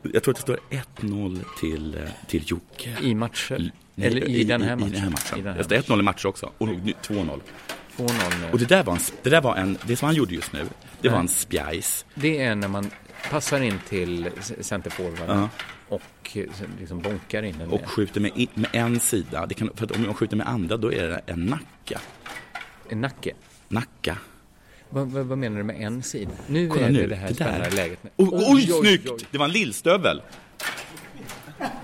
[SPEAKER 5] Jag tror att det står 1-0 till, eh, till Jocke.
[SPEAKER 4] I matcher.
[SPEAKER 5] Nej,
[SPEAKER 4] Eller i, den här matchen.
[SPEAKER 5] I den här matchen.
[SPEAKER 4] I den här
[SPEAKER 5] det står 1-0 i matcher också. Och nu 2-0.
[SPEAKER 4] 2-0
[SPEAKER 5] Och
[SPEAKER 4] nu.
[SPEAKER 5] det där var en, det där var en, det som han gjorde just nu, det var en spjajs.
[SPEAKER 4] Det är när man passar in till c- centerforwarden
[SPEAKER 5] Ja.
[SPEAKER 4] och eh, liksom bonkar in den.
[SPEAKER 5] Och skjuter med, i- med en sida. Det kan, för att om jag skjuter med andra då är det en nacka.
[SPEAKER 4] En nacke.
[SPEAKER 5] Nacka.
[SPEAKER 4] Vad, vad, vad menar du med en sida? Nu
[SPEAKER 5] Kolla
[SPEAKER 4] är
[SPEAKER 5] nu,
[SPEAKER 4] det det här
[SPEAKER 5] det där.
[SPEAKER 4] spännande läget. nu.
[SPEAKER 5] Oj, oj, snyggt! Det var en lillstövel.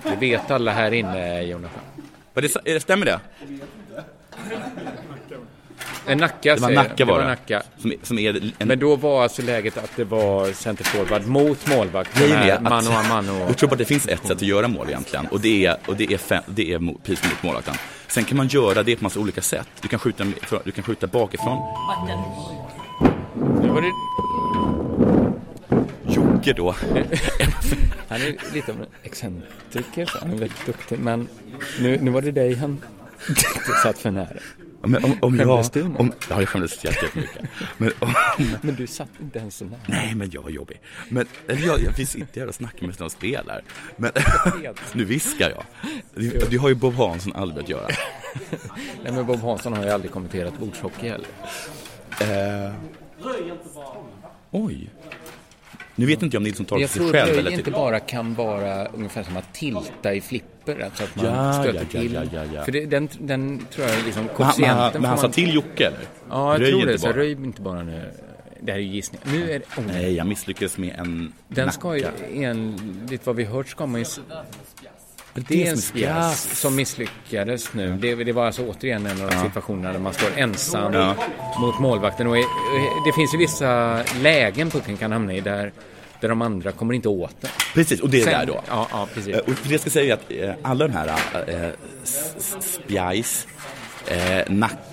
[SPEAKER 4] Det vet alla här inne, Jonathan.
[SPEAKER 5] Var det, är det, stämmer det?
[SPEAKER 4] En nacka
[SPEAKER 5] Det var
[SPEAKER 4] säger jag.
[SPEAKER 5] Nacka var det.
[SPEAKER 4] Nacka.
[SPEAKER 5] Som, som är en
[SPEAKER 4] Men då var alltså läget att det var centerforward mot målvakt. Den
[SPEAKER 5] Grejen är
[SPEAKER 4] här
[SPEAKER 5] att-
[SPEAKER 4] Mano a mano.
[SPEAKER 5] Jag tror bara det finns ett sätt att göra mål egentligen och det är, och det är, fem, det är mo- precis mot målvakten. Sen kan man göra det på massa olika sätt. Du kan skjuta, med- från- du kan skjuta bakifrån.
[SPEAKER 4] Nu var det...
[SPEAKER 5] Jocke då.
[SPEAKER 4] Han är lite av en excentriker, så han är väldigt duktig. Men nu, nu var det dig han satt för nära.
[SPEAKER 5] Men om, om
[SPEAKER 4] Skämdes
[SPEAKER 5] jag,
[SPEAKER 4] du nu?
[SPEAKER 5] om, ja, jag skämdes jättemycket. Men om,
[SPEAKER 4] Men du satt inte ens så nära.
[SPEAKER 5] nej, men jag är jobbig. Men, eller jag, jag finns inte här och snackar med någon spelare. Men nu viskar jag. Du, du har ju Bob Hansson aldrig att göra.
[SPEAKER 4] Nej men Bob Hansson har ju aldrig kommenterat bordshockey heller.
[SPEAKER 5] Eh, oj. Nu vet inte jag om Nilsson talar
[SPEAKER 4] Jag
[SPEAKER 5] för sig
[SPEAKER 4] tror
[SPEAKER 5] själv
[SPEAKER 4] röj
[SPEAKER 5] eller
[SPEAKER 4] inte
[SPEAKER 5] till-
[SPEAKER 4] bara kan vara ungefär som att tilta i flipper, alltså att man
[SPEAKER 5] Ja,
[SPEAKER 4] stöter
[SPEAKER 5] ja, ja,
[SPEAKER 4] till.
[SPEAKER 5] ja, ja, ja.
[SPEAKER 4] För det, den, den tror jag liksom,
[SPEAKER 5] Men han, men
[SPEAKER 4] koefficienten
[SPEAKER 5] han,
[SPEAKER 4] får
[SPEAKER 5] men han sa
[SPEAKER 4] man...
[SPEAKER 5] till Jocke eller?
[SPEAKER 4] Ja, jag
[SPEAKER 5] Röj
[SPEAKER 4] tror
[SPEAKER 5] inte
[SPEAKER 4] det. Så
[SPEAKER 5] bara.
[SPEAKER 4] röj inte bara nu. Det här är ju gissning. Nu är det... Oh,
[SPEAKER 5] Nej, jag misslyckades med en
[SPEAKER 4] Den ska ju,
[SPEAKER 5] nacka.
[SPEAKER 4] enligt vad vi hört, ska man ju...
[SPEAKER 5] det
[SPEAKER 4] Det
[SPEAKER 5] är
[SPEAKER 4] är en
[SPEAKER 5] som
[SPEAKER 4] spjäs
[SPEAKER 5] spjäs.
[SPEAKER 4] som misslyckades nu. Det, det var alltså återigen en av de situationerna där man står ensam
[SPEAKER 5] Ja.
[SPEAKER 4] mot målvakten. Och eh, det finns ju vissa lägen pucken kan hamna i där, där de andra kommer inte åt den.
[SPEAKER 5] Precis, och det är
[SPEAKER 4] Sen-
[SPEAKER 5] där då.
[SPEAKER 4] Ja, ja, precis.
[SPEAKER 5] Eh, Och det jag ska säga är att eh, alla de här eh, s- s- spjajs, eh, nackar,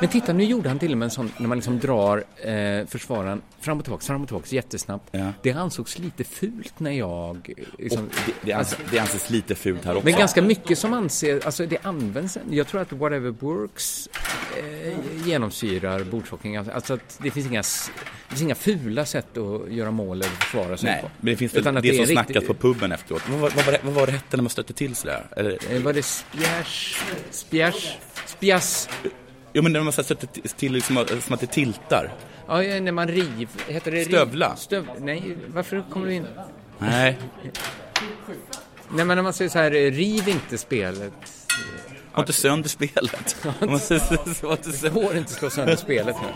[SPEAKER 4] Men titta, nu gjorde han till och med en sån, när man liksom drar eh, försvararen fram och tillbaka, fram och tillbaka jättesnabbt.
[SPEAKER 5] Ja.
[SPEAKER 4] Det ansågs lite fult när jag... eh,
[SPEAKER 5] och
[SPEAKER 4] Liksom,
[SPEAKER 5] det, det, anses, det anses lite fult här också.
[SPEAKER 4] men ganska mycket som anses, alltså det används, jag tror att whatever works eh, genomsyrar bordshockey. Alltså att det finns, inga, s- det finns inga fula sätt att göra mål eller försvara sig
[SPEAKER 5] Nej,
[SPEAKER 4] på.
[SPEAKER 5] men det finns väl
[SPEAKER 4] Utan
[SPEAKER 5] det,
[SPEAKER 4] att det
[SPEAKER 5] som
[SPEAKER 4] är
[SPEAKER 5] snackas
[SPEAKER 4] riktigt-
[SPEAKER 5] på puben efteråt. Vad, vad, vad, var det- vad var det hette när man stötte till sådär? Eller,
[SPEAKER 4] Eh, var det spjärs, spjärs, spjass?
[SPEAKER 5] jo men när man så här stötte till, till liksom, eh, som att det tiltar.
[SPEAKER 4] Ja, eh, när man riv, heter det riv?
[SPEAKER 5] Stövla.
[SPEAKER 4] Stöv, nej, varför kommer du in?
[SPEAKER 5] Nej,
[SPEAKER 4] Nej men när man säger så här, eh, riv inte spelet.
[SPEAKER 5] ha inte sönder spelet. Om man så- så- så- ha inte
[SPEAKER 4] Det
[SPEAKER 5] sönder-
[SPEAKER 4] går inte att slå sönder spelet nu.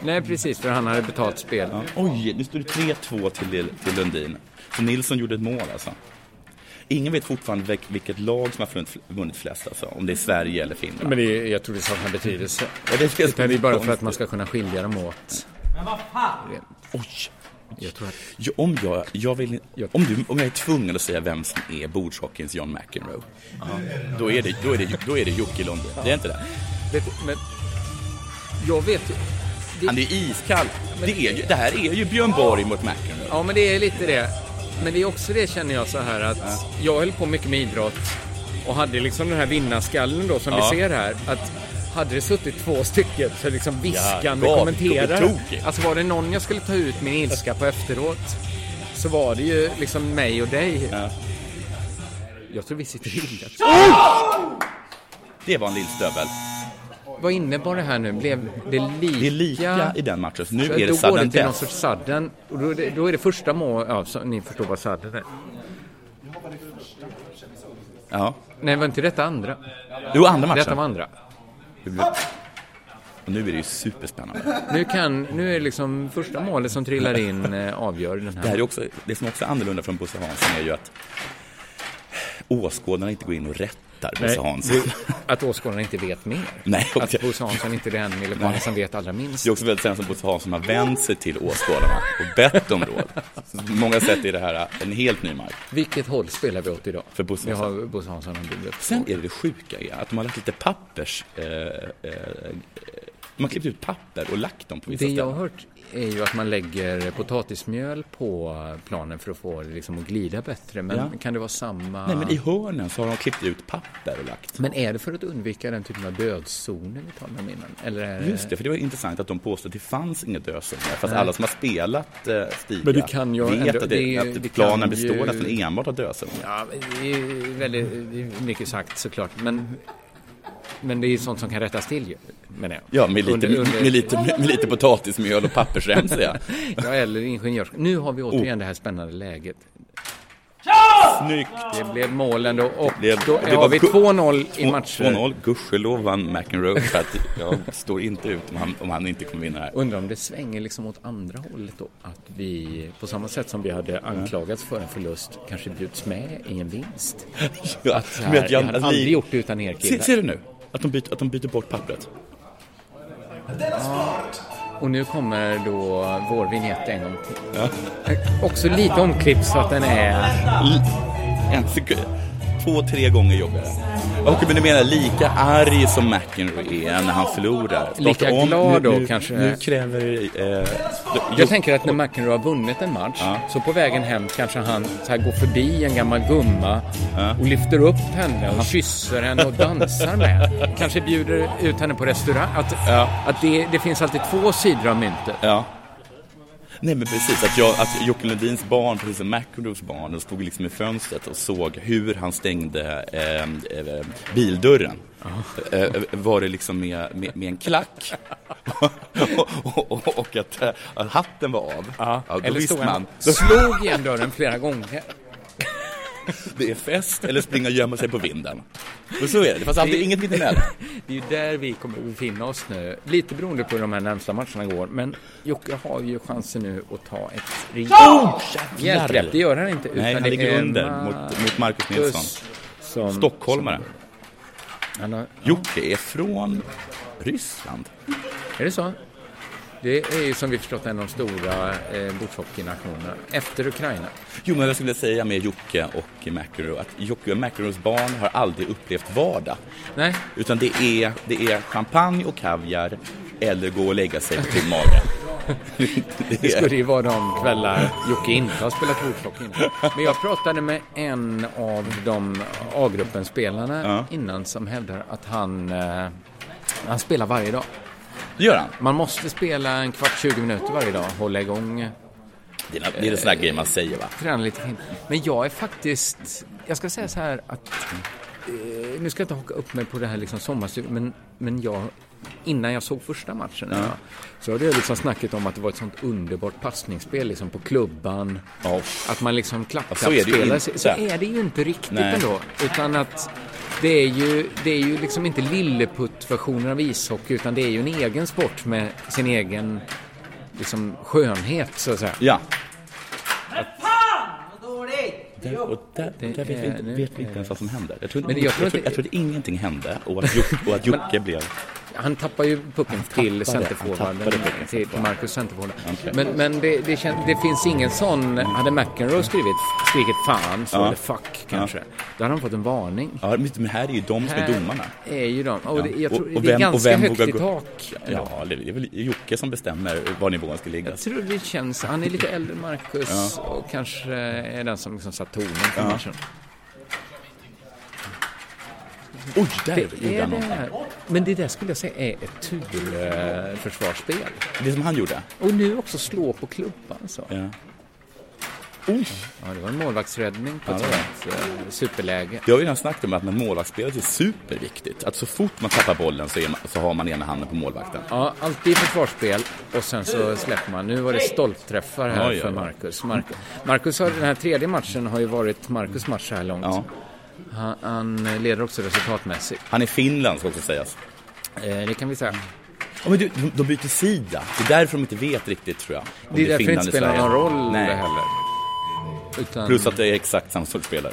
[SPEAKER 4] Nej precis, för han hade betalt spel.
[SPEAKER 5] Ja. Oj, nu står det 3-2 till, till Lundin. Så Nilsson gjorde ett mål alltså. Ingen vet fortfarande vilk- vilket lag som har vunnit, vunnit flest alltså. Om det är Sverige eller Finland.
[SPEAKER 4] Men det, jag tror det saknar betydelse.
[SPEAKER 5] Ja, det känns
[SPEAKER 4] Utan det är bara för att
[SPEAKER 5] konstigt.
[SPEAKER 4] man ska kunna skilja dem åt.
[SPEAKER 5] Oj!
[SPEAKER 4] Jag tror att...
[SPEAKER 5] Ja, om, jag, jag vill,
[SPEAKER 4] Jag-
[SPEAKER 5] om, du, om jag är tvungen att säga vem som är bordshockeyns John McEnroe, då, är det, då, är det, då är det Jocke Lundgren. Det är inte det?
[SPEAKER 4] Vet, men, jag vet ju...
[SPEAKER 5] Han är ju iskall. Det, är ju, det här är ju Björn Borg mot McEnroe.
[SPEAKER 4] Ja, men det är lite det. Men det är också det känner jag så här att jag höll på mycket med idrott och hade liksom den här vinnarskallen då som
[SPEAKER 5] Ja.
[SPEAKER 4] vi ser här. Att hade det suttit två stycken så liksom viskande
[SPEAKER 5] galet,
[SPEAKER 4] kommenterare.
[SPEAKER 5] tokigt.
[SPEAKER 4] Alltså var det någon jag skulle ta ut min ilska på efteråt så var det ju liksom mig och dig. Jag tror vi sitter illa till.
[SPEAKER 5] Det var en lillstövel.
[SPEAKER 4] Vad innebar det här nu? Blev det lika?
[SPEAKER 5] Det är lika i den matchen. Så nu
[SPEAKER 4] Så
[SPEAKER 5] är det
[SPEAKER 4] då går det
[SPEAKER 5] sudden
[SPEAKER 4] till någon
[SPEAKER 5] death.
[SPEAKER 4] sorts sudden. Och då är det, då är det första mål... Ja, så, ni förstår vad sudden är.
[SPEAKER 5] Ja.
[SPEAKER 4] Nej, var inte detta andra?
[SPEAKER 5] Jo, andra matchen.
[SPEAKER 4] Detta var andra.
[SPEAKER 5] Och nu är det ju superspännande.
[SPEAKER 4] Nu, kan, nu är det liksom första målet som trillar in eh, avgör den
[SPEAKER 5] Det, här
[SPEAKER 4] här.
[SPEAKER 5] är också, det som också är annorlunda från Bosse Hansson är ju att åskådarna inte går in och rättar Bosse Hansson.
[SPEAKER 4] Att åskådarna inte vet mer.
[SPEAKER 5] Nej, och
[SPEAKER 4] Att
[SPEAKER 5] det-
[SPEAKER 4] Bosse Hansson inte är den eller barnen som vet allra minst.
[SPEAKER 5] Det är också väldigt sällan som Bosse Hansson har vänt sig till åskådarna och bett om råd. Så på många sätt är det här äh, en helt ny mark.
[SPEAKER 4] Vilket håll spelar vi åt idag?
[SPEAKER 5] För Bosse
[SPEAKER 4] Vi har
[SPEAKER 5] Hansson.
[SPEAKER 4] Bosse Hansson ombord.
[SPEAKER 5] Sen är det det sjuka är att de har lagt lite pappers... Eh, eh, eh, de har klippt ut papper och lagt dem på vissa
[SPEAKER 4] Det jag har
[SPEAKER 5] ställen.
[SPEAKER 4] hört är ju att man lägger potatismjöl på planen för att få det liksom att glida bättre. Men
[SPEAKER 5] Ja.
[SPEAKER 4] kan det vara samma...
[SPEAKER 5] Nej, men i hörnen så har de klippt ut papper och lagt.
[SPEAKER 4] Men är det för att undvika den typen av dödszoner vi talade om innan? Eller är
[SPEAKER 5] Just det, för det var intressant att de påstod att det fanns inga dödszoner. Fast alla som har spelat eh, Stiga
[SPEAKER 4] Men det kan ju
[SPEAKER 5] vet
[SPEAKER 4] ändå-
[SPEAKER 5] att,
[SPEAKER 4] det-
[SPEAKER 5] det, att
[SPEAKER 4] det kan
[SPEAKER 5] planen
[SPEAKER 4] ju-
[SPEAKER 5] består nästan enbart av dödszoner.
[SPEAKER 4] Ja, det är ju väldigt det är mycket sagt såklart. Men, men det är ju sånt som kan rättas till ju, menar jag.
[SPEAKER 5] Ja, med lite,
[SPEAKER 4] Under- under-
[SPEAKER 5] Med, lite, med lite potatismjöl och pappersremsor, ja.
[SPEAKER 4] Ja, eller ingenjörs... Nu har
[SPEAKER 5] Oh.
[SPEAKER 4] vi återigen det här spännande läget.
[SPEAKER 5] Snyggt!
[SPEAKER 4] Det blev mål ändå och
[SPEAKER 5] blev-
[SPEAKER 4] då
[SPEAKER 5] det blev
[SPEAKER 4] har vi
[SPEAKER 5] gu-
[SPEAKER 4] 2-0 i
[SPEAKER 5] Två-
[SPEAKER 4] matcher.
[SPEAKER 5] 2-0, gudskelov vann McEnroe för att jag står inte ut om han, om han inte kommer vinna det här.
[SPEAKER 4] Undrar om det svänger liksom åt andra hållet då? Att vi, på samma sätt som vi hade
[SPEAKER 5] Mm.
[SPEAKER 4] anklagats för en förlust, kanske bjuds med i en vinst?
[SPEAKER 5] Ja,
[SPEAKER 4] Så
[SPEAKER 5] men
[SPEAKER 4] här,
[SPEAKER 5] att
[SPEAKER 4] jag
[SPEAKER 5] Jan-
[SPEAKER 4] hade
[SPEAKER 5] att alltså, vi-
[SPEAKER 4] aldrig gjort det utan er
[SPEAKER 5] Se, ser
[SPEAKER 4] killar.
[SPEAKER 5] du nu? Att de, byter, att de byter bort pappret.
[SPEAKER 4] Och nu kommer då vår vignett en gång till. Också lite omklippt så att den är...
[SPEAKER 5] L- En sekund. Två, tre gånger jobbigare. Och men du menar lika arg som McEnroe är när han förlorar. Starta
[SPEAKER 4] Lika glad
[SPEAKER 5] nu,
[SPEAKER 4] då,
[SPEAKER 5] nu,
[SPEAKER 4] kanske.
[SPEAKER 5] Nu kräver... Eh,
[SPEAKER 4] Jag tänker att när McEnroe har vunnit en match så på vägen hem kanske han så här går förbi en gammal gumma och lyfter upp henne och kysser henne och dansar med henne. Kanske bjuder ut henne på restaurang. Att, att det, det finns alltid två sidor av myntet.
[SPEAKER 5] ja. Nej men precis, att, jag, att Jocke Lundins barn, precis som McEnroes barn, de stod liksom i fönstret och såg hur han stängde eh, eh, bildörren. Eh, var det liksom med, med, med en klack och, och, och, och att, eh, att hatten var av.
[SPEAKER 9] Ja,
[SPEAKER 5] då
[SPEAKER 9] eller
[SPEAKER 5] visste
[SPEAKER 9] stod
[SPEAKER 5] man,
[SPEAKER 9] han-
[SPEAKER 4] Slog igen dörren flera gånger.
[SPEAKER 5] det är fest eller springa och gömma sig på vinden. Och så är det, det fanns alltid inget mittemellan.
[SPEAKER 4] Det är ju där vi kommer att befinna oss nu. Lite beroende på hur de här närmsta matcherna går. Men Jocke har ju chansen nu att ta ett rejält hjälpgrepp. Det gör Eh, han inte.
[SPEAKER 5] Nej, han
[SPEAKER 4] det
[SPEAKER 5] ligger
[SPEAKER 4] är
[SPEAKER 5] under mot, mot Marcus
[SPEAKER 4] Marcus
[SPEAKER 5] Nilsson.
[SPEAKER 4] Som,
[SPEAKER 5] Stockholmare.
[SPEAKER 4] som- han har,
[SPEAKER 5] Jocke är från Ryssland.
[SPEAKER 4] är det så? Det är ju som vi förstått en av de stora eh, bordshockeynationerna. Efter Ukraina.
[SPEAKER 5] Jo, men vad skulle jag säga med Jocke och McEnroe? Att Jocke och McEnroes barn har aldrig upplevt vardag.
[SPEAKER 4] Nej,
[SPEAKER 5] Utan det är, det är champagne och kaviar eller gå och lägga sig med tom mage.
[SPEAKER 4] Det skulle ju vara de kvällar Jocke inte har spelat bordshockey innan. Men jag pratade med en av de A-gruppen-spelarna innan som hävdar att han, eh, han spelar varje dag.
[SPEAKER 5] Det gör han.
[SPEAKER 4] Man måste spela en kvart, 20 minuter varje dag, hålla igång,
[SPEAKER 5] Det är, det är en sån där grej man säger, va?
[SPEAKER 4] träna lite fint. Men jag är faktiskt, jag ska säga så här att, eh, nu ska jag inte haka upp mig på det här liksom sommarstugan, men, men jag, innan jag såg första matchen, ja. så hade jag liksom snacket om att det var ett sånt underbart passningsspel liksom på klubban.
[SPEAKER 5] Ja.
[SPEAKER 4] Att man liksom
[SPEAKER 5] Ja, så är det ju
[SPEAKER 4] klapp-klapp-spelar. Så,
[SPEAKER 5] inte.
[SPEAKER 4] så är det ju inte riktigt
[SPEAKER 5] Nej.
[SPEAKER 4] ändå. Utan att det är ju, det är ju liksom inte lilleputt-versionen av ishockey utan det är ju en egen sport med sin egen liksom, skönhet så att säga.
[SPEAKER 5] Ja.
[SPEAKER 13] dåligt!
[SPEAKER 5] Där, och där,
[SPEAKER 4] Det
[SPEAKER 5] där vet vi
[SPEAKER 4] är-
[SPEAKER 5] inte,
[SPEAKER 4] nu
[SPEAKER 5] vet vi
[SPEAKER 4] är-
[SPEAKER 5] inte ens vad som händer. Jag tror,
[SPEAKER 4] Men
[SPEAKER 5] jag,
[SPEAKER 4] jag tror
[SPEAKER 5] tror, jag,
[SPEAKER 4] att
[SPEAKER 5] tror,
[SPEAKER 4] det-
[SPEAKER 5] att ingenting hände och att Jocke, och att Jocke blev...
[SPEAKER 4] Han tappar ju pucken till
[SPEAKER 5] tappade- han
[SPEAKER 4] centerforwarden,
[SPEAKER 5] tappade pucken.
[SPEAKER 4] till till Marcus centerforwarden.
[SPEAKER 5] Okej.
[SPEAKER 4] Men, men det, det, kän, det finns ingen sån, hade McEnroe skrivit, skrikit fan, så
[SPEAKER 5] Ja.
[SPEAKER 4] eller fuck kanske, då hade han fått en varning.
[SPEAKER 5] Ja, men men här är ju de som är domarna.
[SPEAKER 4] Här är ju de. Och det, jag tror,
[SPEAKER 5] Och- och
[SPEAKER 4] det är
[SPEAKER 5] vem- och
[SPEAKER 4] ganska
[SPEAKER 5] vem
[SPEAKER 4] högt
[SPEAKER 5] vågar
[SPEAKER 4] i
[SPEAKER 5] gå-
[SPEAKER 4] tak.
[SPEAKER 5] Ja, det är väl Jocke som bestämmer var nivån ska ligga.
[SPEAKER 4] Jag tror det känns, han är lite äldre än Marcus och kanske är den som liksom satt tonen för matchen.
[SPEAKER 5] Oj, där
[SPEAKER 4] Det
[SPEAKER 5] gjorde
[SPEAKER 4] är
[SPEAKER 5] han
[SPEAKER 4] det
[SPEAKER 5] någonting.
[SPEAKER 4] här. Men det där skulle jag säga är ett turförsvarsspel.
[SPEAKER 5] Det som han gjorde.
[SPEAKER 4] Och nu också slå på klubban så.
[SPEAKER 5] Ja.
[SPEAKER 4] Ja, det var en målvaktsräddning på ett
[SPEAKER 5] Ja, det var
[SPEAKER 4] sånt eh, superläge.
[SPEAKER 5] Det har vi redan snackat om att med målvaktsspelet är superviktigt. Att så fort man tappar bollen så, är man, så har man ena handen på målvakten.
[SPEAKER 4] Ja, alltid försvarsspel och sen så släpper man. Nu var det stolpträffar här
[SPEAKER 5] Oj, oj,
[SPEAKER 4] för
[SPEAKER 5] oj.
[SPEAKER 4] Marcus. Marcus, Marcus har, den här tredje matchen har ju varit Marcus match så här långt.
[SPEAKER 5] Ja.
[SPEAKER 4] Han, han leder också resultatmässigt.
[SPEAKER 5] Han är Finland ska också sägas.
[SPEAKER 4] Eh, det kan vi säga.
[SPEAKER 5] Ja, men du, de- de byter sida. Det är därför de inte vet riktigt tror jag. Om
[SPEAKER 4] Det är därför det
[SPEAKER 5] Finland
[SPEAKER 4] inte
[SPEAKER 5] eller
[SPEAKER 4] spelar
[SPEAKER 5] Sverige.
[SPEAKER 4] någon roll
[SPEAKER 5] Nej.
[SPEAKER 4] det heller. Utan
[SPEAKER 5] Plus att det är exakt samma sorts spelare.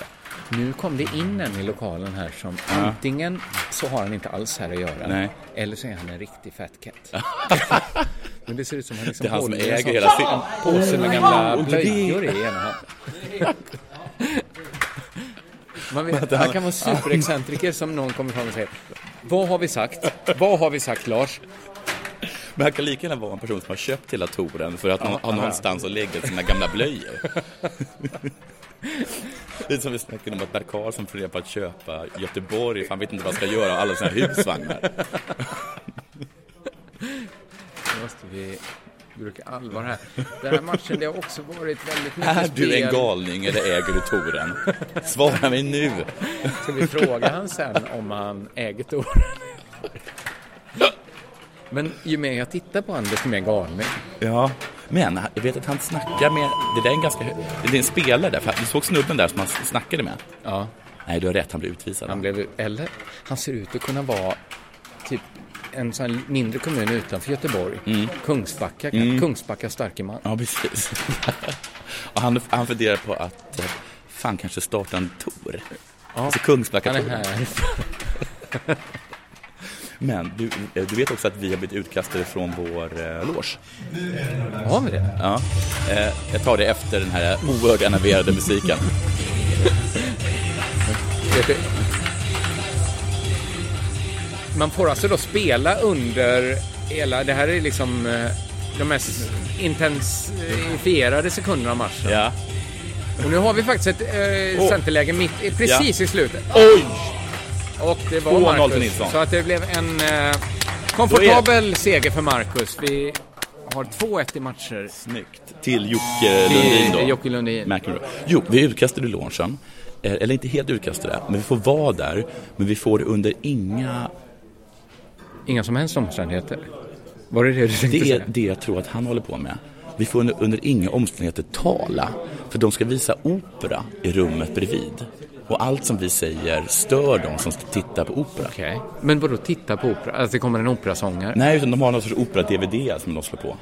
[SPEAKER 4] nu kom det in en i lokalen här som antingen så har han inte alls här att göra
[SPEAKER 5] Nej.
[SPEAKER 4] eller så är han en riktig fat cat. Men det ser ut som han liksom
[SPEAKER 5] Det är han som
[SPEAKER 4] håller en
[SPEAKER 5] äger
[SPEAKER 4] sån
[SPEAKER 5] hela serien.
[SPEAKER 4] påse med gamla
[SPEAKER 5] det-
[SPEAKER 4] blöjor i ena handen. Man vet, han kan vara superexcentriker som någon kommer fram och säger Vad har vi sagt? Vad har vi sagt Lars?
[SPEAKER 5] Men han kan lika gärna vara en person som har köpt hela touren för att han har någonstans att lägga sina gamla blöjor. Det är som vi snackade om att Bert Karlsson funderar på att köpa Göteborg, för han vet inte vad han ska göra av alla sina husvagnar.
[SPEAKER 4] Nu måste vi bruka allvar här. Den här matchen, det har också varit väldigt mycket
[SPEAKER 5] Är
[SPEAKER 4] spel.
[SPEAKER 5] du en galning eller äger du touren? Svara mig nu!
[SPEAKER 4] Ska vi fråga han sen om han äger Tor? Men ju mer jag tittar på honom, desto mer galning.
[SPEAKER 5] Ja. Men jag vet att han snackar med, det där är en ganska, hö- det är en spelare där, för du såg snubben där som han snackade med?
[SPEAKER 4] Ja,
[SPEAKER 5] Nej, du har rätt, han blev utvisad.
[SPEAKER 4] han blev Eller, han ser ut att kunna vara typ en sån här mindre kommun utanför Göteborg.
[SPEAKER 5] Mm.
[SPEAKER 4] Kungsbacka, Kungsbacka Starkeman.
[SPEAKER 5] Ja, precis. Och han, han funderar på att, eh, fan kanske starta en tour. Alltså
[SPEAKER 4] Han är
[SPEAKER 5] Kungsbacka-touren.
[SPEAKER 4] här.
[SPEAKER 5] Men du, eh, du vet också att vi har blivit utkastade från vår eh, loge.
[SPEAKER 4] Har vi det?
[SPEAKER 5] Ja. Eh, jag tar det efter den här oerhört enerverade musiken.
[SPEAKER 4] Vet du? Man får alltså då spela under hela, det här är liksom eh, de mest intensifierade sekunderna av matchen.
[SPEAKER 5] Ja.
[SPEAKER 4] Och nu har vi faktiskt ett eh,
[SPEAKER 5] Oh.
[SPEAKER 4] centerläge mitt, i- precis i slutet.
[SPEAKER 5] Oj!
[SPEAKER 4] Och det var
[SPEAKER 5] 2-0 till
[SPEAKER 4] Marcus.
[SPEAKER 5] Nilsson.
[SPEAKER 4] Så att det blev en eh, komfortabel seger för Marcus. Vi har 2-1 i matcher.
[SPEAKER 5] Snyggt. Till Jocke Lundin då.
[SPEAKER 4] Till Jocke Lundin.
[SPEAKER 5] McEnroe. Jo, vi är utkastade ur loungen. Eh, Eller inte helt utkastade, men vi får vara där. Men vi får under inga...
[SPEAKER 4] Inga som helst omständigheter. Var det det du tänkte
[SPEAKER 5] Det är
[SPEAKER 4] säga?
[SPEAKER 5] det jag tror att han håller på med. Vi får under, under inga omständigheter tala. För de ska visa opera i rummet bredvid. Och allt som vi säger stör de som tittar på opera.
[SPEAKER 4] Okej. Men vadå titta på opera? Alltså det kommer en operasångare?
[SPEAKER 5] Nej, utan de har någon sorts opera-DVD som de slår på.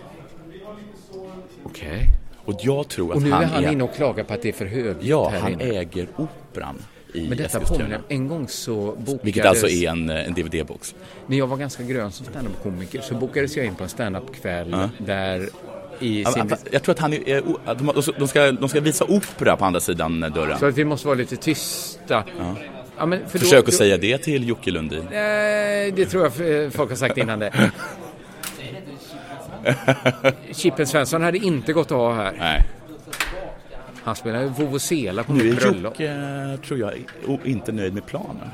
[SPEAKER 4] Okej.
[SPEAKER 5] Och jag tror att
[SPEAKER 4] Och nu är
[SPEAKER 5] han,
[SPEAKER 4] han inne och klagar på att det är för högt
[SPEAKER 5] Ja,
[SPEAKER 4] här
[SPEAKER 5] han
[SPEAKER 4] inne.
[SPEAKER 5] äger operan i
[SPEAKER 4] Men detta
[SPEAKER 5] Eskilstuna.
[SPEAKER 4] påminner, en gång så bokades...
[SPEAKER 5] Vilket alltså är en, eh, en DVD-box.
[SPEAKER 4] När jag var ganska grön som standup-komiker så bokades jag in på en standup-kväll där i
[SPEAKER 5] Ja,
[SPEAKER 4] sin...
[SPEAKER 5] men Jag tror att han är, eh, o- att de har- de ska- de ska, de ska visa opera på andra sidan eh, dörren.
[SPEAKER 4] Så att vi måste vara lite tysta. Ja. men för då-
[SPEAKER 5] Försök
[SPEAKER 4] då-
[SPEAKER 5] att säga det till Jocke Lundin.
[SPEAKER 4] Nej, det tror jag eh, folk har sagt innan det. Chippen Svensson hade inte gått av här.
[SPEAKER 5] Nej.
[SPEAKER 4] Han spelade vovvozela på
[SPEAKER 5] Nu
[SPEAKER 4] mitt
[SPEAKER 5] är
[SPEAKER 4] bröllop.
[SPEAKER 5] Jocke, eh, tror jag, i- o- inte nöjd med planen.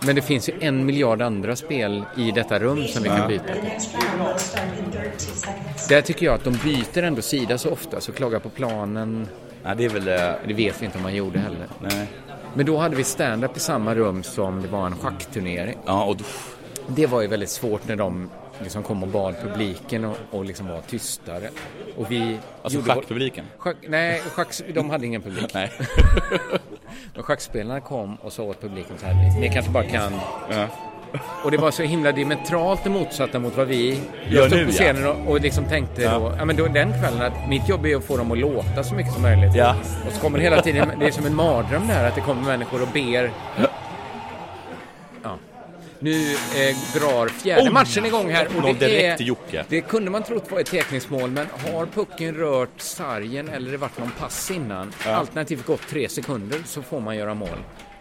[SPEAKER 4] Men det finns ju en miljard andra spel i detta rum som vi kan byta. Där tycker jag att de byter ändå sida så ofta, så klagar på planen.
[SPEAKER 5] Nej, det är väl... eh,
[SPEAKER 4] Det vet vi inte om man gjorde heller.
[SPEAKER 5] Nej.
[SPEAKER 4] Men då hade vi stand-up i samma rum som det var en schackturnering.
[SPEAKER 5] Ja, och då, alltså,
[SPEAKER 4] Det var ju väldigt svårt när de liksom kom och bad publiken och, och liksom var tystare. Och vi
[SPEAKER 5] alltså
[SPEAKER 4] gjorde vår-
[SPEAKER 5] schackpubliken.
[SPEAKER 4] Schack, nej, schacks, de hade ingen publik.
[SPEAKER 5] Nej.
[SPEAKER 4] Men schackspelarna kom och sa åt publiken så här, ni kanske bara kan... Och det var så himla diametralt det motsatta mot vad vi
[SPEAKER 5] Gör
[SPEAKER 4] stod
[SPEAKER 5] nu,
[SPEAKER 4] på
[SPEAKER 5] ja.
[SPEAKER 4] scenen och, och liksom tänkte då, ja men då den kvällen att mitt jobb är att få dem att låta så mycket som möjligt.
[SPEAKER 5] Ja.
[SPEAKER 4] Och så kommer det hela tiden, det är som en mardröm det här att det kommer människor och ber. Ja. Nu eh, drar fjärde
[SPEAKER 5] Oj!
[SPEAKER 4] matchen igång här och
[SPEAKER 5] Någon
[SPEAKER 4] det
[SPEAKER 5] direkt
[SPEAKER 4] är,
[SPEAKER 5] till Jocke.
[SPEAKER 4] det kunde man trott var ett teckningsmål, men har pucken rört sargen eller det varit någon pass innan, alternativt gått tre sekunder, så får man göra mål.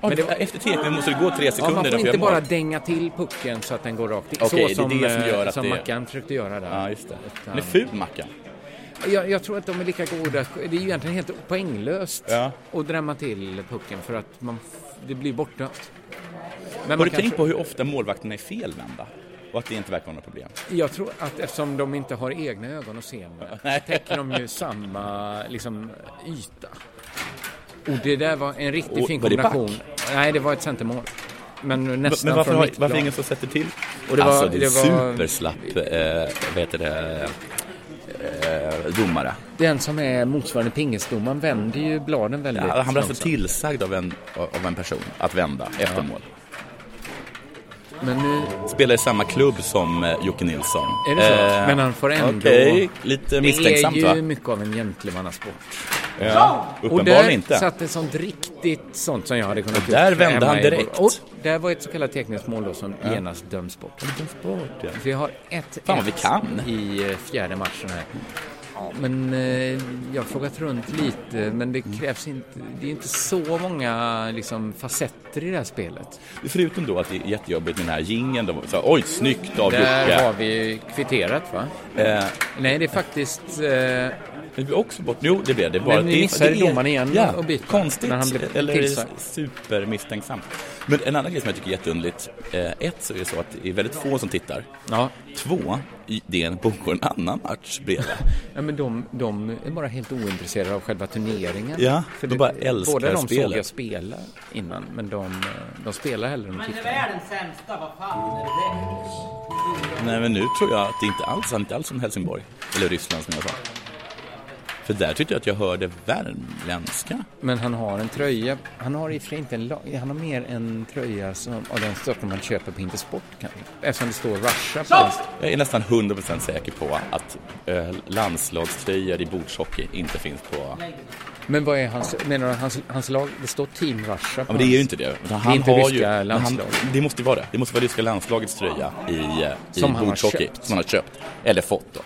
[SPEAKER 5] Men
[SPEAKER 4] det var-
[SPEAKER 5] Efter teckningen måste det gå tre
[SPEAKER 4] Ja,
[SPEAKER 5] sekunder
[SPEAKER 4] man får
[SPEAKER 5] innan vi
[SPEAKER 4] inte
[SPEAKER 5] gör mål.
[SPEAKER 4] bara dänga till pucken så att den går rakt.
[SPEAKER 5] Okej, det är
[SPEAKER 4] så som,
[SPEAKER 5] det som
[SPEAKER 4] eh,
[SPEAKER 5] gör att
[SPEAKER 4] som
[SPEAKER 5] det-
[SPEAKER 4] Mackan försökte göra där.
[SPEAKER 5] Ja, just det.
[SPEAKER 4] Utan-
[SPEAKER 5] Den är ful, Mackan.
[SPEAKER 4] jag, jag tror att de är lika goda. Det är ju egentligen helt poänglöst
[SPEAKER 5] Ja.
[SPEAKER 4] att drämma till pucken för att man, f- det blir bortdömt. Men
[SPEAKER 5] Har
[SPEAKER 4] man
[SPEAKER 5] du
[SPEAKER 4] kanske-
[SPEAKER 5] tänkt på hur ofta målvakterna är felvända? Och att det inte verkar vara något problem?
[SPEAKER 4] Jag tror att eftersom de inte har egna ögon att se med så täcker de ju samma liksom, yta. Och det där var en riktigt
[SPEAKER 5] Och
[SPEAKER 4] fin
[SPEAKER 5] var det back?
[SPEAKER 4] kombination. Nej, det var ett centermål. Men nästan
[SPEAKER 5] Men varför,
[SPEAKER 4] från
[SPEAKER 5] har,
[SPEAKER 4] mittplan.
[SPEAKER 5] varför ingen som sätter till?
[SPEAKER 4] Och det var-
[SPEAKER 5] alltså det är
[SPEAKER 4] det var-
[SPEAKER 5] superslapp, eh, vad heter det, eh, domare.
[SPEAKER 4] Den som är motsvarande pingisdomaren vänder ju bladen väldigt
[SPEAKER 5] Ja, han blir alltså
[SPEAKER 4] långsamt.
[SPEAKER 5] tillsagd av en, av en person att vända efter mål. typ-
[SPEAKER 4] Men nu
[SPEAKER 5] Spelar i samma klubb som eh, Jocke Nilsson. Eh,
[SPEAKER 4] är det så. Men han får ändå...
[SPEAKER 5] Okej, lite misstänksamt
[SPEAKER 4] Det är ju
[SPEAKER 5] va?
[SPEAKER 4] mycket av en gentlemannasport.
[SPEAKER 5] Ja.
[SPEAKER 4] Och
[SPEAKER 5] Uppenbarligen
[SPEAKER 4] där
[SPEAKER 5] inte.
[SPEAKER 4] satt ett sånt riktigt sånt som jag hade kunnat
[SPEAKER 5] Och där
[SPEAKER 4] gjort hemma
[SPEAKER 5] vände han
[SPEAKER 4] i Bor-
[SPEAKER 5] direkt.
[SPEAKER 4] Och där var ett så kallat teckningsmål då som genast döms bort. Vi har ett
[SPEAKER 5] Fan vad vi kan.
[SPEAKER 4] i eh, fjärde matchen här. Ja, men eh, jag har frågat runt lite, men det krävs inte, det är inte så många liksom, facetter i det här spelet.
[SPEAKER 5] Förutom då att det är jättejobbigt med den här jingeln. då, så här, Oj, snyggt av
[SPEAKER 4] Där har
[SPEAKER 5] Jocke.
[SPEAKER 4] vi kvitterat va?
[SPEAKER 5] Eh,
[SPEAKER 4] Nej, det är faktiskt... Eh,
[SPEAKER 5] Det blev också bort. Jo, det blev det. Bara
[SPEAKER 4] Men
[SPEAKER 5] att
[SPEAKER 4] ni
[SPEAKER 5] det-
[SPEAKER 4] missade
[SPEAKER 5] det är-
[SPEAKER 4] domaren igen
[SPEAKER 5] ja,
[SPEAKER 4] och bytte.
[SPEAKER 5] Konstigt,
[SPEAKER 4] När han blev
[SPEAKER 5] eller
[SPEAKER 4] tillsagd.
[SPEAKER 5] supermisstänksamt. Men en annan grej som jag tycker är jätteunderligt. Eh, ett, så är det så att det är väldigt få som tittar.
[SPEAKER 4] ja.
[SPEAKER 5] Två, i- det är en- pågår en annan match bredvid.
[SPEAKER 4] Ja, men de, de är bara helt ointresserade av själva turneringen.
[SPEAKER 5] Ja,
[SPEAKER 4] För
[SPEAKER 5] de
[SPEAKER 4] det-
[SPEAKER 5] bara älskar
[SPEAKER 4] Båda de såg
[SPEAKER 5] spelet.
[SPEAKER 4] jag spela innan, men de, eh, de spelar hellre än de tittar.
[SPEAKER 5] Nej, men nu tror jag att det inte alls handlar inte alls om Helsingborg. Eller Ryssland som jag sa. För där tyckte jag att jag hörde värmländska.
[SPEAKER 4] Men han har en tröja, han har i och för sig inte en lag, han har mer en tröja som, av den sorten man köper på Intersport kanske. Eftersom det står Russia på den.
[SPEAKER 5] Jag är nästan 100% säker på att eh, landslagströjor i bordshockey inte finns på
[SPEAKER 4] Men vad är hans, menar du hans, hans lag, det står Team Russia på
[SPEAKER 5] Ja, men det är ju
[SPEAKER 4] hans-
[SPEAKER 5] inte det. Utan
[SPEAKER 4] Det är inte ryska
[SPEAKER 5] men
[SPEAKER 4] landslag.
[SPEAKER 5] Han, det måste ju vara det. Det måste vara ryska landslagets tröja i, eh, i
[SPEAKER 4] Som han har
[SPEAKER 5] bordshockey.
[SPEAKER 4] köpt.
[SPEAKER 5] Som han har köpt. Eller fått då.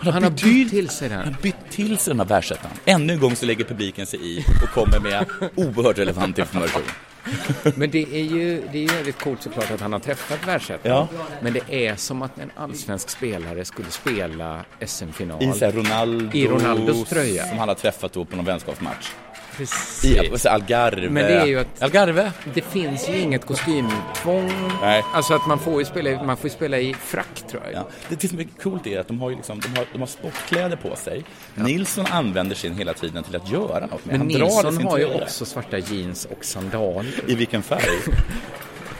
[SPEAKER 4] Han har
[SPEAKER 5] bytt
[SPEAKER 4] bytt till sig
[SPEAKER 5] Han
[SPEAKER 4] den.
[SPEAKER 5] har bytt till sig den här världsettan. Ännu en gång så lägger publiken sig i och kommer med oerhört relevant information.
[SPEAKER 4] Men det är ju, det är ju väldigt coolt såklart att han har träffat världsettan.
[SPEAKER 5] Ja.
[SPEAKER 4] Men det är som att en allsvensk spelare skulle spela SM-final.
[SPEAKER 5] I så här Ronaldo,
[SPEAKER 4] I Ronaldos tröja.
[SPEAKER 5] som han har träffat då på någon vänskapsmatch.
[SPEAKER 4] precis.
[SPEAKER 5] I så Algarve.
[SPEAKER 4] Men det är ju att-
[SPEAKER 5] Algarve?
[SPEAKER 4] Det finns ju inget kostymtvång.
[SPEAKER 5] Nej.
[SPEAKER 4] Alltså att man får ju spela, i- man får ju spela i frack tror jag.
[SPEAKER 5] Ja. Det, det som är coolt är att de har, ju liksom, de har, de har sportkläder på sig. Nilsson använder sin hela tiden till att göra något
[SPEAKER 4] Men
[SPEAKER 5] med. Han drar i
[SPEAKER 4] Nilsson
[SPEAKER 5] sin
[SPEAKER 4] har ju
[SPEAKER 5] tröja.
[SPEAKER 4] också svarta jeans och sandaler.
[SPEAKER 5] I vilken färg?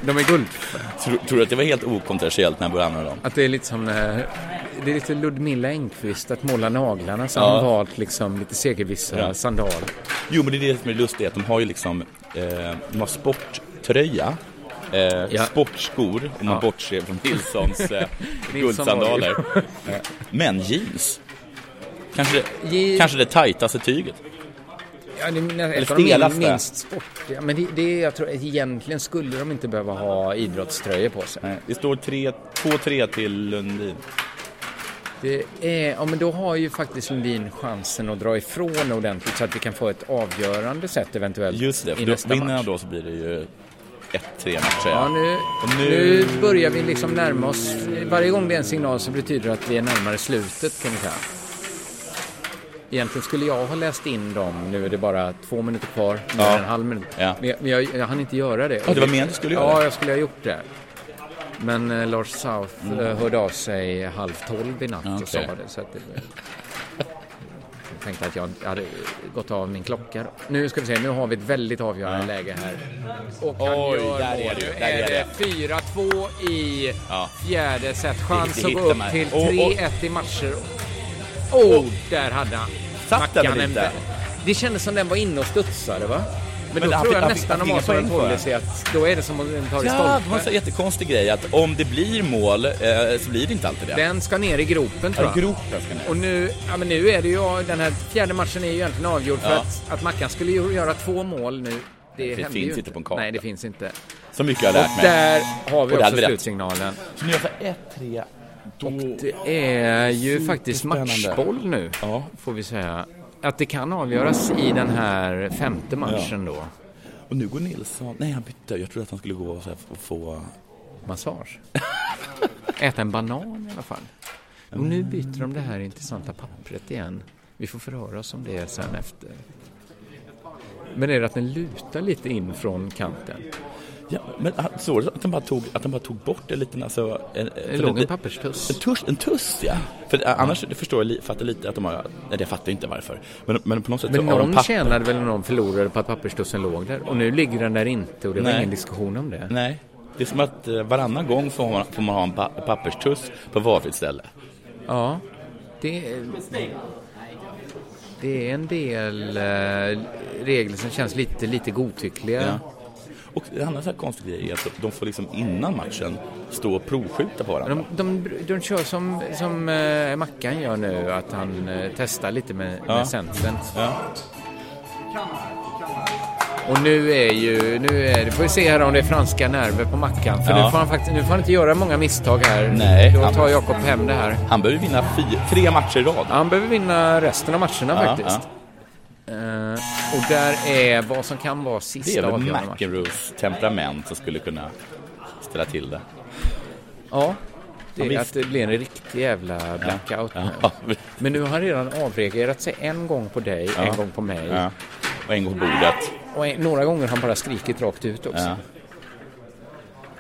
[SPEAKER 4] De är guld.
[SPEAKER 5] tror, tror du att det var helt okontroversiellt när han började använda dem?
[SPEAKER 4] Att det är lite som när, det är lite Ludmilla Engqvist att måla naglarna så har
[SPEAKER 5] Ja.
[SPEAKER 4] hon valt liksom lite segervissa
[SPEAKER 5] Ja.
[SPEAKER 4] sandaler.
[SPEAKER 5] Jo, men det är det som är lustigt, att de har ju liksom, eh, de har sporttröja, eh, sportskor, om man bortser från Nilssons eh, guldsandaler. Eh, men jeans. Kanske det,
[SPEAKER 4] Je-
[SPEAKER 5] kanske det tajtaste tyget.
[SPEAKER 4] Ja, det är nä- ett av de
[SPEAKER 5] stelaste.
[SPEAKER 4] min- minst sportiga. Men det, det, är- jag tror egentligen skulle de inte behöva ha idrottströjor på sig.
[SPEAKER 5] Nej, Det står tre- 2-3 till Lundin.
[SPEAKER 4] Det är, ja, men då har ju faktiskt Lundin chansen att dra ifrån ordentligt så att vi kan få ett avgörande sätt eventuellt
[SPEAKER 5] Just det, för
[SPEAKER 4] i
[SPEAKER 5] då,
[SPEAKER 4] nästa
[SPEAKER 5] vinner
[SPEAKER 4] match.
[SPEAKER 5] han då så blir det ju 1-3 matcher.
[SPEAKER 4] Ja, nu,
[SPEAKER 5] nu-
[SPEAKER 4] nu börjar vi liksom närma oss. Varje gång det är en signal så betyder det att vi är närmare slutet kan vi säga. Egentligen skulle jag ha läst in dem. Nu är det bara två minuter kvar. Nu är det en halv minut.
[SPEAKER 5] Ja.
[SPEAKER 4] Men jag, men jag, jag hann inte göra det.
[SPEAKER 5] Ja, det var meningen att du skulle göra
[SPEAKER 4] Ja,
[SPEAKER 5] det.
[SPEAKER 4] jag skulle ha gjort det. Men eh, Lars South eh, hörde av sig halv tolv i natt och sa
[SPEAKER 5] Mm. Okej.
[SPEAKER 4] det. Så att det jag tänkte att jag hade gått av min klocka. då. Nu ska vi se, nu har vi ett väldigt avgörande läge här. Och han
[SPEAKER 5] Oj,
[SPEAKER 4] gör
[SPEAKER 5] där
[SPEAKER 4] mål.
[SPEAKER 5] är det ju,
[SPEAKER 4] Nu
[SPEAKER 5] där
[SPEAKER 4] är
[SPEAKER 5] är
[SPEAKER 4] det 4-2 i
[SPEAKER 5] Ja.
[SPEAKER 4] fjärde set. Chans
[SPEAKER 5] Det
[SPEAKER 4] att gå
[SPEAKER 5] hittar
[SPEAKER 4] upp
[SPEAKER 5] man.
[SPEAKER 4] till
[SPEAKER 5] Och- och-
[SPEAKER 4] 3-1 i matcher. Oh, där hade han.
[SPEAKER 5] Satt den
[SPEAKER 4] Mackan
[SPEAKER 5] väl inte?
[SPEAKER 4] en- Det kändes som den var inne och studsade va? Men,
[SPEAKER 5] Men
[SPEAKER 4] då
[SPEAKER 5] han
[SPEAKER 4] tror
[SPEAKER 5] fick-
[SPEAKER 4] jag
[SPEAKER 5] han fick-
[SPEAKER 4] nästan
[SPEAKER 5] han
[SPEAKER 4] de har
[SPEAKER 5] fick
[SPEAKER 4] som
[SPEAKER 5] ingen
[SPEAKER 4] en
[SPEAKER 5] poäng för det.
[SPEAKER 4] policy att då är det som om den tar i
[SPEAKER 5] Ja, det var en sån
[SPEAKER 4] stolpen.
[SPEAKER 5] jättekonstig grej att om det blir mål eh, så blir det inte alltid det.
[SPEAKER 4] Den ska ner i gropen tror
[SPEAKER 5] Ja,
[SPEAKER 4] jag.
[SPEAKER 5] gropen ska ner.
[SPEAKER 4] Och nu, ja, men nu är det ju, den här fjärde matchen är ju egentligen avgjord för
[SPEAKER 5] Ja.
[SPEAKER 4] att, att Mackan skulle ju göra två mål nu. Det, händer ju
[SPEAKER 5] finns inte på en karta.
[SPEAKER 4] Nej, det finns inte.
[SPEAKER 5] Så mycket har jag lärt
[SPEAKER 4] Och
[SPEAKER 5] mig.
[SPEAKER 4] där har vi
[SPEAKER 5] Och där
[SPEAKER 4] också
[SPEAKER 5] hade vi rätt.
[SPEAKER 4] slutsignalen.
[SPEAKER 5] Så nu är jag 1-3. Då...
[SPEAKER 4] Det är ju faktiskt matchboll nu,
[SPEAKER 5] Ja.
[SPEAKER 4] får vi säga. Att det kan avgöras i den här femte matchen då.
[SPEAKER 5] Och nu går Nilsson... Nej, han bytte. Jag trodde att han skulle gå och så här och få...
[SPEAKER 4] Massage. Äta en banan i alla fall. Och nu byter de det här intressanta pappret igen. Vi får förhöra oss om det sen efter. Men är det att den lutar lite in från kanten?
[SPEAKER 5] Ja, men han- såg du att han bara tog, att han bara tog bort en liten... Alltså, en,
[SPEAKER 4] Det
[SPEAKER 5] för
[SPEAKER 4] låg en
[SPEAKER 5] En
[SPEAKER 4] papperstuss.
[SPEAKER 5] tuss, en tuss ja. För eh, annars förstår jag, li- fattar lite att de har, nej det fattar jag inte varför. Men, men på något sätt
[SPEAKER 4] Men
[SPEAKER 5] så har de
[SPEAKER 4] någon
[SPEAKER 5] papper.
[SPEAKER 4] tjänade väl och någon förlorade på att papperstussen låg där. Och nu ligger den där inte och det var
[SPEAKER 5] Nej.
[SPEAKER 4] ingen diskussion om det.
[SPEAKER 5] Nej, det är som att eh, varannan gång får man, får man ha en pa- papperstuss på varsitt ställe.
[SPEAKER 4] Ja, det, det är en del eh, regler som känns lite, lite godtyckliga.
[SPEAKER 5] Ja. Och en annan så här konstig grej är att de får liksom innan matchen stå och provskjuta på varandra.
[SPEAKER 4] De, de, de kör som, som eh, Mackan gör nu, att han eh, testar lite med,
[SPEAKER 5] Ja.
[SPEAKER 4] med centern.
[SPEAKER 5] Ja.
[SPEAKER 4] Och nu är ju, nu är det, får vi se här om det är franska nerver på Mackan. För
[SPEAKER 5] Ja.
[SPEAKER 4] nu, får han faktiskt, nu får han inte göra många misstag här.
[SPEAKER 5] Nej.
[SPEAKER 4] Då tar Jakob hem det här.
[SPEAKER 5] Han behöver vinna fy- tre matcher i rad.
[SPEAKER 4] Han behöver vinna resten av matcherna
[SPEAKER 5] Ja,
[SPEAKER 4] faktiskt. Eh, och där är vad som kan vara
[SPEAKER 5] Det är
[SPEAKER 4] sista
[SPEAKER 5] väl
[SPEAKER 4] avgörande matchen.
[SPEAKER 5] McEnroes temperament som skulle kunna ställa till det.
[SPEAKER 4] Ja, det
[SPEAKER 5] Ja,
[SPEAKER 4] är
[SPEAKER 5] visst.
[SPEAKER 4] att det blir en riktig jävla blackout nu.
[SPEAKER 5] Ja.
[SPEAKER 4] Men nu har han redan avreagerat sig en gång på dig, en gång på mig.
[SPEAKER 5] Ja. Och en gång på bordet.
[SPEAKER 4] Och en, några gånger har han bara skrikit rakt ut också.
[SPEAKER 5] Ja.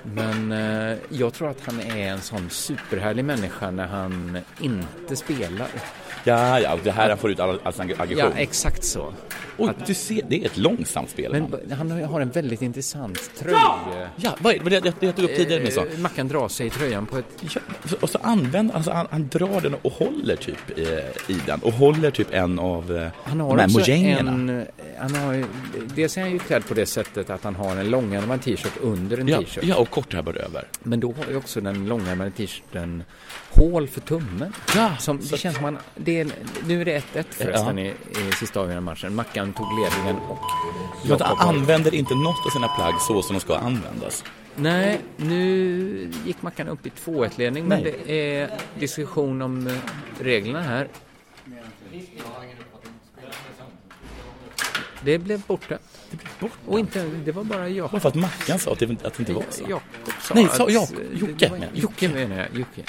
[SPEAKER 4] Men eh, jag tror att han är en sån superhärlig människa när han inte spelar.
[SPEAKER 5] Ja, ja, det här han får ut all, all sin
[SPEAKER 4] Ja,
[SPEAKER 5] aggression.
[SPEAKER 4] exakt så.
[SPEAKER 5] Oj, du ser, det är ett långsamt spel.
[SPEAKER 4] Men b- han har- har en väldigt intressant tröja.
[SPEAKER 5] ja, vad är det? det? Det det jag tog upp tidigare med så.
[SPEAKER 4] Eh, Mackan drar sig i tröjan på ett...
[SPEAKER 5] Ja, och så använder alltså, han, han drar den och håller typ eh, i den och håller typ en av eh,
[SPEAKER 4] Han
[SPEAKER 5] de
[SPEAKER 4] har
[SPEAKER 5] här
[SPEAKER 4] också
[SPEAKER 5] mojängerna.
[SPEAKER 4] en... eh, Han har, ju- dels är han ju klädd på det sättet att han har en långärmad t-shirt under en
[SPEAKER 5] Ja,
[SPEAKER 4] t-shirt.
[SPEAKER 5] ja, och kortärmad över.
[SPEAKER 4] Men då har ju också den långärmade t-shirten hål för tummen.
[SPEAKER 5] Ja,
[SPEAKER 4] Som, det
[SPEAKER 5] så-
[SPEAKER 4] känns som man, det är, nu är det 1-1 förresten i, i sista avgörande matchen. Mackan tog ledningen och
[SPEAKER 5] Men att
[SPEAKER 4] Jakob
[SPEAKER 5] han
[SPEAKER 4] har-
[SPEAKER 5] använder inte något av sina plagg så som de ska användas.
[SPEAKER 4] Nej, nu gick Mackan upp i 2-1-ledning. Men
[SPEAKER 5] Nej.
[SPEAKER 4] det är diskussion om eh, reglerna här. Det blev borta. Och inte, det var bara jag.
[SPEAKER 5] Bara för att Mackan sa att det, att det inte var så.
[SPEAKER 4] Jakob sa
[SPEAKER 5] Nej, sa
[SPEAKER 4] att-
[SPEAKER 5] Jakob.
[SPEAKER 4] det-
[SPEAKER 5] Jocke
[SPEAKER 4] det var-
[SPEAKER 5] menar jag.
[SPEAKER 4] Jocke menar jag. Jocke.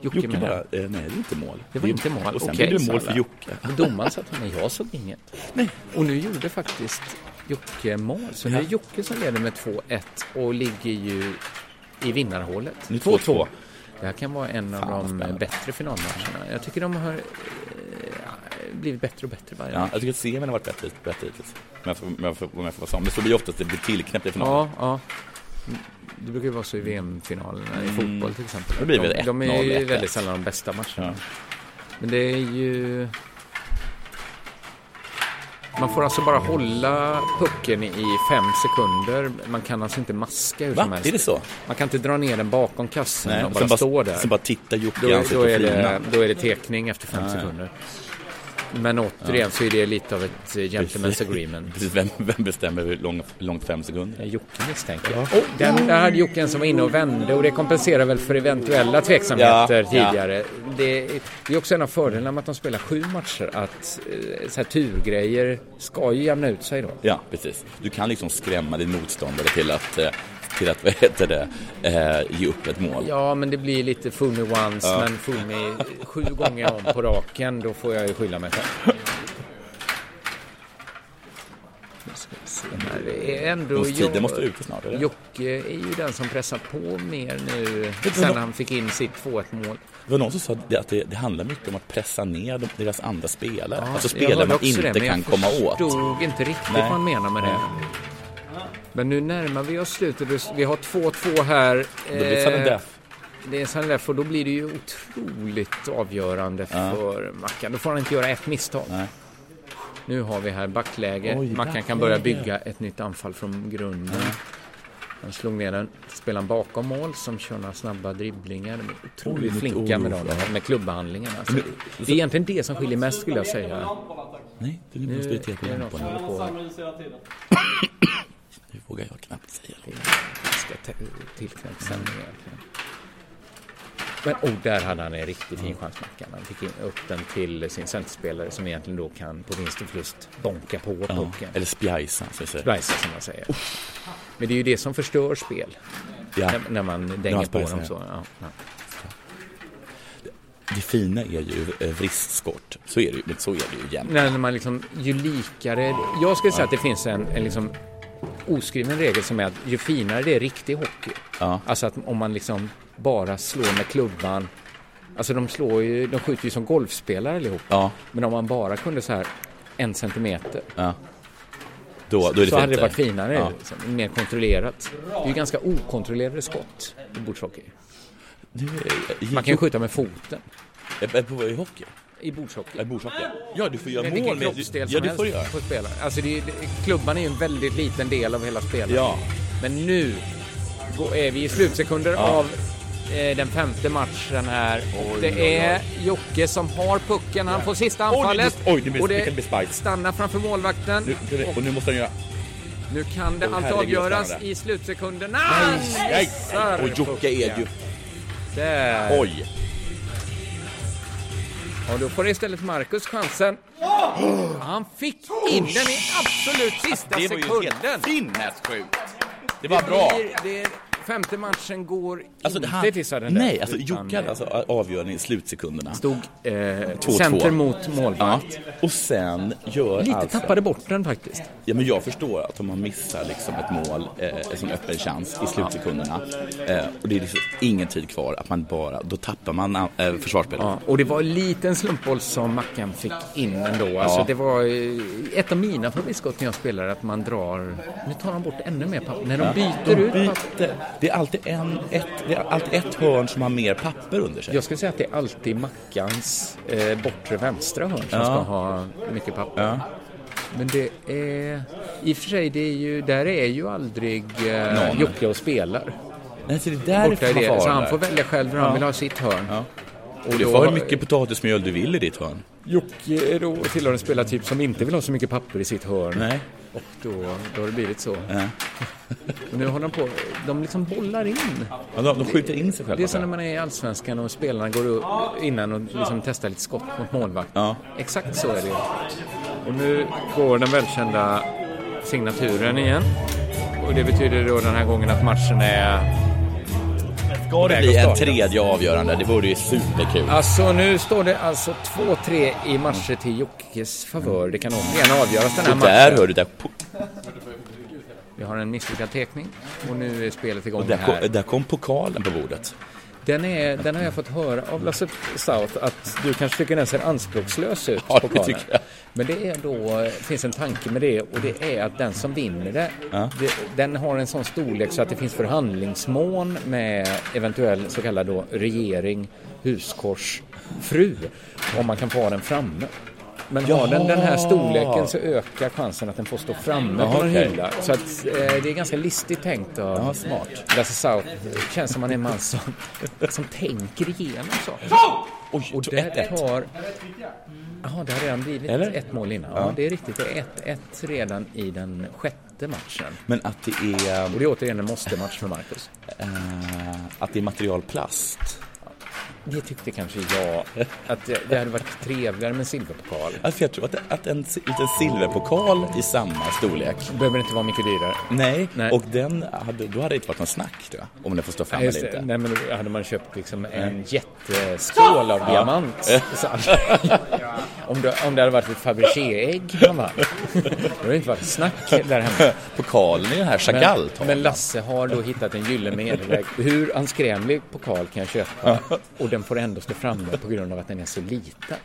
[SPEAKER 4] Jocke
[SPEAKER 5] Jocke
[SPEAKER 4] menar
[SPEAKER 5] bara,
[SPEAKER 4] jag.
[SPEAKER 5] eh, nej det är inte mål.
[SPEAKER 4] Det var
[SPEAKER 5] är-
[SPEAKER 4] inte mål.
[SPEAKER 5] Och sen
[SPEAKER 4] Okej,
[SPEAKER 5] blev det
[SPEAKER 4] sa
[SPEAKER 5] mål för
[SPEAKER 4] alla.
[SPEAKER 5] Jocke.
[SPEAKER 4] Men Domaren sa att nej, jag såg inget. Nej. Och nu gjorde faktiskt Jocke mål. Så nu är Jocke som leder med 2-1 och ligger ju i vinnarhålet.
[SPEAKER 5] Nu är det 2-2.
[SPEAKER 4] Det här kan vara en av
[SPEAKER 5] Fan, vad
[SPEAKER 4] de
[SPEAKER 5] spännande.
[SPEAKER 4] bättre finalmatcherna. Jag tycker de har eh, blivit bättre och bättre varje
[SPEAKER 5] Ja,
[SPEAKER 4] match.
[SPEAKER 5] jag tycker att semin har varit bättre, bättre hittills. Om jag får- om jag får om jag får vara sån. Men så blir det ofta att det blir tillknäppt i finalen.
[SPEAKER 4] Ja, ja. Det brukar ju vara så i VM-finalerna i fotboll till exempel.
[SPEAKER 5] Då Mm. blir det
[SPEAKER 4] de,
[SPEAKER 5] väl
[SPEAKER 4] de
[SPEAKER 5] 1-0,
[SPEAKER 4] är ju
[SPEAKER 5] 1-1.
[SPEAKER 4] väldigt sällan de bästa matcherna.
[SPEAKER 5] Ja.
[SPEAKER 4] Men det är ju... Man får alltså bara hålla pucken i fem sekunder. Man kan alltså inte maska hur som
[SPEAKER 5] Va?
[SPEAKER 4] helst.
[SPEAKER 5] Är det så?
[SPEAKER 4] Man kan inte dra ner den bakom kassen och bara
[SPEAKER 5] sen
[SPEAKER 4] stå där.
[SPEAKER 5] Sen bara titta Jocke i
[SPEAKER 4] Då,
[SPEAKER 5] ansiktet
[SPEAKER 4] då,
[SPEAKER 5] och
[SPEAKER 4] är
[SPEAKER 5] flina.
[SPEAKER 4] det, då är det tekning efter fem sekunder. Men återigen så är det lite av ett eh, gentleman's agreement.
[SPEAKER 5] Precis, vem, vem bestämmer hur lång, långt fem sekunder?
[SPEAKER 4] Jocke misstänker jag. Oh, den, där hade Jocke en som var inne och vände och det kompenserar väl för eventuella tveksamheter
[SPEAKER 5] Ja, ja.
[SPEAKER 4] tidigare. Det, är- det är också en av fördelarna med att de spelar sju matcher att eh, så här, turgrejer ska ju jämna ut sig då.
[SPEAKER 5] Ja, precis. Du kan liksom skrämma din motståndare till att, eh, till att vad heter det, eh, ge upp ett mål.
[SPEAKER 4] Ja, men det blir lite fool me once, men fool me sju gånger om på raken, då får jag ju skylla mig själv. Nu ska vi se här. Det är ändå...
[SPEAKER 5] Måste- tiden
[SPEAKER 4] Jo-
[SPEAKER 5] måste ut snart, eller?
[SPEAKER 4] Jocke är ju den som pressar på mer nu
[SPEAKER 5] du
[SPEAKER 4] sen
[SPEAKER 5] vad-
[SPEAKER 4] han fick in sitt 2-1 mål.
[SPEAKER 5] Det var någon som sa att det, att det, det handlar mycket om att pressa ner de, deras andra spelare.
[SPEAKER 4] Ja,
[SPEAKER 5] alltså
[SPEAKER 4] jag
[SPEAKER 5] spelare
[SPEAKER 4] hörde
[SPEAKER 5] man
[SPEAKER 4] också
[SPEAKER 5] inte
[SPEAKER 4] det, men
[SPEAKER 5] kan komma
[SPEAKER 4] Jag
[SPEAKER 5] åt.
[SPEAKER 4] förstod inte riktigt
[SPEAKER 5] Nej.
[SPEAKER 4] vad han menar med det. Men nu närmar vi oss slutet. Vi har 2-2 här.
[SPEAKER 5] Då blir det
[SPEAKER 4] Eh,
[SPEAKER 5] sudden death.
[SPEAKER 4] Det är sudden death och då blir det ju otroligt avgörande för Mackan. Då får han inte göra ett misstag.
[SPEAKER 5] Nej.
[SPEAKER 4] Nu har vi här backläge.
[SPEAKER 5] Oj,
[SPEAKER 4] Mackan kan
[SPEAKER 5] backläge.
[SPEAKER 4] börja bygga ett nytt anfall från grunden. Han slog ner den till spelaren bakom mål som kör några snabba dribblingar. De är otroligt
[SPEAKER 5] Oj,
[SPEAKER 4] flinka
[SPEAKER 5] oj,
[SPEAKER 4] med, dem, med klubbehandlingarna. Alltså. Det är egentligen det som skiljer mest skulle jag säga.
[SPEAKER 5] Nej, det nu måste vi titta på
[SPEAKER 4] är det någon
[SPEAKER 5] den på
[SPEAKER 4] som
[SPEAKER 5] nu.
[SPEAKER 4] håller på och
[SPEAKER 5] Nu vågar jag knappt säga det.
[SPEAKER 4] ska te- tillknäppa sändning egentligen. Men oh, där hade han en riktigt
[SPEAKER 5] Mm.
[SPEAKER 4] fin chans, Mackan. Han fick in upp den till sin centerspelare som egentligen då kan på vinst och förlust bonka på
[SPEAKER 5] Ja.
[SPEAKER 4] pucken.
[SPEAKER 5] Eller spjajsa, som vi säger.
[SPEAKER 4] Bajsa som man säger. Men det är ju det som förstör spel.
[SPEAKER 5] Ja.
[SPEAKER 4] När, när man
[SPEAKER 5] Ja,
[SPEAKER 4] dänger på
[SPEAKER 5] spajsar,
[SPEAKER 4] dem
[SPEAKER 5] ja.
[SPEAKER 4] så. Ja, ja.
[SPEAKER 5] Det fina är ju eh, vristskott. Så är det ju, men så är det ju jämt.
[SPEAKER 4] När man liksom, ju likare... Jag skulle säga att det finns en, en liksom oskriven regel som är att ju finare det är riktig hockey.
[SPEAKER 5] Ja.
[SPEAKER 4] Alltså att om man liksom bara slår med klubban. Alltså de slår ju, de skjuter ju som golfspelare allihop.
[SPEAKER 5] Ja,
[SPEAKER 4] Men om man bara kunde så här en centimeter.
[SPEAKER 5] ja. Då, då är det
[SPEAKER 4] så hade det
[SPEAKER 5] fint,
[SPEAKER 4] varit
[SPEAKER 5] eh.
[SPEAKER 4] finare,
[SPEAKER 5] Ja.
[SPEAKER 4] liksom, mer kontrollerat. Det är ju ganska okontrollerade skott i bordshockey.
[SPEAKER 5] Nu, eh,
[SPEAKER 4] Man kan ju skjuta med foten.
[SPEAKER 5] Eh, eh, på- I hockey?
[SPEAKER 4] I bordshockey.
[SPEAKER 5] Eh, Bordshockey? Ja, du får göra
[SPEAKER 4] Med
[SPEAKER 5] mål
[SPEAKER 4] vilken
[SPEAKER 5] med...
[SPEAKER 4] kroppsdel
[SPEAKER 5] Ja,
[SPEAKER 4] som
[SPEAKER 5] du får göra.
[SPEAKER 4] helst på spelare. Alltså det är, det- klubban är ju en väldigt liten del av hela spelet.
[SPEAKER 5] Ja.
[SPEAKER 4] Men nu går- är vi i slutsekunder av eh, den femte matchen här. Och det är Jocke som har pucken. Han får sista
[SPEAKER 5] Oj, det blir-
[SPEAKER 4] anfallet.
[SPEAKER 5] oj, det blir-
[SPEAKER 4] och
[SPEAKER 5] det kan bli spike.
[SPEAKER 4] stannar framför målvakten.
[SPEAKER 5] Nu, nu- och nu måste han göra...
[SPEAKER 4] Nu kan det
[SPEAKER 5] Åh,
[SPEAKER 4] allt
[SPEAKER 5] herregud,
[SPEAKER 4] avgöras
[SPEAKER 5] spännande.
[SPEAKER 4] i slutsekunderna.
[SPEAKER 5] Nej!
[SPEAKER 4] Missar
[SPEAKER 5] Och Jocke är ju...
[SPEAKER 4] Där.
[SPEAKER 5] Oj!
[SPEAKER 4] Och då får istället Marcus chansen. Han fick in den i absolut sista
[SPEAKER 5] Det var ju
[SPEAKER 4] sekunden.
[SPEAKER 5] helt sinnessjukt! Det var bra!
[SPEAKER 4] Det- Det är, femte matchen går
[SPEAKER 5] Alltså,
[SPEAKER 4] inte
[SPEAKER 5] han,
[SPEAKER 4] till sudden death,
[SPEAKER 5] nej, alltså
[SPEAKER 4] utan, eh,
[SPEAKER 5] Jocke hade alltså avgörande i slutsekunderna.
[SPEAKER 4] Stod eh,
[SPEAKER 5] 2-2.
[SPEAKER 4] center mot målvakt.
[SPEAKER 5] Ja. Och sen gör
[SPEAKER 4] Lite
[SPEAKER 5] alltså...
[SPEAKER 4] tappade bort den faktiskt.
[SPEAKER 5] Ja, men jag förstår att om man missar liksom ett mål, eh, som öppen chans i slutsekunderna eh, och det är liksom ingen tid kvar, att man bara, då tappar man eh, försvarsspelet.
[SPEAKER 4] Ja, och det var en liten slumpboll som Mackan fick in ändå. Alltså,
[SPEAKER 5] Ja.
[SPEAKER 4] det var eh, ett av mina favoritskott när jag spelar att man drar... Nu tar de bort ännu mer papper. När de byter
[SPEAKER 5] De
[SPEAKER 4] ut papper.
[SPEAKER 5] byter. Det är alltid, en, ett, det är alltid ett hörn som har mer papper under sig.
[SPEAKER 4] Jag skulle säga att det är alltid Mackans eh, bortre vänstra hörn som ska ha mycket papper.
[SPEAKER 5] Ja.
[SPEAKER 4] Men det är... I och för sig, det är ju, där är ju aldrig eh,
[SPEAKER 5] Någon.
[SPEAKER 4] Jocke och spelar.
[SPEAKER 5] Nej, så det där är
[SPEAKER 4] Borta är det.
[SPEAKER 5] fanfaren
[SPEAKER 4] Så han
[SPEAKER 5] där.
[SPEAKER 4] får välja själv hur han vill ha sitt hörn.
[SPEAKER 5] Ja.
[SPEAKER 4] Och då-
[SPEAKER 5] Du får ha hur mycket potatismjöl du vill i ditt hörn.
[SPEAKER 4] Jocke är då tillhör en spelartyp som inte vill ha så mycket papper i sitt hörn.
[SPEAKER 5] Nej.
[SPEAKER 4] Och då, då har det blivit så.
[SPEAKER 5] Ja.
[SPEAKER 4] Och nu håller de på, de liksom bollar in.
[SPEAKER 5] Ja, de, de skjuter in sig
[SPEAKER 4] Det
[SPEAKER 5] själva.
[SPEAKER 4] är som när man är i Allsvenskan och spelarna går upp innan och liksom testar lite skott mot målvakt.
[SPEAKER 5] Ja.
[SPEAKER 4] Exakt så är det. Och nu går den välkända signaturen igen. Och det betyder då den här gången att matchen är...
[SPEAKER 5] Ska det bli en tredje avgörande? Det vore ju superkul.
[SPEAKER 4] Alltså nu står det alltså 2-3 i matcher till Jockes favör. Det kan återigen avgöras den här
[SPEAKER 5] Och där
[SPEAKER 4] matchen.
[SPEAKER 5] hör du, där,
[SPEAKER 4] Vi har en misslyckad tekning och nu är spelet
[SPEAKER 5] och
[SPEAKER 4] igång
[SPEAKER 5] där, kom,
[SPEAKER 4] här.
[SPEAKER 5] där kom pokalen på bordet.
[SPEAKER 4] Den, är, den har jag fått höra av Lasse South att du kanske tycker den ser anspråkslös ut,
[SPEAKER 5] Ja, det
[SPEAKER 4] pokalen.
[SPEAKER 5] tycker jag.
[SPEAKER 4] Men det är då, det finns en tanke med det och det är att den som vinner det, det den har en sån storlek så att det finns förhandlingsmån med eventuell så kallad då regering, huskors, fru om man kan få ha den framme. Men har den den här storleken så ökar chansen att den får stå framme på en
[SPEAKER 5] okej.
[SPEAKER 4] hylla. Så att, eh, det är ganska listigt tänkt av smart. Lasse South. Det känns som han är en man som, som tänker igenom saker.
[SPEAKER 5] Oj,
[SPEAKER 4] Och
[SPEAKER 5] så
[SPEAKER 4] där
[SPEAKER 5] 1-1.
[SPEAKER 4] tar... Mm. Jaha, det har redan blivit
[SPEAKER 5] Eller?
[SPEAKER 4] ett mål innan. Ja, det är riktigt. Det är 1-1 redan i den sjätte matchen.
[SPEAKER 5] Men att det är,
[SPEAKER 4] Och det är återigen en måste-match för Marcus.
[SPEAKER 5] eh, att det är materialplast.
[SPEAKER 4] Det tyckte kanske jag att det det hade varit trevligare med en silverpokal.
[SPEAKER 5] Alltså, jag tror att, att en si- liten silverpokal i samma storlek.
[SPEAKER 4] Behöver inte vara mycket dyrare.
[SPEAKER 5] Nej,
[SPEAKER 4] Nej.
[SPEAKER 5] och den hade, då hade det inte varit någon snack tror jag. Om den får stå fram
[SPEAKER 4] Nej,
[SPEAKER 5] eller
[SPEAKER 4] just det.
[SPEAKER 5] inte.
[SPEAKER 4] eh,
[SPEAKER 5] Mm.
[SPEAKER 4] Nej, men då hade man köpt liksom en jätteskål av diamant. Så hade- om, det, om det hade varit ett Fabergé-ägg han vann. Då hade det inte varit snack där hemma.
[SPEAKER 5] Pokalen är den här chagall
[SPEAKER 4] Men, men Lasse har då hittat en gyllene medelväg. Hur anskrämlig pokal kan jag köpa? Och den får ändå stå framme på grund av att den är så liten.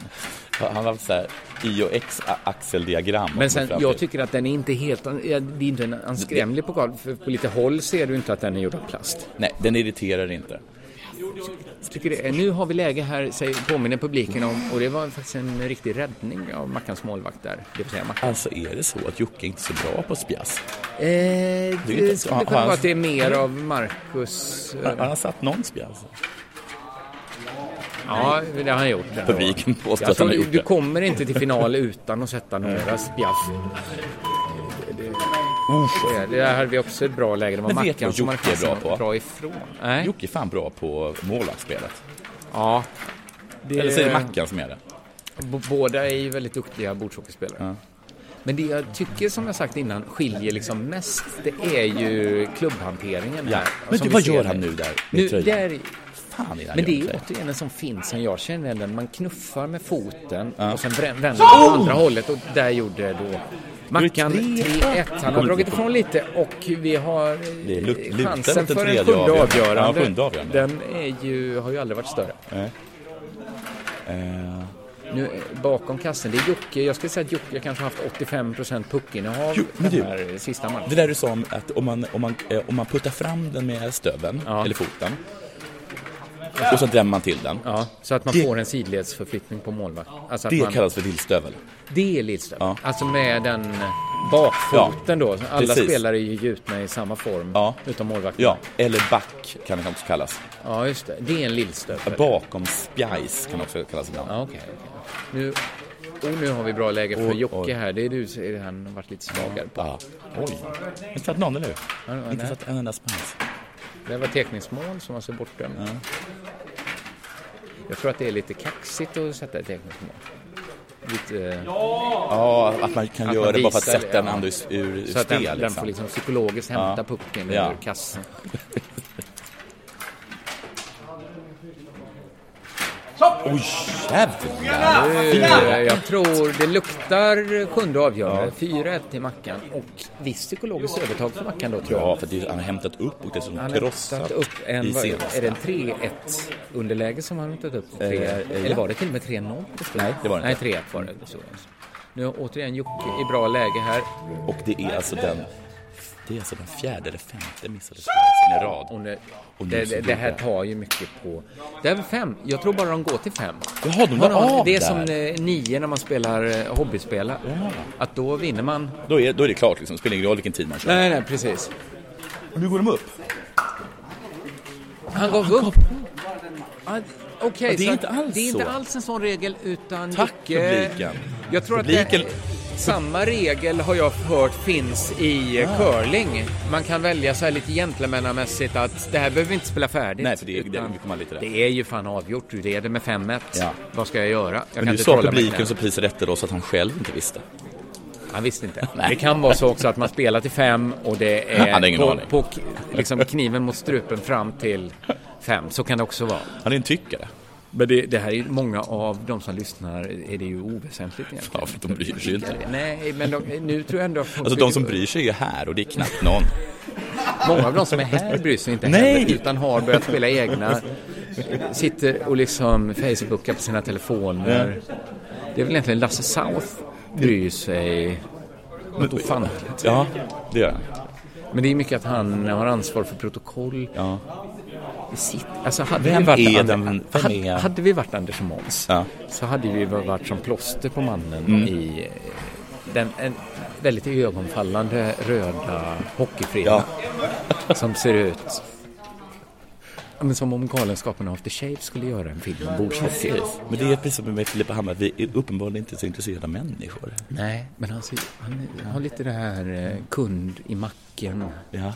[SPEAKER 5] Han har haft så här Y och X-axeldiagram.
[SPEAKER 4] Men sen, jag tycker att den är inte helt... an- ja, Det är inte en anskrämlig pokal. För på lite håll ser du inte att den är gjord av plast.
[SPEAKER 5] Nej, den irriterar inte.
[SPEAKER 4] Tycker det, nu har vi läge här, säger, påminner publiken om, och det var faktiskt en riktig räddning av Mackans målvakt där, det vill säga Mackan.
[SPEAKER 5] Alltså är det så att Jocke är inte så bra på spjass?
[SPEAKER 4] Eh, det skulle
[SPEAKER 5] han-
[SPEAKER 4] kunna vara
[SPEAKER 5] han-
[SPEAKER 4] att det är mer av Marcus... eh,
[SPEAKER 5] Han, han har satt någon spjass.
[SPEAKER 4] Ja, det har han gjort. där.
[SPEAKER 5] Publiken påstår
[SPEAKER 4] Jag
[SPEAKER 5] att han har
[SPEAKER 4] tror
[SPEAKER 5] gjort
[SPEAKER 4] du
[SPEAKER 5] det.
[SPEAKER 4] kommer inte till final utan att sätta några spjaff. Det- det- Det där hade vi också ett bra läge. Det var
[SPEAKER 5] Men vet du
[SPEAKER 4] Mackan
[SPEAKER 5] vad
[SPEAKER 4] som hade
[SPEAKER 5] Jocke är bra
[SPEAKER 4] chansen
[SPEAKER 5] på?
[SPEAKER 4] bra ifrån. Nej.
[SPEAKER 5] Jocke är fan bra på målvaktsspelet.
[SPEAKER 4] Ja. Det-
[SPEAKER 5] Eller så är det Mackan som är det.
[SPEAKER 4] B- Båda är ju väldigt duktiga bordshockeyspelare. Men det jag tycker, som jag sagt innan, skiljer liksom mest, det är ju klubbhanteringen här.
[SPEAKER 5] Men
[SPEAKER 4] som
[SPEAKER 5] du,
[SPEAKER 4] vi
[SPEAKER 5] vad
[SPEAKER 4] ser
[SPEAKER 5] gör
[SPEAKER 4] det.
[SPEAKER 5] han nu där med
[SPEAKER 4] Nu,
[SPEAKER 5] tröjan?
[SPEAKER 4] där,
[SPEAKER 5] Fan är det han
[SPEAKER 4] men det är
[SPEAKER 5] gör
[SPEAKER 4] ju
[SPEAKER 5] för sig?
[SPEAKER 4] återigen en sån fint som jag känner den. Man knuffar med foten och sen brän- vänder man
[SPEAKER 5] Oh!
[SPEAKER 4] åt andra hållet och där gjorde då Mackan 3-1. Han har dragit ifrån lite och vi har eh,
[SPEAKER 5] Det är lu- lutar
[SPEAKER 4] chansen
[SPEAKER 5] mot en
[SPEAKER 4] för en
[SPEAKER 5] tredje
[SPEAKER 4] sjunde
[SPEAKER 5] avgörande.
[SPEAKER 4] avgörande.
[SPEAKER 5] Ja, sjunde avgörande.
[SPEAKER 4] Den är ju, har ju aldrig varit större.
[SPEAKER 5] Eh,
[SPEAKER 4] Nu eh, bakom kassen, det är Jocke. Jag skulle säga att Jocke kanske har haft 85% puckinnehav
[SPEAKER 5] Jo, men
[SPEAKER 4] den
[SPEAKER 5] du,
[SPEAKER 4] här sista matchen.
[SPEAKER 5] Det där du sa om att om man, om man, eh, om man puttar fram den med stöveln,
[SPEAKER 4] Ja.
[SPEAKER 5] eller foten, och så drämmer man till den.
[SPEAKER 4] Ja, så att man
[SPEAKER 5] Det-
[SPEAKER 4] får en sidledsförflyttning på målvakt. Alltså att
[SPEAKER 5] Det
[SPEAKER 4] man,
[SPEAKER 5] kallas för dillstövel.
[SPEAKER 4] det är Lidström.
[SPEAKER 5] Ja.
[SPEAKER 4] Alltså med den bakfoten då. Alla
[SPEAKER 5] precis.
[SPEAKER 4] spelare är ju gjutna i samma form,
[SPEAKER 5] Ja.
[SPEAKER 4] utom målvakten.
[SPEAKER 5] Ja, eller back kan det också kallas.
[SPEAKER 4] Ja, just det. Det är en Lidström.
[SPEAKER 5] Bakom spjajs kan det också kallas ibland.
[SPEAKER 4] Ja, okej. okej. Nu... Och nu har vi bra läge för
[SPEAKER 5] Oj,
[SPEAKER 4] Jocke
[SPEAKER 5] oj.
[SPEAKER 4] här. Det är du som- han har varit lite svagare på.
[SPEAKER 5] Ja. Oj. Inte satt någon, eller hur?
[SPEAKER 4] Ja,
[SPEAKER 5] Inte
[SPEAKER 4] nej.
[SPEAKER 5] satt en enda spjajs.
[SPEAKER 4] Det var teckningsmål som alltså är bortdömt. Jag tror att det är lite kaxigt att sätta ett teckningsmål. Lite, eh,
[SPEAKER 5] Ja, att man kan
[SPEAKER 4] Att
[SPEAKER 5] göra
[SPEAKER 4] man
[SPEAKER 5] det bara för att
[SPEAKER 4] visar
[SPEAKER 5] sätta
[SPEAKER 4] det,
[SPEAKER 5] den
[SPEAKER 4] ja.
[SPEAKER 5] andra ur, ur, ur
[SPEAKER 4] så att
[SPEAKER 5] spel.
[SPEAKER 4] den, den får liksom psykologiskt hämta
[SPEAKER 5] Ja.
[SPEAKER 4] pucken
[SPEAKER 5] Ja.
[SPEAKER 4] ur kassen.
[SPEAKER 5] Oj, jävlar!
[SPEAKER 4] Nu, eh, jag tror det luktar sjunde avgörande. 4-1 till Mackan och visst psykologiskt övertag för Mackan då tror jag.
[SPEAKER 5] Ja, för det, han har hämtat upp och dessutom
[SPEAKER 4] Han har
[SPEAKER 5] krossat
[SPEAKER 4] hämtat upp en,
[SPEAKER 5] i
[SPEAKER 4] vad-
[SPEAKER 5] senaste.
[SPEAKER 4] är det en 3-1 underläge som han har hämtat upp? Tre,
[SPEAKER 5] eh,
[SPEAKER 4] eller var det till och med 3-0?
[SPEAKER 5] Nej, det var det
[SPEAKER 4] Nej,
[SPEAKER 5] inte.
[SPEAKER 4] 3-1 var det. Så. Nu har återigen Jocke i bra läge här.
[SPEAKER 5] Och det är alltså den, det är alltså den fjärde eller femte missade spjajsen i rad.
[SPEAKER 4] Och nu,
[SPEAKER 5] Och nu
[SPEAKER 4] det,
[SPEAKER 5] så
[SPEAKER 4] det, det här
[SPEAKER 5] dubbel.
[SPEAKER 4] tar ju mycket på... Det är väl fem. Jag tror bara de går till fem.
[SPEAKER 5] Jaha, de la av
[SPEAKER 4] Det är
[SPEAKER 5] där.
[SPEAKER 4] som eh, nio när man spelar eh, hobbyspelare. Att då vinner man.
[SPEAKER 5] Då är, då är det klart liksom, spelar ingen roll vilken tid man kör.
[SPEAKER 4] Nej, nej, precis.
[SPEAKER 5] Nu går de upp.
[SPEAKER 4] Han gav upp. Ah, Okej,
[SPEAKER 5] Ja, det är
[SPEAKER 4] så
[SPEAKER 5] inte
[SPEAKER 4] att-
[SPEAKER 5] alls
[SPEAKER 4] det är inte
[SPEAKER 5] så.
[SPEAKER 4] alls en sån regel utan...
[SPEAKER 5] Tack,
[SPEAKER 4] Jocke-
[SPEAKER 5] publiken.
[SPEAKER 4] Jag tror att
[SPEAKER 5] Publiken-
[SPEAKER 4] det, samma regel har jag hört finns i eh,
[SPEAKER 5] Ah.
[SPEAKER 4] curling. Man kan välja så här lite gentlemannamässigt att det här behöver vi inte spela färdigt.
[SPEAKER 5] Nej, för det- det-
[SPEAKER 4] utan
[SPEAKER 5] vi kommer aldrig till det.
[SPEAKER 4] är ju fan avgjort, du leder med 5-1.
[SPEAKER 5] Ja.
[SPEAKER 4] Vad ska jag göra? Jag
[SPEAKER 5] Men nu
[SPEAKER 4] inte
[SPEAKER 5] sa
[SPEAKER 4] trolla med
[SPEAKER 5] publiken
[SPEAKER 4] knäna.
[SPEAKER 5] så priser rätt då så att han själv inte visste.
[SPEAKER 4] Han visste inte. Det kan vara så också att man spelar till fem och det
[SPEAKER 5] Han hade
[SPEAKER 4] är
[SPEAKER 5] ingen
[SPEAKER 4] på,
[SPEAKER 5] aning.
[SPEAKER 4] på k- liksom kniven mot strupen fram till fem. Så kan det också vara.
[SPEAKER 5] Han är en tyckare.
[SPEAKER 4] Men det, det här är ju många av de som lyssnar är det ju oväsentligt egentligen.
[SPEAKER 5] Ja, för de bryr sig ju inte.
[SPEAKER 4] Nej, men de, nu tror jag ändå... att folk
[SPEAKER 5] Alltså de som
[SPEAKER 4] tycker-
[SPEAKER 5] bryr sig är ju här och det är knappt någon.
[SPEAKER 4] Många av de som är här bryr sig inte
[SPEAKER 5] Nej!
[SPEAKER 4] heller utan har börjat spela egna. Sitter och liksom facebookar på sina telefoner. Det är väl egentligen Lasse South bryr sig något ofantligt.
[SPEAKER 5] Ja, det gör han.
[SPEAKER 4] Men det är mycket att han har ansvar för protokoll.
[SPEAKER 5] Ja.
[SPEAKER 4] Sitt, alltså hade
[SPEAKER 5] Vem
[SPEAKER 4] vi varit
[SPEAKER 5] är
[SPEAKER 4] And-
[SPEAKER 5] den- vem
[SPEAKER 4] hade,
[SPEAKER 5] är-
[SPEAKER 4] hade vi varit Anders och Måns
[SPEAKER 5] Ja.
[SPEAKER 4] så hade vi varit som plåster på mannen i eh, den en väldigt ögonfallande röda hockeyfrilla som ser ut ja, men som om Galenskaparna After Shave skulle göra en film om bordshockey.
[SPEAKER 5] Men det är precis som med Filippa Hammar, vi är uppenbarligen inte så intresserade av människor.
[SPEAKER 4] Nej, men han, ser, han har lite det här eh, kund i macken.
[SPEAKER 5] Ja.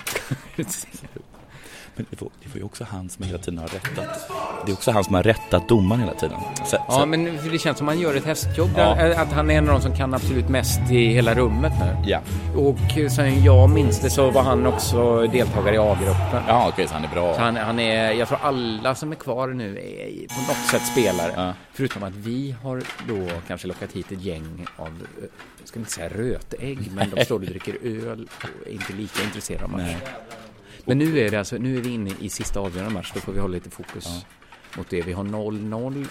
[SPEAKER 5] Men det var, det var ju också han som hela tiden har rättat. Det är också han som har rättat domaren hela tiden. Så,
[SPEAKER 4] Ja,
[SPEAKER 5] så,
[SPEAKER 4] men det känns som han gör ett hästjobb.
[SPEAKER 5] Ja.
[SPEAKER 4] Där, att han är en av de som kan absolut mest i hela rummet nu.
[SPEAKER 5] ja.
[SPEAKER 4] Och sen jag minns det så var han också deltagare i A-gruppen.
[SPEAKER 5] Ja, okej, så han är bra.
[SPEAKER 4] Så Han, han är, jag tror alla som är kvar nu är i- på något sätt spelare.
[SPEAKER 5] Ja.
[SPEAKER 4] Förutom att vi har då kanske lockat hit ett gäng av, eh, jag ska inte säga rötägg, men de står och dricker öl och är inte lika intresserade av matchen. Men nu är, det alltså, nu är vi inne i sista avgörande match, då får vi hålla lite fokus mot det. Vi har 0-0.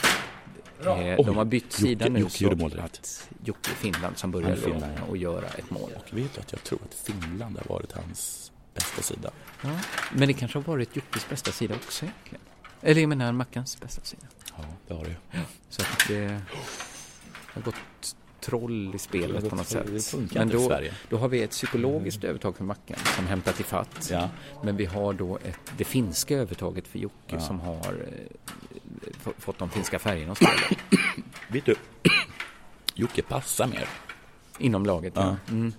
[SPEAKER 4] Eh,
[SPEAKER 5] Oj,
[SPEAKER 4] de har bytt sida
[SPEAKER 5] Jocke-
[SPEAKER 4] nu
[SPEAKER 5] Jocke
[SPEAKER 4] så
[SPEAKER 5] gjorde mål direkt.
[SPEAKER 4] att Jocke Finland som börjar
[SPEAKER 5] Han Finland, ja.
[SPEAKER 4] och göra ett mål.
[SPEAKER 5] Vet du att jag tror att Finland har varit hans bästa sida?
[SPEAKER 4] Ja, men det kanske har varit Jockes bästa sida också egentligen. Eller jag menar Mackans bästa sida.
[SPEAKER 5] Ja, det har det ju.
[SPEAKER 4] Så att det har gått troll i
[SPEAKER 5] Det
[SPEAKER 4] spelet
[SPEAKER 5] har
[SPEAKER 4] på något
[SPEAKER 5] gått troll. Det
[SPEAKER 4] sätt.
[SPEAKER 5] funkar
[SPEAKER 4] Men
[SPEAKER 5] inte i
[SPEAKER 4] då,
[SPEAKER 5] Sverige.
[SPEAKER 4] då har vi ett psykologiskt övertag för Mackan som hämtar till fatt.
[SPEAKER 5] Ja.
[SPEAKER 4] Men vi har då ett, det finska övertaget för Jocke som har eh, få- fått de finska färgerna att spela
[SPEAKER 5] Vet du, Jocke passar mer.
[SPEAKER 4] inom laget.
[SPEAKER 5] Ja.
[SPEAKER 4] Mm.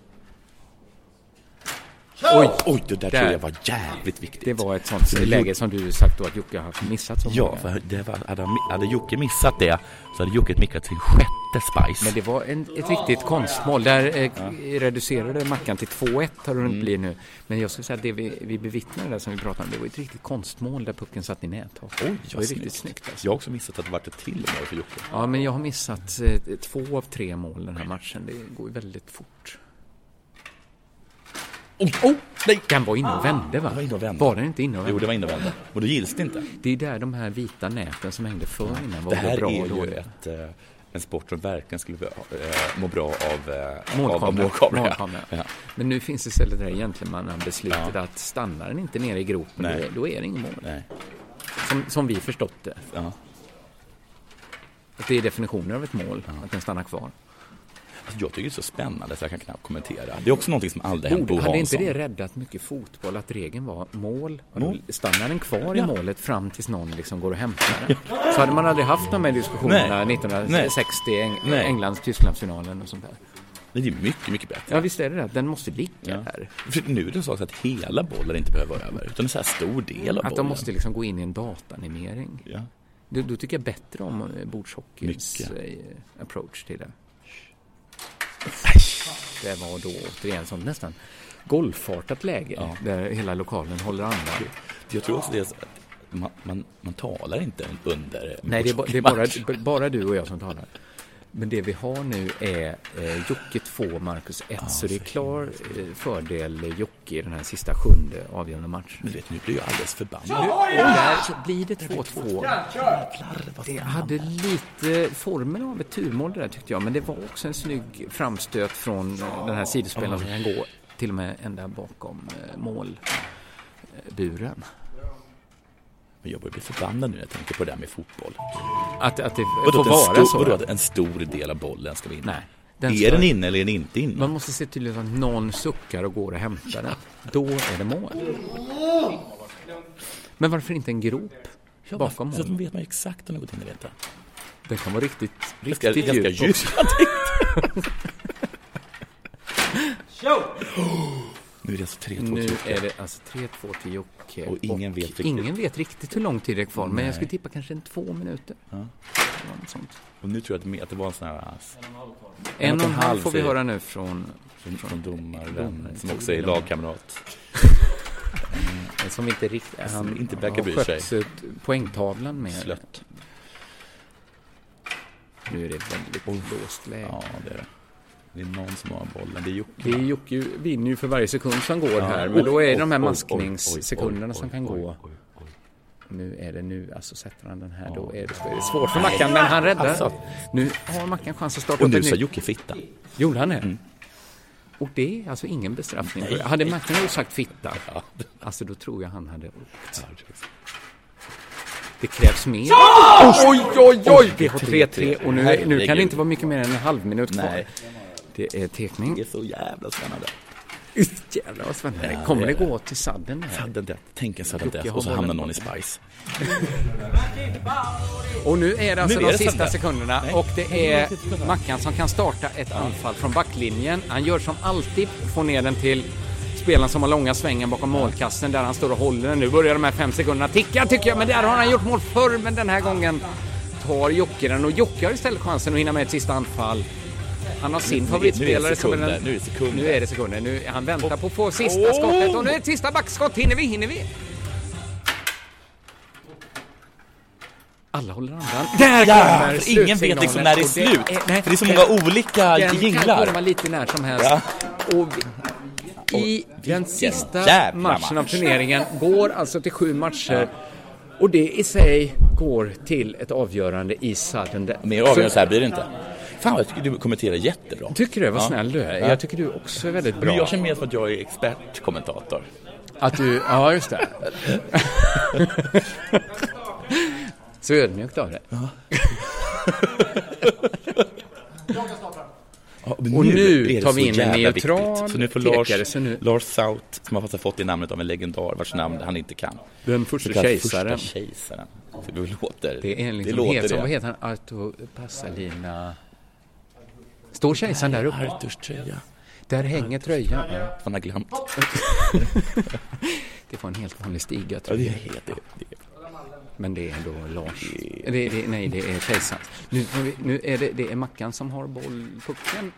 [SPEAKER 5] Oj, oj, det där,
[SPEAKER 4] Där.
[SPEAKER 5] tror jag var jävligt viktigt.
[SPEAKER 4] Det var ett sånt läge som du sagt då att Jocke har haft missat så
[SPEAKER 5] Ja,
[SPEAKER 4] många.
[SPEAKER 5] för det var, hade, han, hade Jocke missat det så hade Jocke mickat sin sjätte Spice.
[SPEAKER 4] Men det var en, ett riktigt konstmål. Där eh, reducerade Mackan till 2-1 har det mm. blir nu. Men jag skulle säga att det vi, vi bevittnade där som vi pratade om, det var ett riktigt konstmål där pucken satt i nät.
[SPEAKER 5] Oj,
[SPEAKER 4] det var
[SPEAKER 5] vad
[SPEAKER 4] ju
[SPEAKER 5] snyggt.
[SPEAKER 4] riktigt snyggt. Alltså.
[SPEAKER 5] Jag har också missat att det varit ett till mål för Jocke.
[SPEAKER 4] Ja, men jag har missat eh, två av tre mål den här matchen. Det går ju väldigt fort.
[SPEAKER 5] Oj, oh, nej! Ah.
[SPEAKER 4] Den var inne och vände va?
[SPEAKER 5] Den var inne och vände.
[SPEAKER 4] Var den inte inne och vände?
[SPEAKER 5] Jo, det var innevänd. Och då gills det inte.
[SPEAKER 4] Det är där de här vita näten som hängde förr innan var
[SPEAKER 5] Det här
[SPEAKER 4] bra
[SPEAKER 5] är
[SPEAKER 4] och
[SPEAKER 5] ju
[SPEAKER 4] dåliga.
[SPEAKER 5] ett, eh, en sport som verkligen skulle eh, må bra av eh, av- av
[SPEAKER 4] Målkamera.
[SPEAKER 5] målkamera.
[SPEAKER 4] Målkamera.
[SPEAKER 5] Ja.
[SPEAKER 4] Men nu finns istället det här gentlemannabeslutet att stannar den inte nere i gropen,
[SPEAKER 5] Nej.
[SPEAKER 4] då- då är det inget mål.
[SPEAKER 5] Nej,
[SPEAKER 4] Som, som vi förstått det.
[SPEAKER 5] ja.
[SPEAKER 4] Att det är definitionen av ett mål, att den stannar kvar.
[SPEAKER 5] Alltså, jag tycker det är så spännande så jag kan knappt kommentera. Det är också någonting som aldrig hänt Bo
[SPEAKER 4] Borde,
[SPEAKER 5] Hansson.
[SPEAKER 4] hade inte det räddat mycket fotboll att regeln var mål, och då
[SPEAKER 5] Mål.
[SPEAKER 4] stannar den kvar i
[SPEAKER 5] Ja.
[SPEAKER 4] målet fram tills någon liksom går och hämtar den. Så hade man aldrig haft de här diskussionerna
[SPEAKER 5] Nej.
[SPEAKER 4] 1960, Eng-
[SPEAKER 5] Nej.
[SPEAKER 4] Englands-Tysklandsfinalen och sånt där.
[SPEAKER 5] Men det är mycket, mycket bättre.
[SPEAKER 4] Ja visst är det det, att den måste ligga där.
[SPEAKER 5] För nu är det så också att hela bollen inte behöver vara över, utan en så här stor del av
[SPEAKER 4] Att
[SPEAKER 5] bollen.
[SPEAKER 4] de måste liksom gå in i en datanimering.
[SPEAKER 5] Ja.
[SPEAKER 4] Då, då tycker jag bättre om eh, bordshockeyns
[SPEAKER 5] Mycket.
[SPEAKER 4] eh, approach till det. Det var då återigen sånt nästan golfartat läge där hela lokalen håller andan.
[SPEAKER 5] Jag tror också det är så att man, man, man talar inte under
[SPEAKER 4] Nej, det är, ba, det är bara, b- bara du och jag som talar. Men det vi har nu är eh, Jocke 2, Marcus 1. så det är klar eh, fördel Jocke i den här sista sjunde avgörande matchen.
[SPEAKER 5] Men vet, nu blir jag alldeles förbannad.
[SPEAKER 4] Och där så blir det 2-2. Det hade lite formen av ett turmål det där tyckte jag. Men det var också en snygg framstöt från eh, den här sidospelaren som kan gå till och med ända bakom eh, målburen.
[SPEAKER 5] Men jag börjar bli förbannad nu när jag tänker på det där med fotboll.
[SPEAKER 4] Att, att det
[SPEAKER 5] Vadå,
[SPEAKER 4] får
[SPEAKER 5] att en
[SPEAKER 4] vara så.
[SPEAKER 5] stor, vadå att en stor del av bollen ska vinna?
[SPEAKER 4] Nej. Den
[SPEAKER 5] är
[SPEAKER 4] ska-
[SPEAKER 5] den inne eller är den inte inne?
[SPEAKER 4] Man måste se till att någon suckar och går och hämtar den. Då är det mål. Men varför inte en grop
[SPEAKER 5] Ja,
[SPEAKER 4] bakom
[SPEAKER 5] Så att man
[SPEAKER 4] mål?
[SPEAKER 5] vet man exakt när något hinner veta.
[SPEAKER 4] Den kan vara riktigt,
[SPEAKER 5] Ganska,
[SPEAKER 4] riktigt
[SPEAKER 5] ganska
[SPEAKER 4] djup.
[SPEAKER 5] djupt. Nu är det alltså 3-2
[SPEAKER 4] Nu
[SPEAKER 5] till
[SPEAKER 4] är det alltså 3-2 till Jocke.
[SPEAKER 5] Och ingen vet riktigt.
[SPEAKER 4] ingen vet riktigt hur lång tid det är kvar, men
[SPEAKER 5] Nej.
[SPEAKER 4] jag skulle tippa kanske en två minuter. Eller något sånt.
[SPEAKER 5] Och nu tror jag att det- att det var en sån här äh, ass
[SPEAKER 4] En och en halv får vi
[SPEAKER 5] säger-
[SPEAKER 4] höra nu från,
[SPEAKER 5] från, från domaren
[SPEAKER 4] Domaren.
[SPEAKER 5] som också är lagkamrat.
[SPEAKER 4] som inte riktigt, han
[SPEAKER 5] inte verkar bry
[SPEAKER 4] har
[SPEAKER 5] sig.
[SPEAKER 4] skött sig. poängtavlan med.
[SPEAKER 5] Slött.
[SPEAKER 4] Nu är det ett väldigt låst läge.
[SPEAKER 5] Ja, det är det. Det är någon som har bollen. Det är Jocke.
[SPEAKER 4] Det är Jocke vinner ju för varje sekund som går
[SPEAKER 5] Ja.
[SPEAKER 4] här, men då är det de här
[SPEAKER 5] Oj, oj, oj, oj, oj,
[SPEAKER 4] maskningssekunderna som
[SPEAKER 5] oj,
[SPEAKER 4] kan
[SPEAKER 5] oj,
[SPEAKER 4] gå.
[SPEAKER 5] oj, oj.
[SPEAKER 4] Nu är det nu, alltså sätter han den här då är det, då är det svårt för Mackan, men han räddar. Nu har Mackan chans att starta
[SPEAKER 5] Alltså. Och
[SPEAKER 4] upp
[SPEAKER 5] nu
[SPEAKER 4] ett
[SPEAKER 5] sa
[SPEAKER 4] nytt.
[SPEAKER 5] Jocke fitta.
[SPEAKER 4] Gjorde han det?
[SPEAKER 5] Mm.
[SPEAKER 4] Och det är alltså ingen bestraffning. Hade Mackan sagt fitta, alltså då tror jag han hade åkt. Det krävs mer.
[SPEAKER 5] Oj, oj, oj!
[SPEAKER 4] Vi har 3-3 och nu, nu kan
[SPEAKER 5] Herregud.
[SPEAKER 4] det inte vara mycket mer än en halv minut kvar.
[SPEAKER 5] Nej.
[SPEAKER 4] Det är
[SPEAKER 5] Det
[SPEAKER 4] tekning.
[SPEAKER 5] är så jävla spännande.
[SPEAKER 4] Jävlar vad spännande. Kommer det gå till sadden här?
[SPEAKER 5] Sudden death. Tänk en sudden
[SPEAKER 4] Jocke
[SPEAKER 5] death
[SPEAKER 4] har
[SPEAKER 5] och så
[SPEAKER 4] bollen.
[SPEAKER 5] hamnar någon i Spice.
[SPEAKER 4] Och nu är det alltså
[SPEAKER 5] Nu är
[SPEAKER 4] de
[SPEAKER 5] det
[SPEAKER 4] sista
[SPEAKER 5] Sandberg.
[SPEAKER 4] sekunderna och det är Mackan som kan starta ett anfall från backlinjen. Han gör som alltid, får ner den till spelaren som har långa svängen bakom målkassen där han står och håller den. Nu börjar de här fem sekunderna ticka tycker jag, men där har han gjort mål förr, men den här gången tar Jocke den och Jocke har istället chansen att hinna med ett sista anfall. Han har sin
[SPEAKER 5] Nu- nu är
[SPEAKER 4] favoritspelare
[SPEAKER 5] det
[SPEAKER 4] som är den...
[SPEAKER 5] sekunder, nu är det sekunder.
[SPEAKER 4] Nu är det sekunder. Nu, han väntar på att få sista skottet och nu är det ett sista backskott. Hinner vi? Hinner vi? Alla håller andan. Där
[SPEAKER 5] Ja,
[SPEAKER 4] kommer
[SPEAKER 5] för ingen vet liksom när det är
[SPEAKER 4] slutsignalen.
[SPEAKER 5] slut.
[SPEAKER 4] Och
[SPEAKER 5] För
[SPEAKER 4] nej,
[SPEAKER 5] det är så många olika
[SPEAKER 4] den kan komma
[SPEAKER 5] jinglar.
[SPEAKER 4] lite när som helst. Och vi, I den sista
[SPEAKER 5] jävla
[SPEAKER 4] matchen av
[SPEAKER 5] match.
[SPEAKER 4] turneringen går alltså till sju matcher. Och det i sig går till ett avgörande i sudden death.
[SPEAKER 5] Mer avgörande så här blir det inte. Fan, jag tycker du kommenterar jättebra.
[SPEAKER 4] Tycker du? Vad
[SPEAKER 5] Ja.
[SPEAKER 4] snäll du är.
[SPEAKER 5] Ja.
[SPEAKER 4] Jag tycker du också är väldigt
[SPEAKER 5] Men
[SPEAKER 4] bra.
[SPEAKER 5] jag känner mer som att jag är expertkommentator.
[SPEAKER 4] Att du, ja just det. Så ödmjukt av det.
[SPEAKER 5] Ja,
[SPEAKER 4] Och nu
[SPEAKER 5] är det
[SPEAKER 4] tar vi
[SPEAKER 5] så
[SPEAKER 4] in en
[SPEAKER 5] jävla
[SPEAKER 4] neutral
[SPEAKER 5] viktigt. Så nu får
[SPEAKER 4] pekare,
[SPEAKER 5] Lars,
[SPEAKER 4] så nu-
[SPEAKER 5] Lars South, som har fått fått det namnet av en legendar vars namn han inte kan.
[SPEAKER 4] Den första
[SPEAKER 5] Så kallad
[SPEAKER 4] kejsaren.
[SPEAKER 5] Första kejsaren. Så det låter
[SPEAKER 4] Det är en liksom
[SPEAKER 5] låter
[SPEAKER 4] het som,
[SPEAKER 5] det.
[SPEAKER 4] vad heter han, Arto Passalina... Står kejsaren där uppe?
[SPEAKER 5] Arthurs tröja.
[SPEAKER 4] Där hänger tröjan.
[SPEAKER 5] Man har glömt.
[SPEAKER 4] Det var en helt vanlig stiga
[SPEAKER 5] Ja,
[SPEAKER 4] tror
[SPEAKER 5] det är
[SPEAKER 4] jag.
[SPEAKER 5] helt... Det, det.
[SPEAKER 4] Men det är då Lars. Det, det, nej, det är kejsaren. Nu, får vi- nu är det, det är Mackan som har bollpucken. Han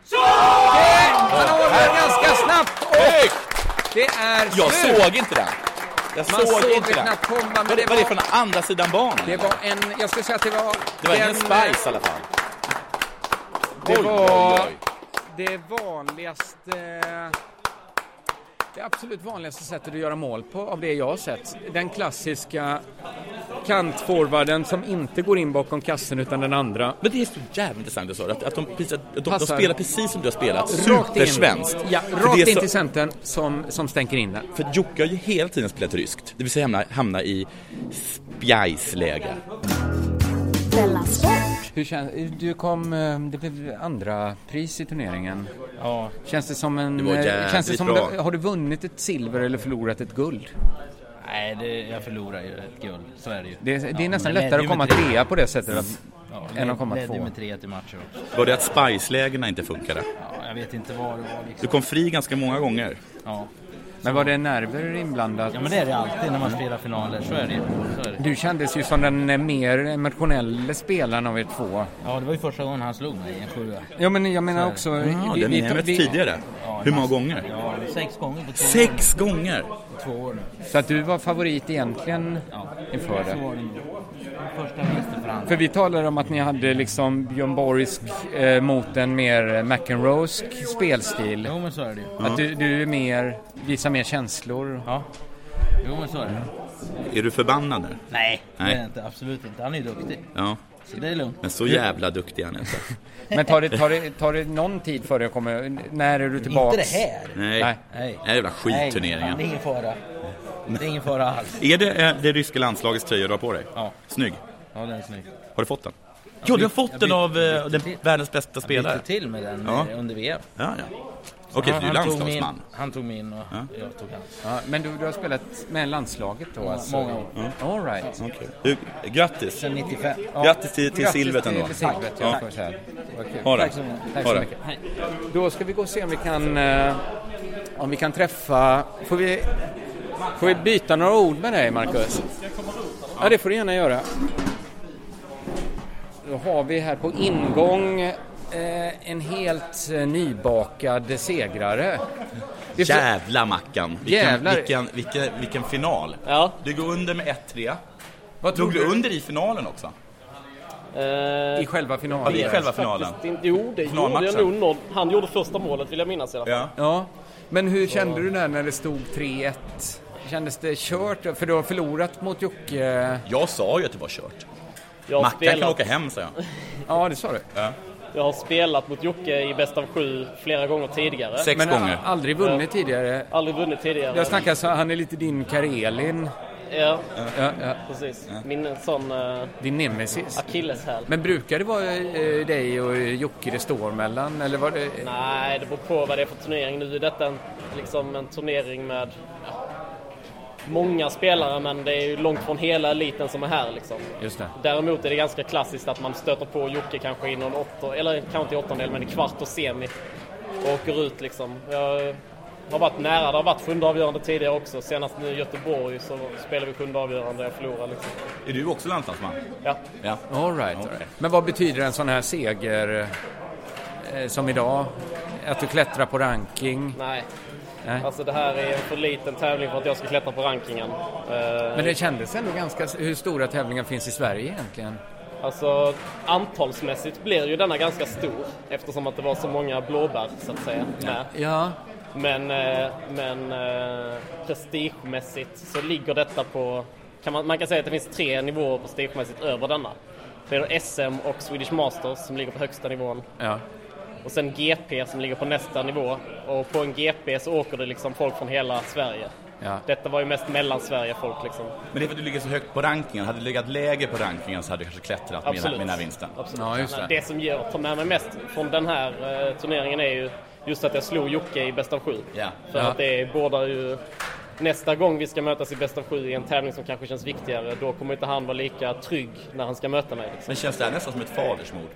[SPEAKER 4] har den ganska snabbt och det är
[SPEAKER 5] Jag
[SPEAKER 4] slut!
[SPEAKER 5] såg inte den! Jag
[SPEAKER 4] Man såg
[SPEAKER 5] såg
[SPEAKER 4] det
[SPEAKER 5] inte den.
[SPEAKER 4] knappt komma, men
[SPEAKER 5] Vad
[SPEAKER 4] det
[SPEAKER 5] det, var det
[SPEAKER 4] var-
[SPEAKER 5] från andra sidan banan?
[SPEAKER 4] Det var en, jag skulle säga att det var...
[SPEAKER 5] Det var ingen
[SPEAKER 4] den-
[SPEAKER 5] spice i alla fall.
[SPEAKER 4] Det
[SPEAKER 5] Oj,
[SPEAKER 4] var
[SPEAKER 5] oj,
[SPEAKER 4] det vanligaste... Det absolut vanligaste sättet att göra mål på av det jag har sett. Den klassiska kantforwarden som inte går in bakom kassen utan den andra.
[SPEAKER 5] Men det är så jävligt intressant det sa du, att, att, de, precis- att de, de
[SPEAKER 4] Passar.
[SPEAKER 5] spelar precis som du har spelat,
[SPEAKER 4] Rakt in.
[SPEAKER 5] supersvenskt.
[SPEAKER 4] Ja,
[SPEAKER 5] För det
[SPEAKER 4] rakt
[SPEAKER 5] är
[SPEAKER 4] in
[SPEAKER 5] så-
[SPEAKER 4] till centern som, som stänker in den.
[SPEAKER 5] För Jocke har ju hela tiden spelat ryskt, det vill säga hamna, hamna i spjajsläge.
[SPEAKER 11] Della Sport!
[SPEAKER 4] Hur känns, du kom, eh, det blev andra pris i turneringen.
[SPEAKER 14] Ja,
[SPEAKER 4] Känns det som en...
[SPEAKER 5] Det var
[SPEAKER 4] eh,
[SPEAKER 5] jävligt
[SPEAKER 4] känns det som,
[SPEAKER 5] bra.
[SPEAKER 4] Har du vunnit ett silver eller förlorat ett guld?
[SPEAKER 9] Nej, det, Eh, jag förlorar ju ett guld. Så är det ju.
[SPEAKER 4] Det, är- det är
[SPEAKER 9] Ja,
[SPEAKER 4] nästan lättare
[SPEAKER 9] men ledde
[SPEAKER 4] att
[SPEAKER 9] ju
[SPEAKER 4] komma
[SPEAKER 9] med tre-
[SPEAKER 4] trea på det sättet. Att,
[SPEAKER 9] Ja,
[SPEAKER 4] än
[SPEAKER 9] led-
[SPEAKER 4] att komma
[SPEAKER 9] ledde
[SPEAKER 4] två.
[SPEAKER 9] med 3 till matcher också.
[SPEAKER 5] Var det att spjajslägena inte funkade?
[SPEAKER 9] Ja, jag vet inte vad det var
[SPEAKER 5] Du
[SPEAKER 9] liksom.
[SPEAKER 5] kom fri ganska många gånger.
[SPEAKER 9] Ja.
[SPEAKER 4] Men var det nerver inblandat?
[SPEAKER 9] ja, men det är det alltid när man spelar finaler. Så är det ju. Så är det.
[SPEAKER 4] Du kändes ju som den eh, mer emotionella spelaren av er två.
[SPEAKER 9] Ja, det var ju första gången han slog mig i en sjua.
[SPEAKER 4] Ja, men jag menar också...
[SPEAKER 5] Ja,
[SPEAKER 4] vi-
[SPEAKER 5] den
[SPEAKER 4] vi-
[SPEAKER 5] ni har mött
[SPEAKER 4] vi-
[SPEAKER 5] tidigare.
[SPEAKER 9] Ja,
[SPEAKER 5] Hur många
[SPEAKER 9] massor.
[SPEAKER 5] gånger?
[SPEAKER 9] Ja, sex gånger på två,
[SPEAKER 5] Sex gånger!
[SPEAKER 9] två år. nu.
[SPEAKER 4] Så att du var favorit egentligen
[SPEAKER 9] Ja.
[SPEAKER 4] inför
[SPEAKER 9] Två
[SPEAKER 4] det.
[SPEAKER 9] år nu. Första vänsterförhand.
[SPEAKER 4] För vi talade om att ni hade liksom Björn Borgsk eh, mot en mer eh, McEnroesk spelstil.
[SPEAKER 9] Jo, men så är det ju.
[SPEAKER 4] Att du, du är mer, visar mer känslor.
[SPEAKER 9] Ja. Jo, men så är det.
[SPEAKER 5] Är du förbannad nu?
[SPEAKER 9] Nej, det
[SPEAKER 5] Nej.
[SPEAKER 9] är det inte. Absolut inte. Han är ju duktig.
[SPEAKER 5] Ja,
[SPEAKER 9] Så det är lugnt.
[SPEAKER 5] men så jävla duktig är han inte.
[SPEAKER 4] Men tar det, tar, det, tar det någon tid för dig att komma... När är du tillbaks?
[SPEAKER 9] Inte det här.
[SPEAKER 5] Nej.
[SPEAKER 4] Nej.
[SPEAKER 9] Nej.
[SPEAKER 5] Det är jävla
[SPEAKER 9] Nej,
[SPEAKER 5] skitturneringen.
[SPEAKER 9] Det är ingen fara. Det är ingen fara alls.
[SPEAKER 5] Är det eh, det ryska landslagets tröja du har på dig?
[SPEAKER 9] Ja.
[SPEAKER 5] Snygg.
[SPEAKER 9] Ja, den är snygg.
[SPEAKER 5] Har du fått den? Jo, du har fått
[SPEAKER 9] jag
[SPEAKER 5] den
[SPEAKER 9] bytte-
[SPEAKER 5] av eh,
[SPEAKER 9] jag bytte
[SPEAKER 5] den
[SPEAKER 9] till.
[SPEAKER 5] världens bästa
[SPEAKER 9] Jag bytte
[SPEAKER 5] spelare.
[SPEAKER 9] till med den
[SPEAKER 5] Ja.
[SPEAKER 9] eh, under VM.
[SPEAKER 5] Ja, ja. Okej, så du är
[SPEAKER 9] tog min,
[SPEAKER 5] landslagsman.
[SPEAKER 9] han tog min och jag tog hans.
[SPEAKER 4] Ja, men du, du har spelat med landslaget då? Alltså.
[SPEAKER 9] många år.
[SPEAKER 4] All right.
[SPEAKER 5] Okej. Du, Grattis!
[SPEAKER 9] Sen 95. Ja.
[SPEAKER 5] Grattis till, till silvret ändå.
[SPEAKER 4] Till silvret, ja.
[SPEAKER 5] Ja.
[SPEAKER 4] får jag säga. Vad kul.
[SPEAKER 5] Ha det.
[SPEAKER 4] Tack så
[SPEAKER 5] Ha det.
[SPEAKER 4] mycket. Då ska vi gå och se om vi kan eh, Om vi kan träffa... Får vi, får vi byta några ord med dig, Marcus? Ja, det får du gärna göra. Då har vi här på ingång eh, en helt eh, nybakad segrare. Det är så-
[SPEAKER 5] Jävla Mackan! Vilken,
[SPEAKER 4] Jävlar.
[SPEAKER 5] vilken, vilken, vilken final! Du går under med 1-3.
[SPEAKER 4] Vad
[SPEAKER 5] Låg
[SPEAKER 4] tror
[SPEAKER 5] du
[SPEAKER 4] du?
[SPEAKER 5] under i finalen också?
[SPEAKER 4] I själva finalen?
[SPEAKER 5] Ja, i själva finalen.
[SPEAKER 10] Faktiskt inte. Jo, det gjorde jag
[SPEAKER 5] Finalmatchen.
[SPEAKER 10] nog. någon- Han gjorde första målet vill jag minnas i alla fall.
[SPEAKER 4] Ja, men hur kände du där när det stod 3-1? Kändes det kört? För du har förlorat mot Jocke.
[SPEAKER 5] Jag sa ju att det var kört.
[SPEAKER 10] Jag har
[SPEAKER 5] Mackan kan
[SPEAKER 10] spelat.
[SPEAKER 5] åka hem, sa jag.
[SPEAKER 4] Ja, det sa du.
[SPEAKER 10] Jag har spelat mot Jocke i bäst av sju flera gånger tidigare.
[SPEAKER 4] Men a- aldrig vunnit tidigare.
[SPEAKER 10] Eh, Aldrig vunnit tidigare.
[SPEAKER 4] Jag snackar så han är lite din Karelin.
[SPEAKER 10] Ja,
[SPEAKER 4] Ja, ja.
[SPEAKER 10] precis. Min sån eh,
[SPEAKER 4] Din nemesis.
[SPEAKER 10] akilleshäl.
[SPEAKER 4] Men brukar det vara eh, dig och Jocke det står mellan? Eller var det...
[SPEAKER 10] Nej, det beror på vad det är för turnering. Nu är detta en, liksom en turnering med ja, många spelare men det är ju långt från hela eliten som är här liksom.
[SPEAKER 4] Just det.
[SPEAKER 10] Däremot är det ganska klassiskt att man stöter på Jocke kanske i någon åtta, eller kanske inte i åttondel, men i kvart och semi. Och åker ut liksom. Jag har varit nära, det har varit sjunde avgörande tidigare också. Senast nu i Göteborg så spelade vi sjunde avgörande och jag förlorade liksom.
[SPEAKER 5] Är du också landslagsman?
[SPEAKER 10] Ja.
[SPEAKER 5] Ja.
[SPEAKER 4] All right, all right. Men vad betyder en sån här seger eh, som idag? Att du klättrar på ranking?
[SPEAKER 10] Nej.
[SPEAKER 4] Nej.
[SPEAKER 10] Alltså det här är en för liten tävling för att jag ska klättra på rankingen. Eh,
[SPEAKER 4] Men det kändes ändå ganska... Hur stora tävlingar finns i Sverige egentligen?
[SPEAKER 10] Alltså antalsmässigt blir ju denna ganska stor eftersom att det var så många blåbär så att säga med.
[SPEAKER 4] Ja.
[SPEAKER 10] Men, eh, men eh, prestigemässigt så ligger detta på, kan man, man kan säga att det finns tre nivåer prestigemässigt över denna. Det är SM och Swedish Masters som ligger på högsta nivån.
[SPEAKER 4] Ja.
[SPEAKER 10] Och sen GP som ligger på nästa nivå. Och på en GP så åker det liksom folk från hela Sverige.
[SPEAKER 5] Ja.
[SPEAKER 10] Detta var ju mest Mellansverige folk liksom.
[SPEAKER 5] Men det är för att du ligger så högt på rankingen. Hade du legat lägre på rankingen så hade du kanske klättrat med, den- med den här vinsten.
[SPEAKER 10] Absolut. det. som jag tar med mig mest från den här eh, turneringen är ju just att jag slog Jocke i bäst av sju.
[SPEAKER 5] Ja.
[SPEAKER 10] För
[SPEAKER 5] Ja.
[SPEAKER 10] att det är båda ju... Nästa gång vi ska mötas i bäst av sju i en tävling som kanske känns viktigare, då kommer inte han vara lika trygg när han ska möta mig. Liksom.
[SPEAKER 5] Men känns det här nästan som ett fadersmord?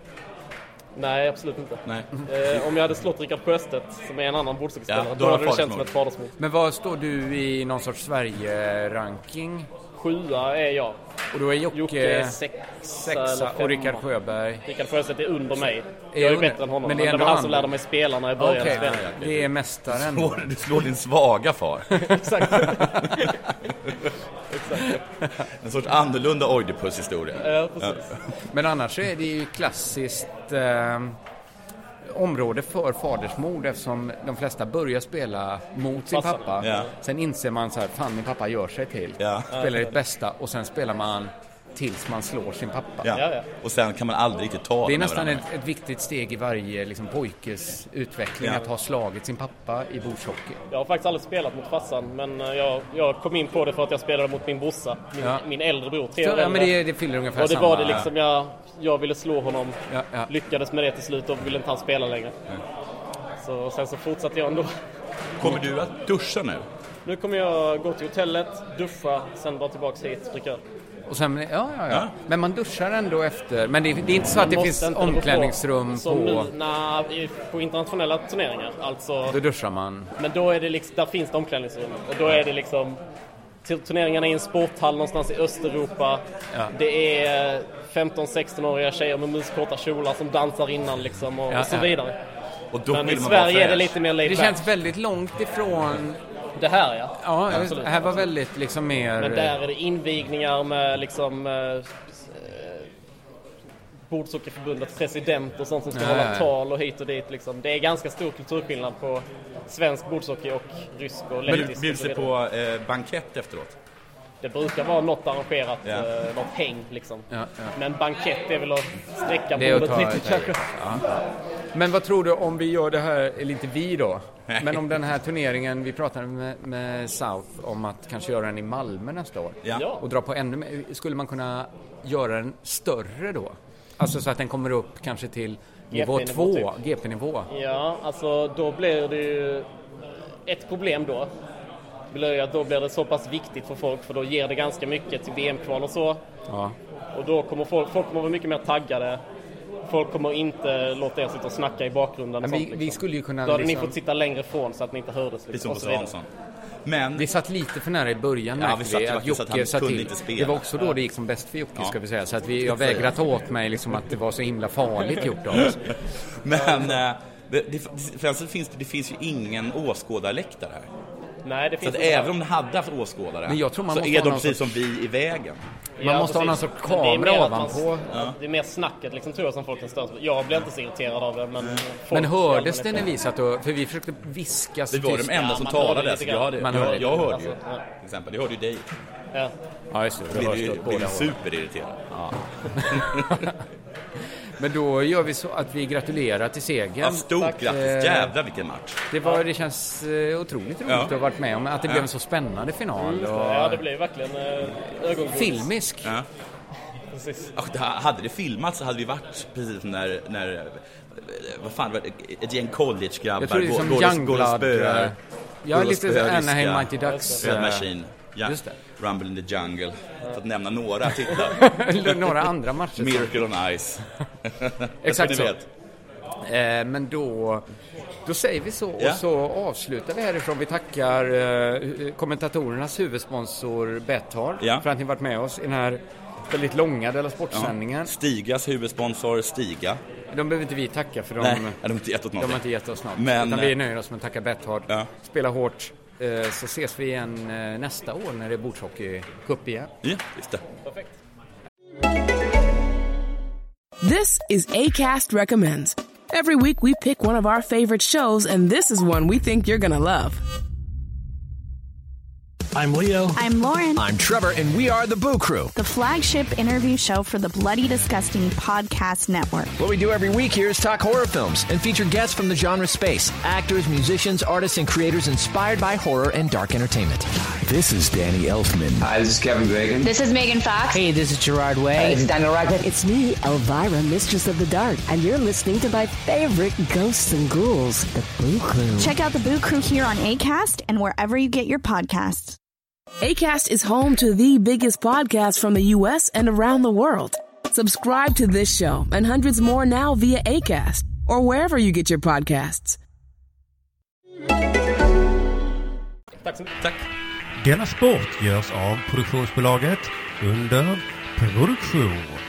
[SPEAKER 10] Nej, absolut inte.
[SPEAKER 5] Nej.
[SPEAKER 10] Eh, om jag hade slått Rickard Sjöstedt, som är en annan bordstockspelare,
[SPEAKER 4] Ja,
[SPEAKER 10] då
[SPEAKER 4] då
[SPEAKER 10] hade det
[SPEAKER 4] var det
[SPEAKER 10] känts som ett fadersmord.
[SPEAKER 4] Men vad står du i någon sorts Sverige-ranking?
[SPEAKER 10] Sjua är jag.
[SPEAKER 4] Och då är Jocke,
[SPEAKER 10] Jocke är sexa eller femma.
[SPEAKER 4] och Rickard Sjöberg.
[SPEAKER 10] Rickard Sjöstedt är under mig.
[SPEAKER 4] Är
[SPEAKER 10] jag är
[SPEAKER 4] under-
[SPEAKER 10] bättre än honom.
[SPEAKER 4] men
[SPEAKER 10] Men
[SPEAKER 4] det
[SPEAKER 10] det,
[SPEAKER 4] är ändå
[SPEAKER 10] var han
[SPEAKER 4] han.
[SPEAKER 10] som lärde mig spela när jag började
[SPEAKER 4] Okej,
[SPEAKER 10] spela.
[SPEAKER 4] det är mästaren.
[SPEAKER 5] Du slår, du slår din svaga far.
[SPEAKER 10] Exakt.
[SPEAKER 5] En sorts annorlunda Oidipus-historia.
[SPEAKER 10] Ja, precis.
[SPEAKER 4] Men annars så är det ju klassiskt eh, område för fadersmord eftersom de flesta börjar spela mot sin
[SPEAKER 10] Passarna.
[SPEAKER 4] pappa.
[SPEAKER 5] Ja.
[SPEAKER 4] Sen inser man så här, fan min pappa gör sig till.
[SPEAKER 5] Ja.
[SPEAKER 4] Spelar ditt bästa och sen spelar man tills man slår sin pappa.
[SPEAKER 5] Ja. Och sen kan man aldrig riktigt ta
[SPEAKER 4] Det är
[SPEAKER 5] den
[SPEAKER 4] nästan
[SPEAKER 5] över
[SPEAKER 4] ett, ett viktigt steg i varje liksom, pojkes utveckling
[SPEAKER 5] Ja.
[SPEAKER 4] att ha slagit sin pappa i bordshockey.
[SPEAKER 10] Jag har faktiskt aldrig spelat mot farsan, men eh, jag, jag kom in på det för att jag spelade mot min brorsa, min,
[SPEAKER 4] Ja.
[SPEAKER 10] min äldre bror. Tre
[SPEAKER 4] Så,
[SPEAKER 10] år
[SPEAKER 4] ja,
[SPEAKER 10] äldre.
[SPEAKER 4] men det- det fyller ungefär
[SPEAKER 10] Och det
[SPEAKER 4] samma-
[SPEAKER 10] var det liksom, jag, jag ville slå honom,
[SPEAKER 4] Ja, ja.
[SPEAKER 10] lyckades med det till slut och ville inte han spela längre. Så, och sen så fortsatte jag ändå.
[SPEAKER 5] Kommer du att duscha nu?
[SPEAKER 10] Nu kommer jag gå till hotellet, duscha, sen dra tillbaks hit, dricka öl.
[SPEAKER 4] Och sen, ja, ja, ja. Men man duschar ändå efter. Men det, det är inte så
[SPEAKER 10] Man
[SPEAKER 4] att det
[SPEAKER 10] måste
[SPEAKER 4] finns
[SPEAKER 10] inte gå på-
[SPEAKER 4] omklädningsrum på...
[SPEAKER 10] Som nu, na, i- på internationella turneringar. Alltså,
[SPEAKER 4] Då duschar man.
[SPEAKER 10] Men då är det liksom, där finns det omklädningsrum. Och då är det liksom, till- turneringarna är i en sporthall någonstans i Östeuropa.
[SPEAKER 4] Ja.
[SPEAKER 10] Det är 15-16-åriga tjejer med muskorta kjolar som dansar innan liksom och,
[SPEAKER 4] Ja,
[SPEAKER 10] och så
[SPEAKER 4] ja.
[SPEAKER 10] vidare.
[SPEAKER 5] Och
[SPEAKER 10] Men i Sverige är det lite mer laid
[SPEAKER 4] Det
[SPEAKER 10] back.
[SPEAKER 4] känns väldigt långt ifrån...
[SPEAKER 10] Det här ja.
[SPEAKER 4] Ja,
[SPEAKER 10] Absolut.
[SPEAKER 4] det här var väldigt liksom mer...
[SPEAKER 10] Men där är det invigningar med liksom eh, Bordsockerförbundets president och sånt som ska
[SPEAKER 4] Ja, ja,
[SPEAKER 10] hålla
[SPEAKER 4] ja.
[SPEAKER 10] tal och hit och dit liksom. Det är ganska stor kulturskillnad på svensk bordshockey och rysk och
[SPEAKER 5] Men du
[SPEAKER 10] lettisk och
[SPEAKER 5] bjuds
[SPEAKER 10] så
[SPEAKER 5] det
[SPEAKER 10] vidare.
[SPEAKER 5] på eh, bankett efteråt?
[SPEAKER 10] Det brukar vara något arrangerat,
[SPEAKER 5] Ja.
[SPEAKER 10] eh, något häng liksom.
[SPEAKER 4] Ja, ja.
[SPEAKER 10] Men bankett är väl att sträcka
[SPEAKER 4] Det är att
[SPEAKER 10] bordet
[SPEAKER 4] ta-
[SPEAKER 10] lite
[SPEAKER 4] ta-
[SPEAKER 10] kanske.
[SPEAKER 4] ja. Men vad tror du om vi gör det här, eller inte vi då, men om den här turneringen, vi pratade med, med South om att kanske göra den i Malmö nästa år.
[SPEAKER 5] Ja. Ja.
[SPEAKER 4] Och dra på ännu mer. Skulle man kunna göra den större då? Alltså så att den kommer upp kanske till nivå
[SPEAKER 10] GP-nivå
[SPEAKER 4] 2,
[SPEAKER 3] typ.
[SPEAKER 4] GP-nivå.
[SPEAKER 10] Ja, alltså då blir det ju ett problem då. Blir ju att då blir det så pass viktigt för folk för då ger det ganska mycket till VM-kval och så.
[SPEAKER 4] Ja.
[SPEAKER 10] Och då kommer folk, folk kommer vara mycket mer taggade.
[SPEAKER 3] Folk kommer inte låta er sitta och snacka i bakgrunden.
[SPEAKER 4] Men
[SPEAKER 3] Och
[SPEAKER 4] vi-
[SPEAKER 3] sånt, liksom.
[SPEAKER 4] vi skulle ju kunna
[SPEAKER 3] Då hade
[SPEAKER 4] liksom-
[SPEAKER 3] ni fått sitta längre ifrån så att ni inte hördes.
[SPEAKER 4] Precis som
[SPEAKER 3] och så
[SPEAKER 4] på
[SPEAKER 3] vidare.
[SPEAKER 4] Svansson.
[SPEAKER 5] Men...
[SPEAKER 4] Vi satt lite för nära i början
[SPEAKER 5] Ja,
[SPEAKER 4] märkte
[SPEAKER 5] vi satt ju
[SPEAKER 4] att
[SPEAKER 5] faktiskt
[SPEAKER 4] Jocke
[SPEAKER 5] att han
[SPEAKER 4] satt
[SPEAKER 5] kunde
[SPEAKER 4] till.
[SPEAKER 5] inte spela.
[SPEAKER 4] Det var också då det gick som bäst för Jocke
[SPEAKER 5] Ja.
[SPEAKER 4] ska vi säga. Så att vi, jag
[SPEAKER 5] Det får jag
[SPEAKER 4] vägrar ta
[SPEAKER 5] säga.
[SPEAKER 4] åt mig liksom att det var så himla farligt gjort av oss.
[SPEAKER 5] Men eh, det, det, för sen finns det, det finns ju ingen åskådarläktare här.
[SPEAKER 3] Nej, det
[SPEAKER 5] Så
[SPEAKER 3] finns
[SPEAKER 5] att
[SPEAKER 3] inte.
[SPEAKER 5] även om de hade haft åskådare
[SPEAKER 4] Men jag tror man
[SPEAKER 5] så
[SPEAKER 4] måste
[SPEAKER 5] är
[SPEAKER 4] ha
[SPEAKER 5] de
[SPEAKER 4] någon
[SPEAKER 5] precis som
[SPEAKER 4] sorts-
[SPEAKER 5] vi i vägen.
[SPEAKER 3] Ja,
[SPEAKER 4] någon
[SPEAKER 3] precis.
[SPEAKER 4] sorts
[SPEAKER 3] Men det är mer
[SPEAKER 4] kamera
[SPEAKER 3] att man-
[SPEAKER 4] ovanpå.
[SPEAKER 3] Ja. Det är mer snacket liksom, tror jag som folk kan störa sig på. Jag blir inte så irriterad av det. Men, folk
[SPEAKER 4] Men
[SPEAKER 3] i
[SPEAKER 4] hördes
[SPEAKER 3] allmänhet-
[SPEAKER 4] det när vi satt och... För vi försökte viska
[SPEAKER 5] Det var
[SPEAKER 4] tyst.
[SPEAKER 5] de enda som talade. Så jag, hörde,
[SPEAKER 4] Man
[SPEAKER 5] jag, jag hörde
[SPEAKER 4] lite.
[SPEAKER 5] ju.
[SPEAKER 3] Alltså,
[SPEAKER 5] Till exempel, jag hörde ju dig.
[SPEAKER 3] Ja.
[SPEAKER 4] Ja, just det. Då
[SPEAKER 5] Blev
[SPEAKER 4] hörs det
[SPEAKER 5] ju-
[SPEAKER 4] åt
[SPEAKER 5] blev
[SPEAKER 4] båda
[SPEAKER 5] ju
[SPEAKER 4] hållen.
[SPEAKER 5] superirriterad.
[SPEAKER 4] Men då gör vi så att vi gratulerar till segern.
[SPEAKER 5] Ja, stort
[SPEAKER 4] Tack.
[SPEAKER 5] grattis.
[SPEAKER 4] Eh,
[SPEAKER 5] Jävlar vilken match.
[SPEAKER 4] Det, var, det känns eh, otroligt roligt
[SPEAKER 5] Ja.
[SPEAKER 4] att ha varit med om. Att det
[SPEAKER 5] Ja.
[SPEAKER 4] blev en så spännande final.
[SPEAKER 3] Mm,
[SPEAKER 4] och
[SPEAKER 3] Ja, det blir verkligen eh, ögongodis.
[SPEAKER 4] Filmisk.
[SPEAKER 5] Ja.
[SPEAKER 3] Precis.
[SPEAKER 5] Och Alltså, det- Hade det filmats så hade vi varit precis som när, när eh, vad fan, var det? ett gäng collegegrabbar
[SPEAKER 4] Jag tror det är
[SPEAKER 5] går-
[SPEAKER 4] som
[SPEAKER 5] går och- går och
[SPEAKER 4] Youngblood,
[SPEAKER 5] spöar.
[SPEAKER 4] eh, ja,
[SPEAKER 5] går och
[SPEAKER 4] lite så
[SPEAKER 5] spöar
[SPEAKER 4] Anaheim
[SPEAKER 5] ryska
[SPEAKER 4] Mighty Ducks,
[SPEAKER 5] Red
[SPEAKER 4] eh,
[SPEAKER 5] Machine. Ja.
[SPEAKER 4] just det.
[SPEAKER 5] Rumble in the Jungle. För att nämna några titlar.
[SPEAKER 4] eh, Några andra matcher som-
[SPEAKER 5] Miracle on Ice. Jag tror
[SPEAKER 4] Exakt
[SPEAKER 5] ni
[SPEAKER 4] så.
[SPEAKER 5] vet.
[SPEAKER 4] Eh, men då, då säger vi så
[SPEAKER 5] Ja.
[SPEAKER 4] och så avslutar vi härifrån. Vi tackar eh, kommentatorernas huvudsponsor Betthard
[SPEAKER 5] Ja.
[SPEAKER 4] för att ni varit med oss i den här väldigt långa Della Sport-sändningen.
[SPEAKER 5] Ja. Stigas huvudsponsor Stiga.
[SPEAKER 4] De behöver inte vi tacka för de,
[SPEAKER 5] Nej, de har inte gett oss
[SPEAKER 4] de
[SPEAKER 5] någonting.
[SPEAKER 4] har inte gett oss något.
[SPEAKER 5] Men- eh,
[SPEAKER 4] utan vi nöjer oss med att tacka Betthard. Spela hårt. eh, Så ses vi igen eh, nästa år när det är bordshockeycup igen.
[SPEAKER 5] Ja, just det.
[SPEAKER 15] This is ACAST Recommends. Every week we pick one of our favorite shows, and this is one we think you're going to love.
[SPEAKER 2] I'm Leo.
[SPEAKER 11] I'm Lauren,
[SPEAKER 2] I'm Trevor, and we are the Boo Crew.
[SPEAKER 11] the flagship interview show for the Bloody Disgusting Podcast Network.
[SPEAKER 2] What we do every week here is talk horror films and feature guests from the genre space actors, musicians, artists, and creators inspired by horror and dark entertainment. This is Danny Elfman. Hi, this is Kevin Bacon.
[SPEAKER 16] This is Megan Fox.
[SPEAKER 2] Hey, this is Gerard Way.
[SPEAKER 16] it's Daniel Radcliffe. It's me, Elvira, Mistress of the Dark, and you're listening to my favorite ghosts and ghouls, The Boo Crew.
[SPEAKER 11] Check out the Boo Crew here on ACAST and wherever you get your podcasts.
[SPEAKER 15] ACAST is home to the biggest podcasts from the US and around the world. Subscribe to this show and hundreds more now via ACAST or wherever you get your podcasts.
[SPEAKER 3] Tack så mycket.
[SPEAKER 17] Denna sport görs av produktionsbolaget under produktion.